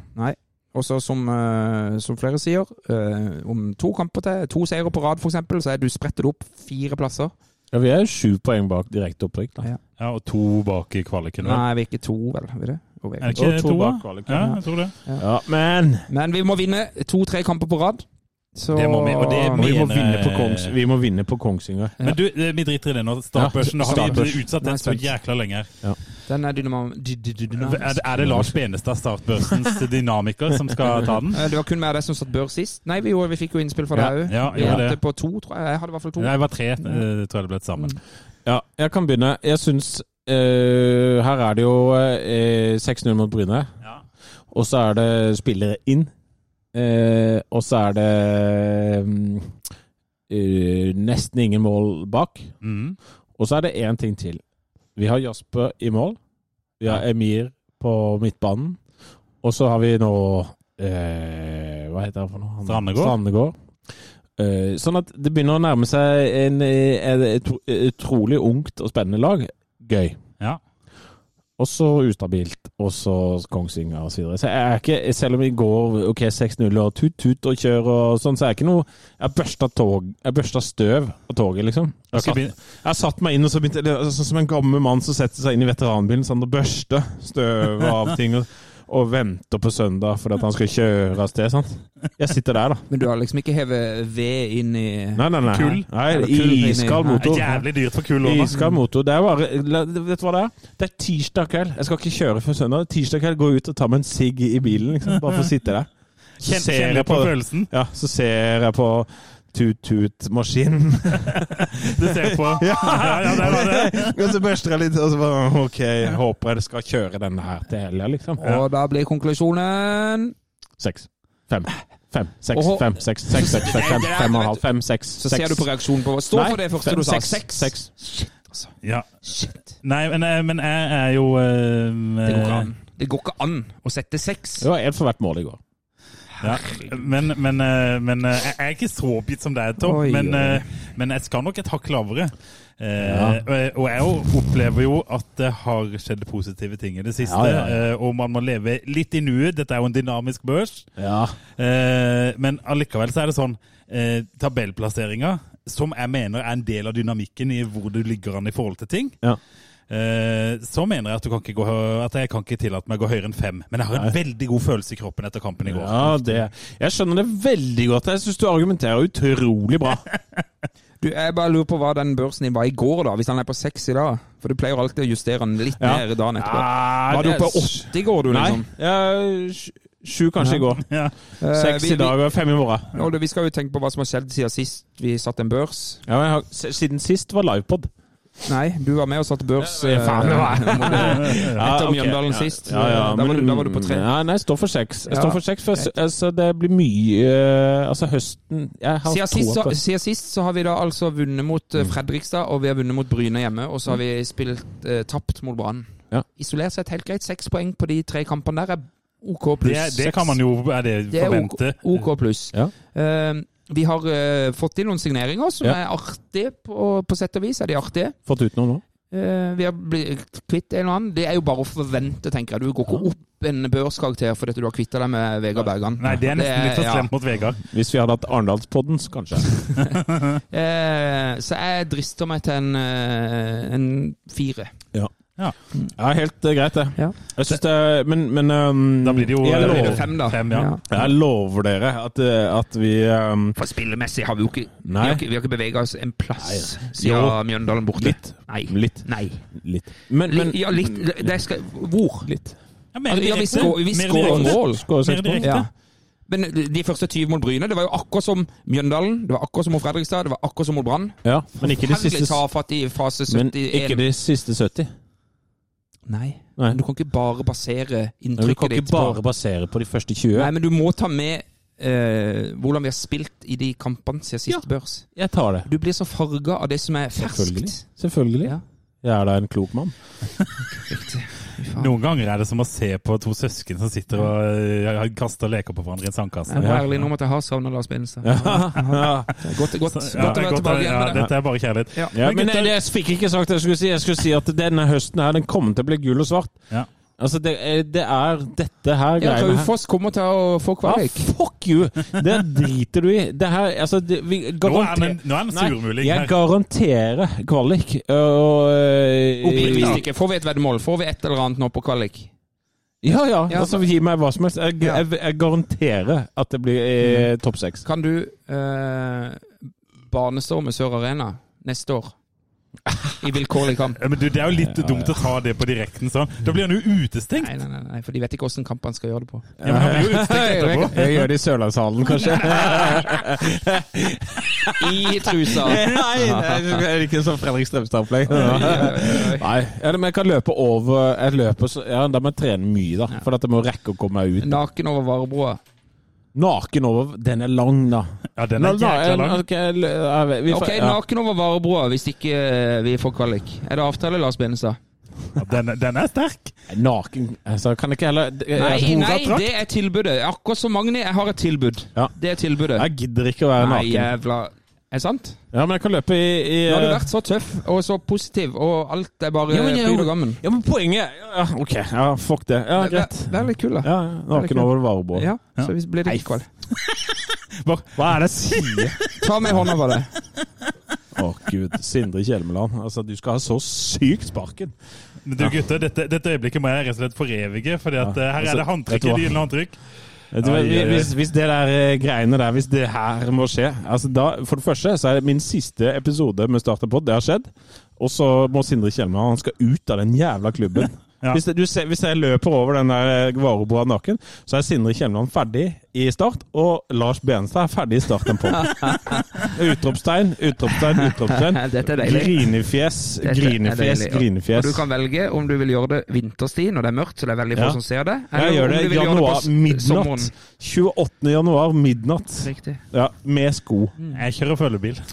S5: Og så som, eh, som flere sier, eh, om to kamper til, to seire på rad f.eks., så er du spretter du opp fire plasser.
S6: Ja, Vi er sju poeng bak direkte opprykk. da.
S5: Ja.
S4: Ja, og to bak i kvaliken. vel?
S5: Nei, vi er ikke to, vel. Er vi det? Jo, vi er
S4: Er det
S5: ikke.
S4: ikke
S6: Og Eh, to
S4: to?
S6: bak
S4: da?
S6: kvaliken,
S4: Ja, jeg tror det.
S6: Ja, Men
S5: Men vi må vinne to-tre kamper på rad. Så
S4: Det må vi, og det
S6: vi må
S4: Mener-
S6: vinne på, Kongs, vi må vinne på Kongsvinger.
S4: Men du, eh, vi driter i det nå. Startbørsen da har vi
S5: startbørs.
S4: utsatt
S5: Nei,
S4: den så
S5: sant.
S4: jækla lenge. her.
S5: Den er dynamo- dy- dy- dy- dynamisk.
S4: Er det, er det Lars Benestad, startbørsens dynamiker, som skal ta den?
S5: Eh, Det var kun meg og deg som satt bør sist. Nei, vi, gjorde, vi fikk jo innspill fra
S4: Ja,
S5: deg òg.
S4: ja,
S5: vi
S4: gjorde
S5: hadde
S4: det.
S5: på to, tror jeg. Jeg hadde i hvert fall to.
S4: Nei, det var tre, eh, tror jeg det ble til sammen.
S6: Ja, jeg kan begynne. Jeg syns eh, Her er det jo eh, 6-0 mot Bryne.
S4: Ja.
S6: Og så er det spillere inn. Eh, og så er det mm, eh, nesten ingen mål bak.
S4: Mm.
S6: Og så er det én ting til. Vi har Jasper i mål. Vi har Emir på midtbanen. Og så har vi nå eh, Hva heter han for noe? Han-
S4: Strandegård.
S6: Strandegård. Eh, sånn at det begynner å nærme seg en, eh, et utro- utrolig ungt og spennende lag. Gøy.
S4: Ja.
S6: Og så ustabilt, og så Kongsvinger og så videre. Så jeg er ikke, selv om vi går ok, 6-0 og tut-tut og kjør og sånn, så er jeg ikke noe Jeg børsta, tog, jeg børsta støv av toget, liksom. Jeg
S4: Skal
S6: satt-
S4: vi-
S6: jeg satt meg inn, og så begynte det, er Sånn som en gammel mann som setter seg inn i veteranbilen sånn, og børster støv av ting. Og, og venter på søndag fordi at han skal kjøre av sted. Sant? Jeg sitter der, da.
S5: Men du har liksom ikke hevet ved inn i
S6: Nei, nei, nei.
S4: Kull?
S6: Nei,
S5: Eller kull inni-
S6: iskald
S5: Nei.
S6: motor.
S4: Jævlig dyrt for kul lån.
S6: Iskald motor. Det er bare la- Vet du hva det er? Det er tirsdag kveld. Jeg skal ikke kjøre før søndag. Tirsdag kveld går jeg ut og tar meg en sigg i bilen, liksom. Bare for å sitte der. Så
S4: Kjenn- Kjenner på følelsen.
S6: Ja, så ser jeg på tut-tut-maskinen.
S4: Du ser
S5: <laughs>
S4: på. Ja, ja, det var det.
S6: <laughs> og så børster jeg litt, og så bare OK, jeg håper jeg skal kjøre denne her til helga, liksom.
S5: Og da blir konklusjonen
S6: Seks. Fem. Fem, seks,
S5: Oho.
S6: fem, seks, seks, seks, seks, fem, fem og en halv, fem, seks,
S5: Så
S6: seks.
S5: ser du på reaksjonen på Stå
S6: Nei,
S5: for det første
S6: fem,
S5: du sa.
S6: seks, seks.
S4: Ja.
S5: Shit.
S4: Nei, men, eh, men jeg er jo eh,
S5: Det går ikke an. Det går ikke an å sette seks.
S6: Det var én for hvert mål i går.
S4: eh, Ja, men, men, eh, men eh, jeg er ikke så oppgitt som deg, Tom.
S5: Oi,
S4: Men,
S5: oi.
S4: eh, men jeg skal nok et hakk lavere. Eh, og- Og jeg jo opplever jo at det har skjedd positive ting i det siste.
S6: Ja, ja, ja.
S4: eh, Og man må leve litt i nuet. Dette er jo en dynamisk børs.
S6: Ja.
S4: Eh, Men allikevel så er det sånn eh, Tabellplasseringa, som jeg mener er en del av dynamikken i hvor du ligger an i forhold til ting.
S6: Ja.
S4: Eh, Så mener jeg at, du kan ikke gå, at jeg kan ikke tillate meg å gå høyere enn fem. Men jeg har en veldig god følelse i kroppen etter kampen i går.
S6: Ja, det Jeg skjønner det veldig godt. Jeg syns du argumenterer utrolig
S5: <laughs>
S6: bra.
S5: Du, jeg bare lurer på hva den børsen din var i går, da, hvis han er på seks i dag. For du pleier alltid å justere den litt
S6: Ja.
S5: ned dagen etterpå.
S6: Var
S5: Var du på åtte i går, du,
S6: Nei.
S5: liksom?
S6: Ja, sj- sju kanskje i går.
S4: Ja.
S5: Eh,
S6: Seks
S5: vi-
S6: i dag og fem i morgen.
S5: vi- Og det- vi skal jo tenke på hva som har skjedd siden sist vi satt en børs.
S6: Ja, men jeg har, s- siden sist var livepod.
S5: Nei, du var med og satt børs eh,
S6: faen, det var
S5: mot, eh,
S6: Ja,
S5: etter
S6: ok.
S5: Mjøndalen
S6: Ja,
S5: sist.
S6: Ja,
S5: da,
S6: ja,
S5: var
S6: men-
S5: du, da var du på tre.
S6: Ja, nei, jeg står for seks. Jeg
S5: Ja,
S6: står for seks, for jeg, s- altså, det blir mye eh, Altså, høsten jeg har
S5: Siden sist,
S6: troa
S5: så,
S6: på-
S5: siden sist så har vi da altså vunnet mot eh, Fredrikstad, og vi har vunnet mot Bryne hjemme. Og så har vi spilt eh, tapt mot Brann.
S6: Ja.
S5: Isolert sett helt greit. Seks poeng på de tre kampene der er OK pluss.
S4: Det, det kan man jo er det
S5: Det er OK,
S4: forvente.
S5: OK pluss.
S6: Ja.
S5: Eh, vi har eh, fått inn noen signeringer som er artige, på, på sett og vis. er de artige.
S6: Fått ut noe nå?
S5: Eh, vi har blitt kvitt en og annen. Det er jo bare å forvente, tenker jeg. Du går ikke opp en børskarakter fordi at du har kvitta deg med Vegard Bergan.
S4: Nei, det er nesten litt for
S5: ja.
S4: slemt mot Vegard.
S6: Hvis vi hadde hatt Arendalspodden, så kanskje.
S5: Eh, så jeg drister meg til en, eh, en fire.
S6: Ja, helt eh, greit, det.
S5: Ja.
S6: Jeg synes det er- Men, men um,
S4: Da blir det jo
S6: jeg,
S4: da blir
S6: lover,
S4: det
S5: Fem, da.
S4: Fem, ja.
S6: jeg lover dere at, eh, at vi um,
S5: For spillemessig har vi jo ikke Vi
S6: Nei.
S5: har ikke, vi har ikke bevega oss en
S4: altså.
S5: plass
S6: Jo.
S5: siden Mjøndalen borte.
S6: Litt.
S5: Nei.
S6: Litt.
S5: Nei.
S6: Litt. Men, men
S5: Litt- ja, litt. Det skal, hvor?
S6: Litt.
S4: Ja, mer
S5: Altså, ja, vi
S4: direkte.
S5: skår- vi
S4: Mer
S5: skårer
S4: direkte.
S5: mål.
S6: Skårer seks
S4: Mer
S6: mål.
S4: direkte.
S5: Ja. Men eh, de første 20 mot Bryne, det var jo akkurat som Mjøndalen, det var akkurat som mot Fredrikstad, det var akkurat som mot Brann.
S6: Ja, men ikke de
S5: Forferdelig
S6: siste
S5: tafatt i fase 71.
S6: Men ikke de siste 70.
S5: Nei.
S8: Nei.
S5: Men du kan ikke bare basere
S6: Du kan
S5: inntrykket
S6: ikke
S5: ditt
S6: bare
S5: på
S6: basere på de første 20.
S5: Nei, men du må ta med eh, hvordan vi har spilt i de kampene siden sist
S6: Ja.
S5: børs.
S6: Jeg tar det.
S5: Du blir så farga av det som er
S6: Selvfølgelig.
S5: ferskt.
S6: Selvfølgelig.
S5: Ja.
S6: Jeg er da en
S5: <laughs>
S6: klok mann.
S4: Noen ganger er det som å se på to søsken som sitter og eh, kaster leker på hverandre i en sandkasse.
S5: Jeg må ærlig innrømme at jeg har savna Lars Benestad.
S4: Så-
S5: Godt, godt, godt å
S4: ja,
S5: være
S4: godt å-
S5: tilbake igjen
S4: ja,
S5: med det.
S4: dette er bare kjærlighet.
S5: Ja. eh,
S6: Ja, men
S4: gutter-
S6: jeg, jeg fikk ikke sagt det jeg skulle si. Jeg skulle si at denne høsten her, den kommer til å bli gul og svart.
S4: Ja.
S6: Altså, det, er- det er dette her
S5: Ja,
S6: greiene her.
S5: Raufoss kommer til å få
S6: Ja,
S5: kvalik.
S6: fuck you! Det driter du i. Det her, altså, det, vi garanter-
S4: Nå er han en- nå er han en
S6: Nei,
S4: surmuling her.
S6: Jeg garanterer kvalik. Og øh,
S5: Oppriktig ikke. Får vi et veddemål? Får vi et eller annet nå på kvalik?
S6: Ja, ja.
S5: Ja.
S6: Altså, gi meg hva som helst. Jeg, jeg, jeg garanterer at det blir
S4: Mm.
S6: eh, topp seks.
S5: Kan du eh, banestorme Sør Arena neste år? I vilkårlig kamp?
S4: Ja, Men du, det er jo litt dumt å ta det på direkten sånn. Da blir han jo utestengt.
S5: Nei, nei, nei, nei, for de vet ikke åssen kampene skal gjøre det på.
S4: Ja, men han blir jo
S5: <laughs>
S4: utestengt etterpå.
S6: Det gjør de i Sørlandshallen, kanskje.
S5: I trusa!
S6: Nei, det er ikke sånn Fredrik Strømstad-opplegg. <laughs> Nei, eller, men jeg kan løpe over jeg løper, så, ja, Da må jeg trene mye, da. For at jeg må rekke å komme meg ut.
S5: Naken over varebroa.
S6: Naken over Den er lang, da.
S4: Ja, den er
S6: Nå- nå-
S4: jækla lang.
S6: ok, l- ja, vi- vi får-
S5: Ok,
S6: ja.
S5: naken over varebroa hvis ikke eh, vi får kvalik. Er det avtale, Lars Benestad?
S4: Ja, Den, den er sterk.
S6: Naken altså, Kan jeg ikke heller det- altså
S5: Nei,
S6: jeg-
S5: nei,
S6: hoveddrakt?
S5: det er tilbudet. Akkurat som Magni, jeg har et tilbud.
S6: Ja.
S5: Det er tilbudet.
S6: Jeg gidder ikke å være
S5: Nei,
S6: naken.
S5: jævla Er det sant?
S6: Ja, men jeg kan løpe i, i
S5: Nå har du vært så tøff eh, og så positiv, og alt er bare
S6: Ja, men jeg-
S5: fryd og gammen.
S6: Ja, men poenget ja, ja, OK, ja, fuck det. Ja, greit.
S5: Vær litt kul, da.
S6: Ja, ja, naken over varebord.
S5: Ja, så hvis blir det ikke kvalik.
S6: Hva er det jeg sier?
S5: Ta med hånda på det.
S6: Å gud, Sindre Kjelmeland. Altså, du skal ha så sykt sparken.
S4: Men du gutter, dette, dette øyeblikket må jeg rett og slett forevige, for her
S6: altså,
S4: er det
S6: vet du
S4: håndtrykk
S6: hva?
S4: i gylne håndtrykk.
S6: Du,
S4: Ai, ai, ai.
S6: hvis, hvis det der eh, greiene der, hvis det her må skje altså da, For det første så er det min siste episode med Starterpod. Det har skjedd. Og så må Sindre Kjelmeland han skal ut av den jævla
S5: <laughs>
S6: klubben.
S4: Ja.
S6: Hvis, det, du ser, hvis jeg løper over den der eh, varebroa naken, så er Sindre Kjelmeland ferdig i Start. Og Lars Benstad er ferdig i Starten
S5: <laughs>
S6: på. utropstegn, utropstegn, utropstegn.
S5: <laughs> Dette er deilig.
S6: Grinefjes,
S5: Dette er
S6: grinefjes,
S5: deilig, ja. Og
S6: grinefjes.
S5: du kan velge om du vil gjøre det vinterstid når det er mørkt, så det er veldig få
S6: Ja.
S5: som ser det.
S6: Jeg gjør det
S5: om du vil gjøre på
S6: januar
S5: s-
S6: midnatt.
S5: sommeren.
S6: 28. januar midnatt.
S5: Riktig.
S6: Ja, med sko.
S5: Mm.
S4: Jeg kjører følgebil.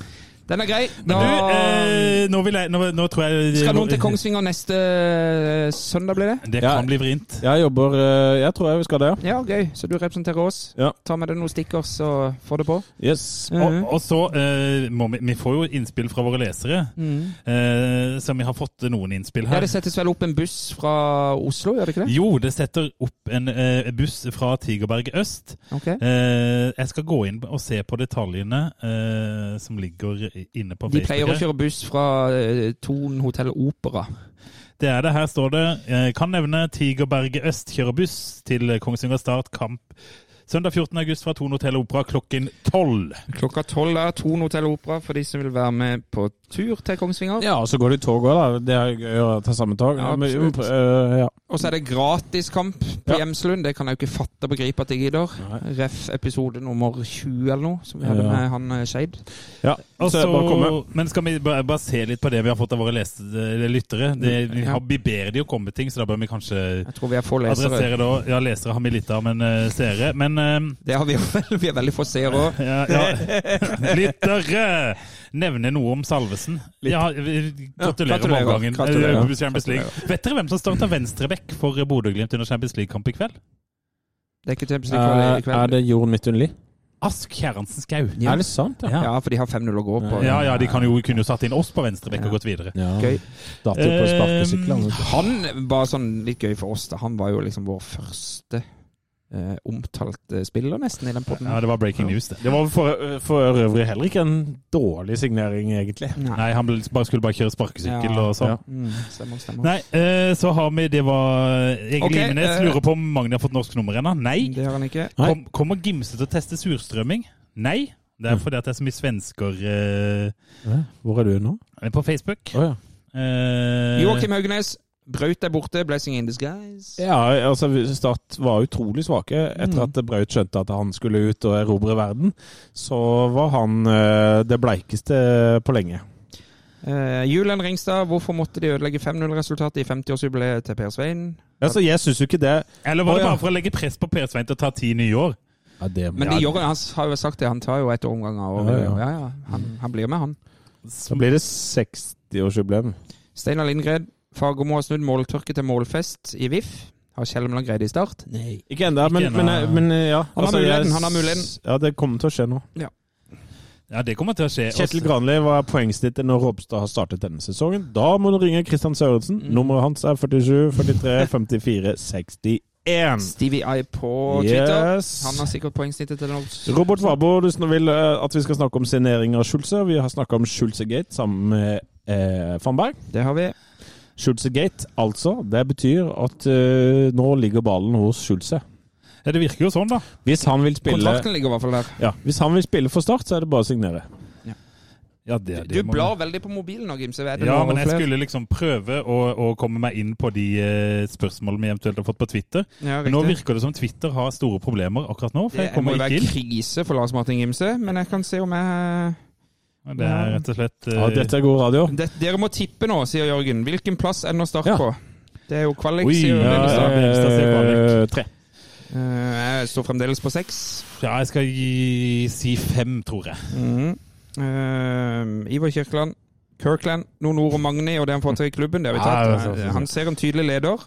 S5: Den er grei. Da
S4: Du, eh, nå vil jeg Nå, nå tror jeg
S5: skal noen til Kongsvinger neste eh, søndag, blir det?
S4: Det
S6: Ja.
S4: kan bli vrient.
S6: Jeg jobber eh, Jeg tror jeg vi skal det, ja.
S5: Ja, gøy. Så du representerer oss.
S6: Ja.
S5: Ta med deg noen stickers og få det på.
S6: Yes.
S4: Og,
S6: Mm-hmm.
S4: og så eh, må vi, vi får jo innspill fra våre lesere, eh, så vi har fått noen innspill
S5: Mm. Ja,
S4: her.
S5: Det settes vel opp en buss fra Oslo, gjør det ikke det?
S4: Jo, det setter opp en eh, buss fra Tigerberg øst.
S5: Ok.
S4: Eh, jeg skal gå inn og se på detaljene eh, som ligger i- inne på
S5: De pleier å
S4: Facebook.
S5: kjøre buss fra eh, Thon hotell Opera.
S4: Det er det. Her står det eh, Kan nevne Tigerberget øst kjører buss til Kongsvinger Start kamp søndag 14. august fra Tone Hotell Opera klokken 12.
S5: Klokka tolv er Thon hotell Opera for de som vil være med på tur til Kongsvinger.
S6: Ja, og så går det i tog òg, da. Det er gøy å ta samme tog.
S5: Ja,
S6: Men,
S5: absolutt.
S6: eh, ja.
S5: Og så er det gratiskamp på Hjemslund. Det kan jeg jo ikke fatte og begripe at jeg gidder. Ref episode nummer 20 eller noe, som vi hadde
S6: Ja.
S5: med han eh, Skeid.
S6: ja.
S4: Og
S6: så bare komme.
S4: så- men skal vi bare, bare se litt på det vi har fått av våre leste, eller lyttere?
S5: Mm,
S4: Det, vi, har, vi ber de å komme med ting, så da bør vi kanskje
S5: Jeg tror vi er få lesere.
S4: adressere det. også. Ja, lesere har vi litt av, men eh, seere Men eh,
S5: Det har vi <laughs> jo vel. Vi er veldig få seere òg.
S4: ja, ja. Lyttere! Nevne noe om Salvesen. Ja, vi- gratulerer med
S5: gratulerer.
S4: omgangen.
S5: Gratulerer.
S4: Eh, Champions League. Vet dere hvem som starta venstreback for Bodø-Glimt under Champions League-kamp i kveld?
S5: Det er ikke Champions League i
S6: Eh, er
S5: kveld.
S6: det Jorunn Midtun Lie?
S4: Ask Kjerransen Skau.
S5: Ja.
S6: Er det sant? Ja.
S5: Ja, for de har 5-0 å gå på.
S4: Ja, ja, de kan jo, kunne jo satt inn oss på venstreback og gått videre.
S6: ja.
S5: Gøy.
S6: Dato på sparkesykler.
S4: Eh,
S5: Han var sånn litt gøy for oss, da. Han var jo liksom vår første eh, omtalte spiller, nesten, i den potten.
S4: Ja, det var breaking news, det.
S6: Det var for, eh, for øvrig heller ikke en dårlig signering, egentlig.
S4: Nei, han ble, bare, skulle bare kjøre sparkesykkel
S5: Ja.
S4: og sånn.
S6: Ja.
S5: Mm, stemmer, stemmer.
S4: Nei, eh, så har vi Det var Egil
S5: Ok,
S4: Imenes.
S5: eh,
S4: Lurer på om Magni har fått norsk nummer ennå. Nei.
S5: Det har han ikke.
S6: Nei.
S4: Kom, kommer Gimse til å teste surstrømming? Nei. Det er fordi at det er så mye svensker eh,
S6: Hvor er du nå?
S4: på Facebook.
S6: Å, ja.
S4: Eh,
S5: Joakim Haugnes. Braut er borte. Blessing in disguise.
S6: Ja, altså Start var utrolig svake. Etter at Braut skjønte at han skulle ut og erobre verden, så var han eh, det bleikeste på lenge.
S5: Eh, Julian Ringstad, hvorfor måtte de ødelegge 5-0-resultatet i 50-årsjubileet til Per Svein?
S6: Altså, jeg syns jo ikke det
S4: Eller var
S6: Å,
S4: det
S6: ja.
S4: bare for å legge press på Per Svein til å ta ti nye år?
S5: Men de gjør, han har jo sagt det, han tar jo et omgang av året. Ja, ja. Han, han blir med, han.
S6: Så blir det 60-årsjubileum.
S5: Steinar Lindgren, Fagermo har snudd måltørke til målfest i VIF. Har Kjellemland greid det i start? Nei.
S6: Ikke ennå, men,
S4: ennå.
S6: men, eh, men ja.
S5: har muligheten,
S6: Altså, jeg-
S5: eh, han har muligheten.
S6: Ja, det kommer til å skje nå.
S4: Ja, det kommer til å skje.
S6: Kjetil
S4: Også-
S6: Granli var poengsnittet når Robstad har startet denne sesongen. Da må du ringe Kristian Sørensen.
S5: Mm.
S6: Nummeret hans er 47
S5: <laughs>
S6: 43 54 61.
S5: Mm. Stevie I på Twitter.
S6: Yes.
S5: Han har sikkert poengsnittet til noe.
S6: Robert Wabo, du sn- vil eh, at vi skal snakke om signering av Schulze. Vi har snakka om Schulze-gate sammen med eh, Fannberg.
S5: Det har vi.
S6: Schulze-gate, altså. Det betyr at eh, nå ligger ballen hos Schulze.
S4: Ja, det virker jo sånn, da.
S6: Hvis han vil spille,
S5: Kontrakten ligger i hvert fall der.
S6: ja, hvis han vil spille for Start, så er det bare å signere.
S4: Ja, det,
S5: Du blar veldig på mobilen nå, Gimse. Er det
S4: Ja,
S5: noe
S4: men jeg
S5: flere?
S4: skulle liksom prøve å, å komme meg inn på de eh, spørsmålene vi eventuelt har fått på Twitter.
S5: Ja,
S4: Men nå
S5: riktig.
S4: virker det som Twitter har store problemer akkurat nå, for
S5: Det
S4: jeg
S5: må
S4: kommer
S5: jo
S4: ikke
S5: være
S4: inn.
S5: krise for Lars Martin Gimse, men jeg kan se om jeg
S4: Det er rett og slett eh,
S6: Ja, dette er god radio.
S5: det, Dere må tippe nå, sier Jørgen. Hvilken plass ender Start
S6: Ja.
S5: på? Det er jo kvalik,
S4: Oi,
S5: sier
S4: ja,
S5: Jørgen.
S4: ja.
S6: Eh, tre.
S5: Eh, Jeg står fremdeles på seks.
S4: Ja, jeg skal gi, si fem, tror jeg.
S5: Mhm. Eh, Ivar Kirkeland. Kirkland, noen ord om Magni og det han får til i klubben. det har vi
S4: Ja,
S5: tatt.
S4: det er sant, det er sant.
S5: Han ser en tydelig leder.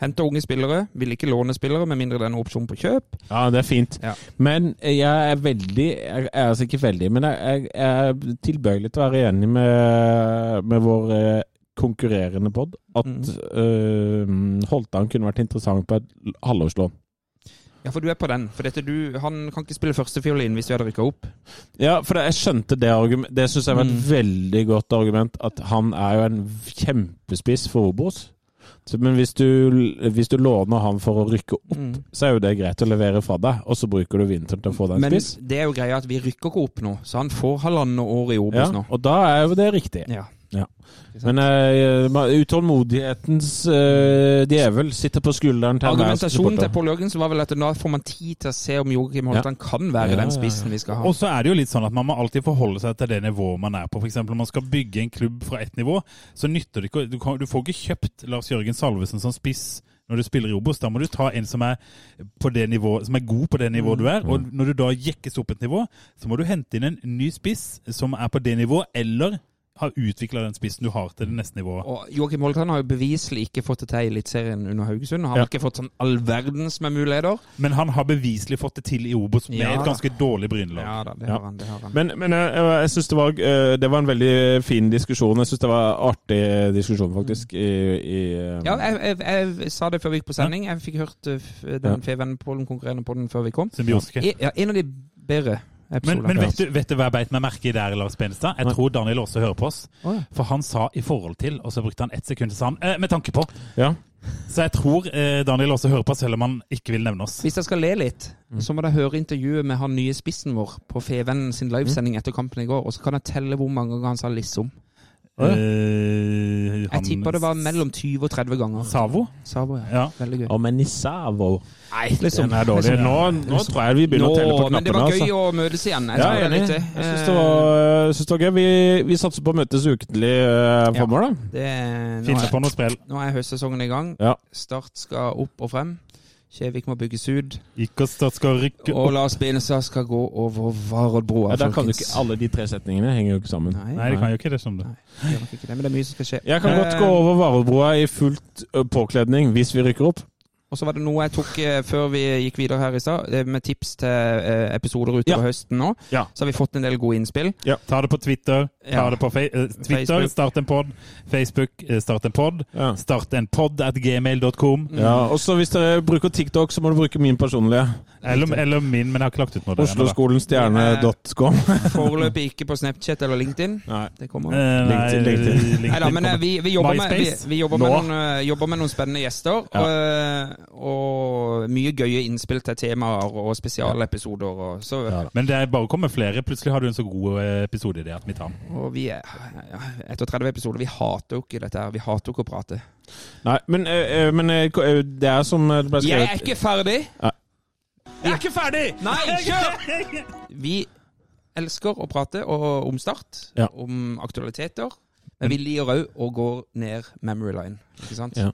S5: Henter unge spillere. Vil ikke låne spillere med mindre det er en opsjon på kjøp.
S6: Ja, det er fint.
S5: Ja.
S6: Men jeg er veldig Jeg er altså ikke veldig, men jeg, jeg, jeg er tilbøyelig til å være enig med, med vår eh, konkurrerende pod at
S4: Mm.
S6: eh, Holtan kunne vært interessant på et l- halvårslån.
S5: Ja, for du er på den. For dette du, han kan ikke spille førstefiolin hvis vi hadde rykka opp.
S6: Ja, for jeg skjønte det argumentet. Det syns jeg var et
S5: Mm.
S6: veldig godt argument, at han er jo en kjempespiss for Obos. Så, men hvis du, hvis du låner han for å rykke opp,
S5: Mm.
S6: så er jo det greit å levere fra deg, og så bruker du vinteren til å få deg en
S5: Men
S6: spiss.
S5: det er jo greia at vi rykker ikke opp nå, så han får halvannet år i Obos
S6: Ja,
S5: nå.
S6: og da er jo det riktig.
S5: Ja.
S6: Men eh, ma- utålmodighetens eh, dævel sitter på skulderen til enhver
S5: Argumentasjonen
S6: supporter.
S5: til Pål Jørgensen var vel at da får man tid til å se om Joakim Holtan kan være
S6: Ja, ja,
S5: den
S6: ja.
S5: spissen vi skal ha.
S4: Og så er det jo litt sånn at man må alltid forholde seg til det nivået man er på. For eksempel, når man skal bygge en klubb fra ett nivå, så nytter det ikke å- Du, kan, du får ikke kjøpt Lars Jørgen Salvesen som spiss når du spiller i Obos. Da må du ta en som er, på det nivå, som er god på det nivået du
S5: Mm.
S4: er. Og når du da jekkes opp et nivå, så må du hente inn en ny spiss som er på det nivået, eller har utvikla den spissen du har til det neste nivået.
S5: Og Joakim Holtan har jo beviselig ikke fått det til i Eliteserien under Haugesund. Han har ikke fått sånn all verdens med muligheter.
S4: Men han har beviselig fått det til i Obos med
S5: Ja.
S4: et ganske dårlig Brynlag.
S5: Ja da, det
S6: Ja.
S5: har han. det har han.
S6: Men, men jeg, jeg, jeg syns det var eh, Det var en veldig fin diskusjon. Jeg syns det var artig eh, diskusjon, faktisk. I, i, eh,
S5: Ja, jeg, jeg, jeg sa det før vi gikk på sending. Jeg fikk hørt uh, f-
S6: Ja.
S5: den Fevennen Pollen konkurrerende på den før vi kom.
S4: Symbiotiske.
S5: I, ja, en av de bedre
S4: Men,
S5: episodene.
S4: men vet, du, vet du hva jeg beit meg merke i der, Lars Benestad? Jeg tror Daniel også hører på oss.
S5: Å, ja.
S4: For han sa 'i forhold til', og så brukte han ett sekund, så sa han eh, 'med tanke på'.
S6: ja.
S4: Så jeg tror eh, Daniel også hører på, selv om han ikke vil nevne oss.
S5: Hvis jeg skal le litt,
S6: Mm.
S5: så må dere høre intervjuet med han nye spissen vår på Fevennen
S6: Mm.
S5: sin livesending etter kampen i går, og så kan jeg telle hvor mange ganger han sa 'liksom'.
S4: Eh,
S5: Jeg tipper det var mellom 20 og 30 ganger.
S4: Savo?
S5: Sabo, ja.
S4: Ja.
S5: Veldig gøy.
S6: Og Menisavo.
S5: Nei, liksom.
S6: Den er dårlig. Nå, nå tror jeg vi sånn begynner å telle på
S5: men det
S6: knappene.
S5: var gøy
S6: Altså.
S5: å møtes igjen. Jeg
S6: Liksom. Ja,
S5: tror
S6: jeg
S5: det
S6: er
S5: er
S6: enig.
S5: litt eh, det.
S6: Jeg syns det, var- eh, jeg syns det var gøy. Vi, vi satser på å møtes ukentlig uh,
S5: Ja.
S6: framover, da.
S5: Eh, Det, nå,
S4: Finne
S5: er,
S4: på noe sprell.
S5: nå er høstsesongen i gang.
S6: Ja.
S5: Start skal opp og frem. Kjevik må bygges ut.
S4: Ikke oss at skal rykke
S5: Og
S4: opp.
S5: Lars Benestad skal gå over Varoddbroa,
S6: Ja, der kan du ikke,
S5: folkens.
S6: alle de tre setningene henger jo ikke sammen.
S5: Nei,
S4: Nei, det kan jo ikke det. som det.
S5: det gjør nok ikke det, men det er mye som skal skje.
S6: Jeg kan godt
S5: Eh,
S6: gå over Varebroa i fullt ø, påkledning hvis vi rykker opp.
S5: Og så var det noe jeg tok eh, før vi gikk videre her i stad, eh, med tips til eh, episoder utover
S6: Ja.
S5: høsten nå.
S6: Ja.
S5: Så har vi fått en del gode innspill.
S6: <laughs>
S4: Ta det på Twitter. Ta
S5: Ja.
S4: det på fe eh, Twitter,
S5: Facebook.
S4: start en pod. Facebook, eh, start en pod.
S6: Ja.
S4: Start en pod at gmail.com.
S6: Og så hvis dere bruker TikTok, så må du bruke min personlige.
S4: Eller, eller min, men jeg har ikke lagt ut noe. der ennå, da.
S6: Osloskolensstjerne.com.
S5: Foreløpig ikke på Snapchat eller LinkedIn.
S6: Nei.
S5: Det kommer.
S4: Eh, nei,
S6: LinkedIn, LinkedIn.
S4: LinkedIn
S5: Neida, men eh,
S4: kommer.
S5: vi, vi jobber, med, vi,
S4: MySpace?
S5: vi jobber, med
S4: Nå?
S5: noen, eh, jobber med noen spennende gjester.
S6: Ja.
S5: Og, eh, og mye gøye innspill til temaer og spesialepisoder. Og, så,
S4: Men det er bare å komme flere. Plutselig har du en så god eh, episodeidé at vi tar den.
S5: og vi er ja, Etter 30 episoder, vi hater jo ikke dette her. Vi hater jo ikke å prate.
S6: <laughs> Nei, men, ø, ø, men ø, ko- ø, det er som ø, det ble
S5: Jeg er
S6: skrevet
S5: ikke ferdig!
S6: Ja.
S5: Jeg er ikke ferdig! Nei, kjør! Vi elsker å prate og, om Start,
S6: Ja.
S5: om aktualiteter. Men vi lir òg og går ned memory line, ikke sant?
S6: Ja.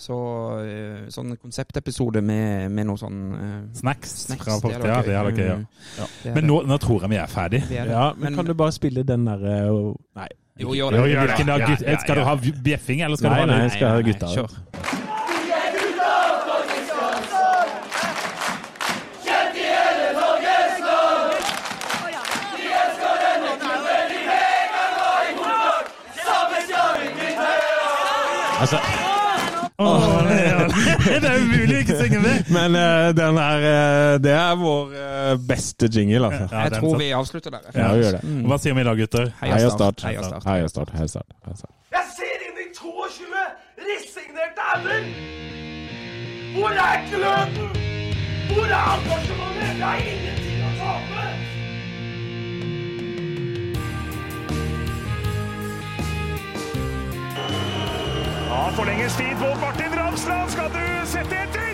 S5: Så eh, sånn konseptepisode med, med noe sånn eh,
S4: Snacks,
S5: snacks,
S4: fra
S5: hadde
S4: fortida,
S5: vært
S4: det hadde vært gøy. Ja.
S5: Mm,
S4: Men
S5: det hadde-
S4: nå, nå tror jeg vi er ferdig.
S5: det er det.
S6: Ja, men,
S5: Men-
S6: kan du bare spille den derre Nei.
S5: Jo, gjør det.
S4: Jo, gjør det.
S5: Ja,
S4: Hvilken dag,
S5: ja,
S4: gutt,
S5: ja,
S4: skal du
S5: ja.
S4: ha bjeffing, eller skal
S6: Nei,
S4: du ha
S6: nei,
S4: det?
S6: jeg skal ha
S5: Nei,
S6: gutta.
S5: Kjør.
S6: Altså, <laughs>
S4: Åh, det er umulig å ikke synge med!
S6: men eh, den er eh, Det er vår eh, beste jingle, altså.
S4: Ja,
S5: Jeg
S4: den
S5: tror
S4: satt.
S5: vi avslutter der.
S6: Ja, vi gjør det.
S4: Hva sier vi i dag, gutter?
S6: Heia Start.
S5: Heia Start.
S6: Heia Start. Heia Start. Heia Start.
S1: Jeg ser inn i 22 resignerte ender! Hvor er gløden? Hvor er engasjementet? Jeg har ingenting å tape!
S2: Ja, forlenges tid på Martin Ramsland. Skal du sette etter?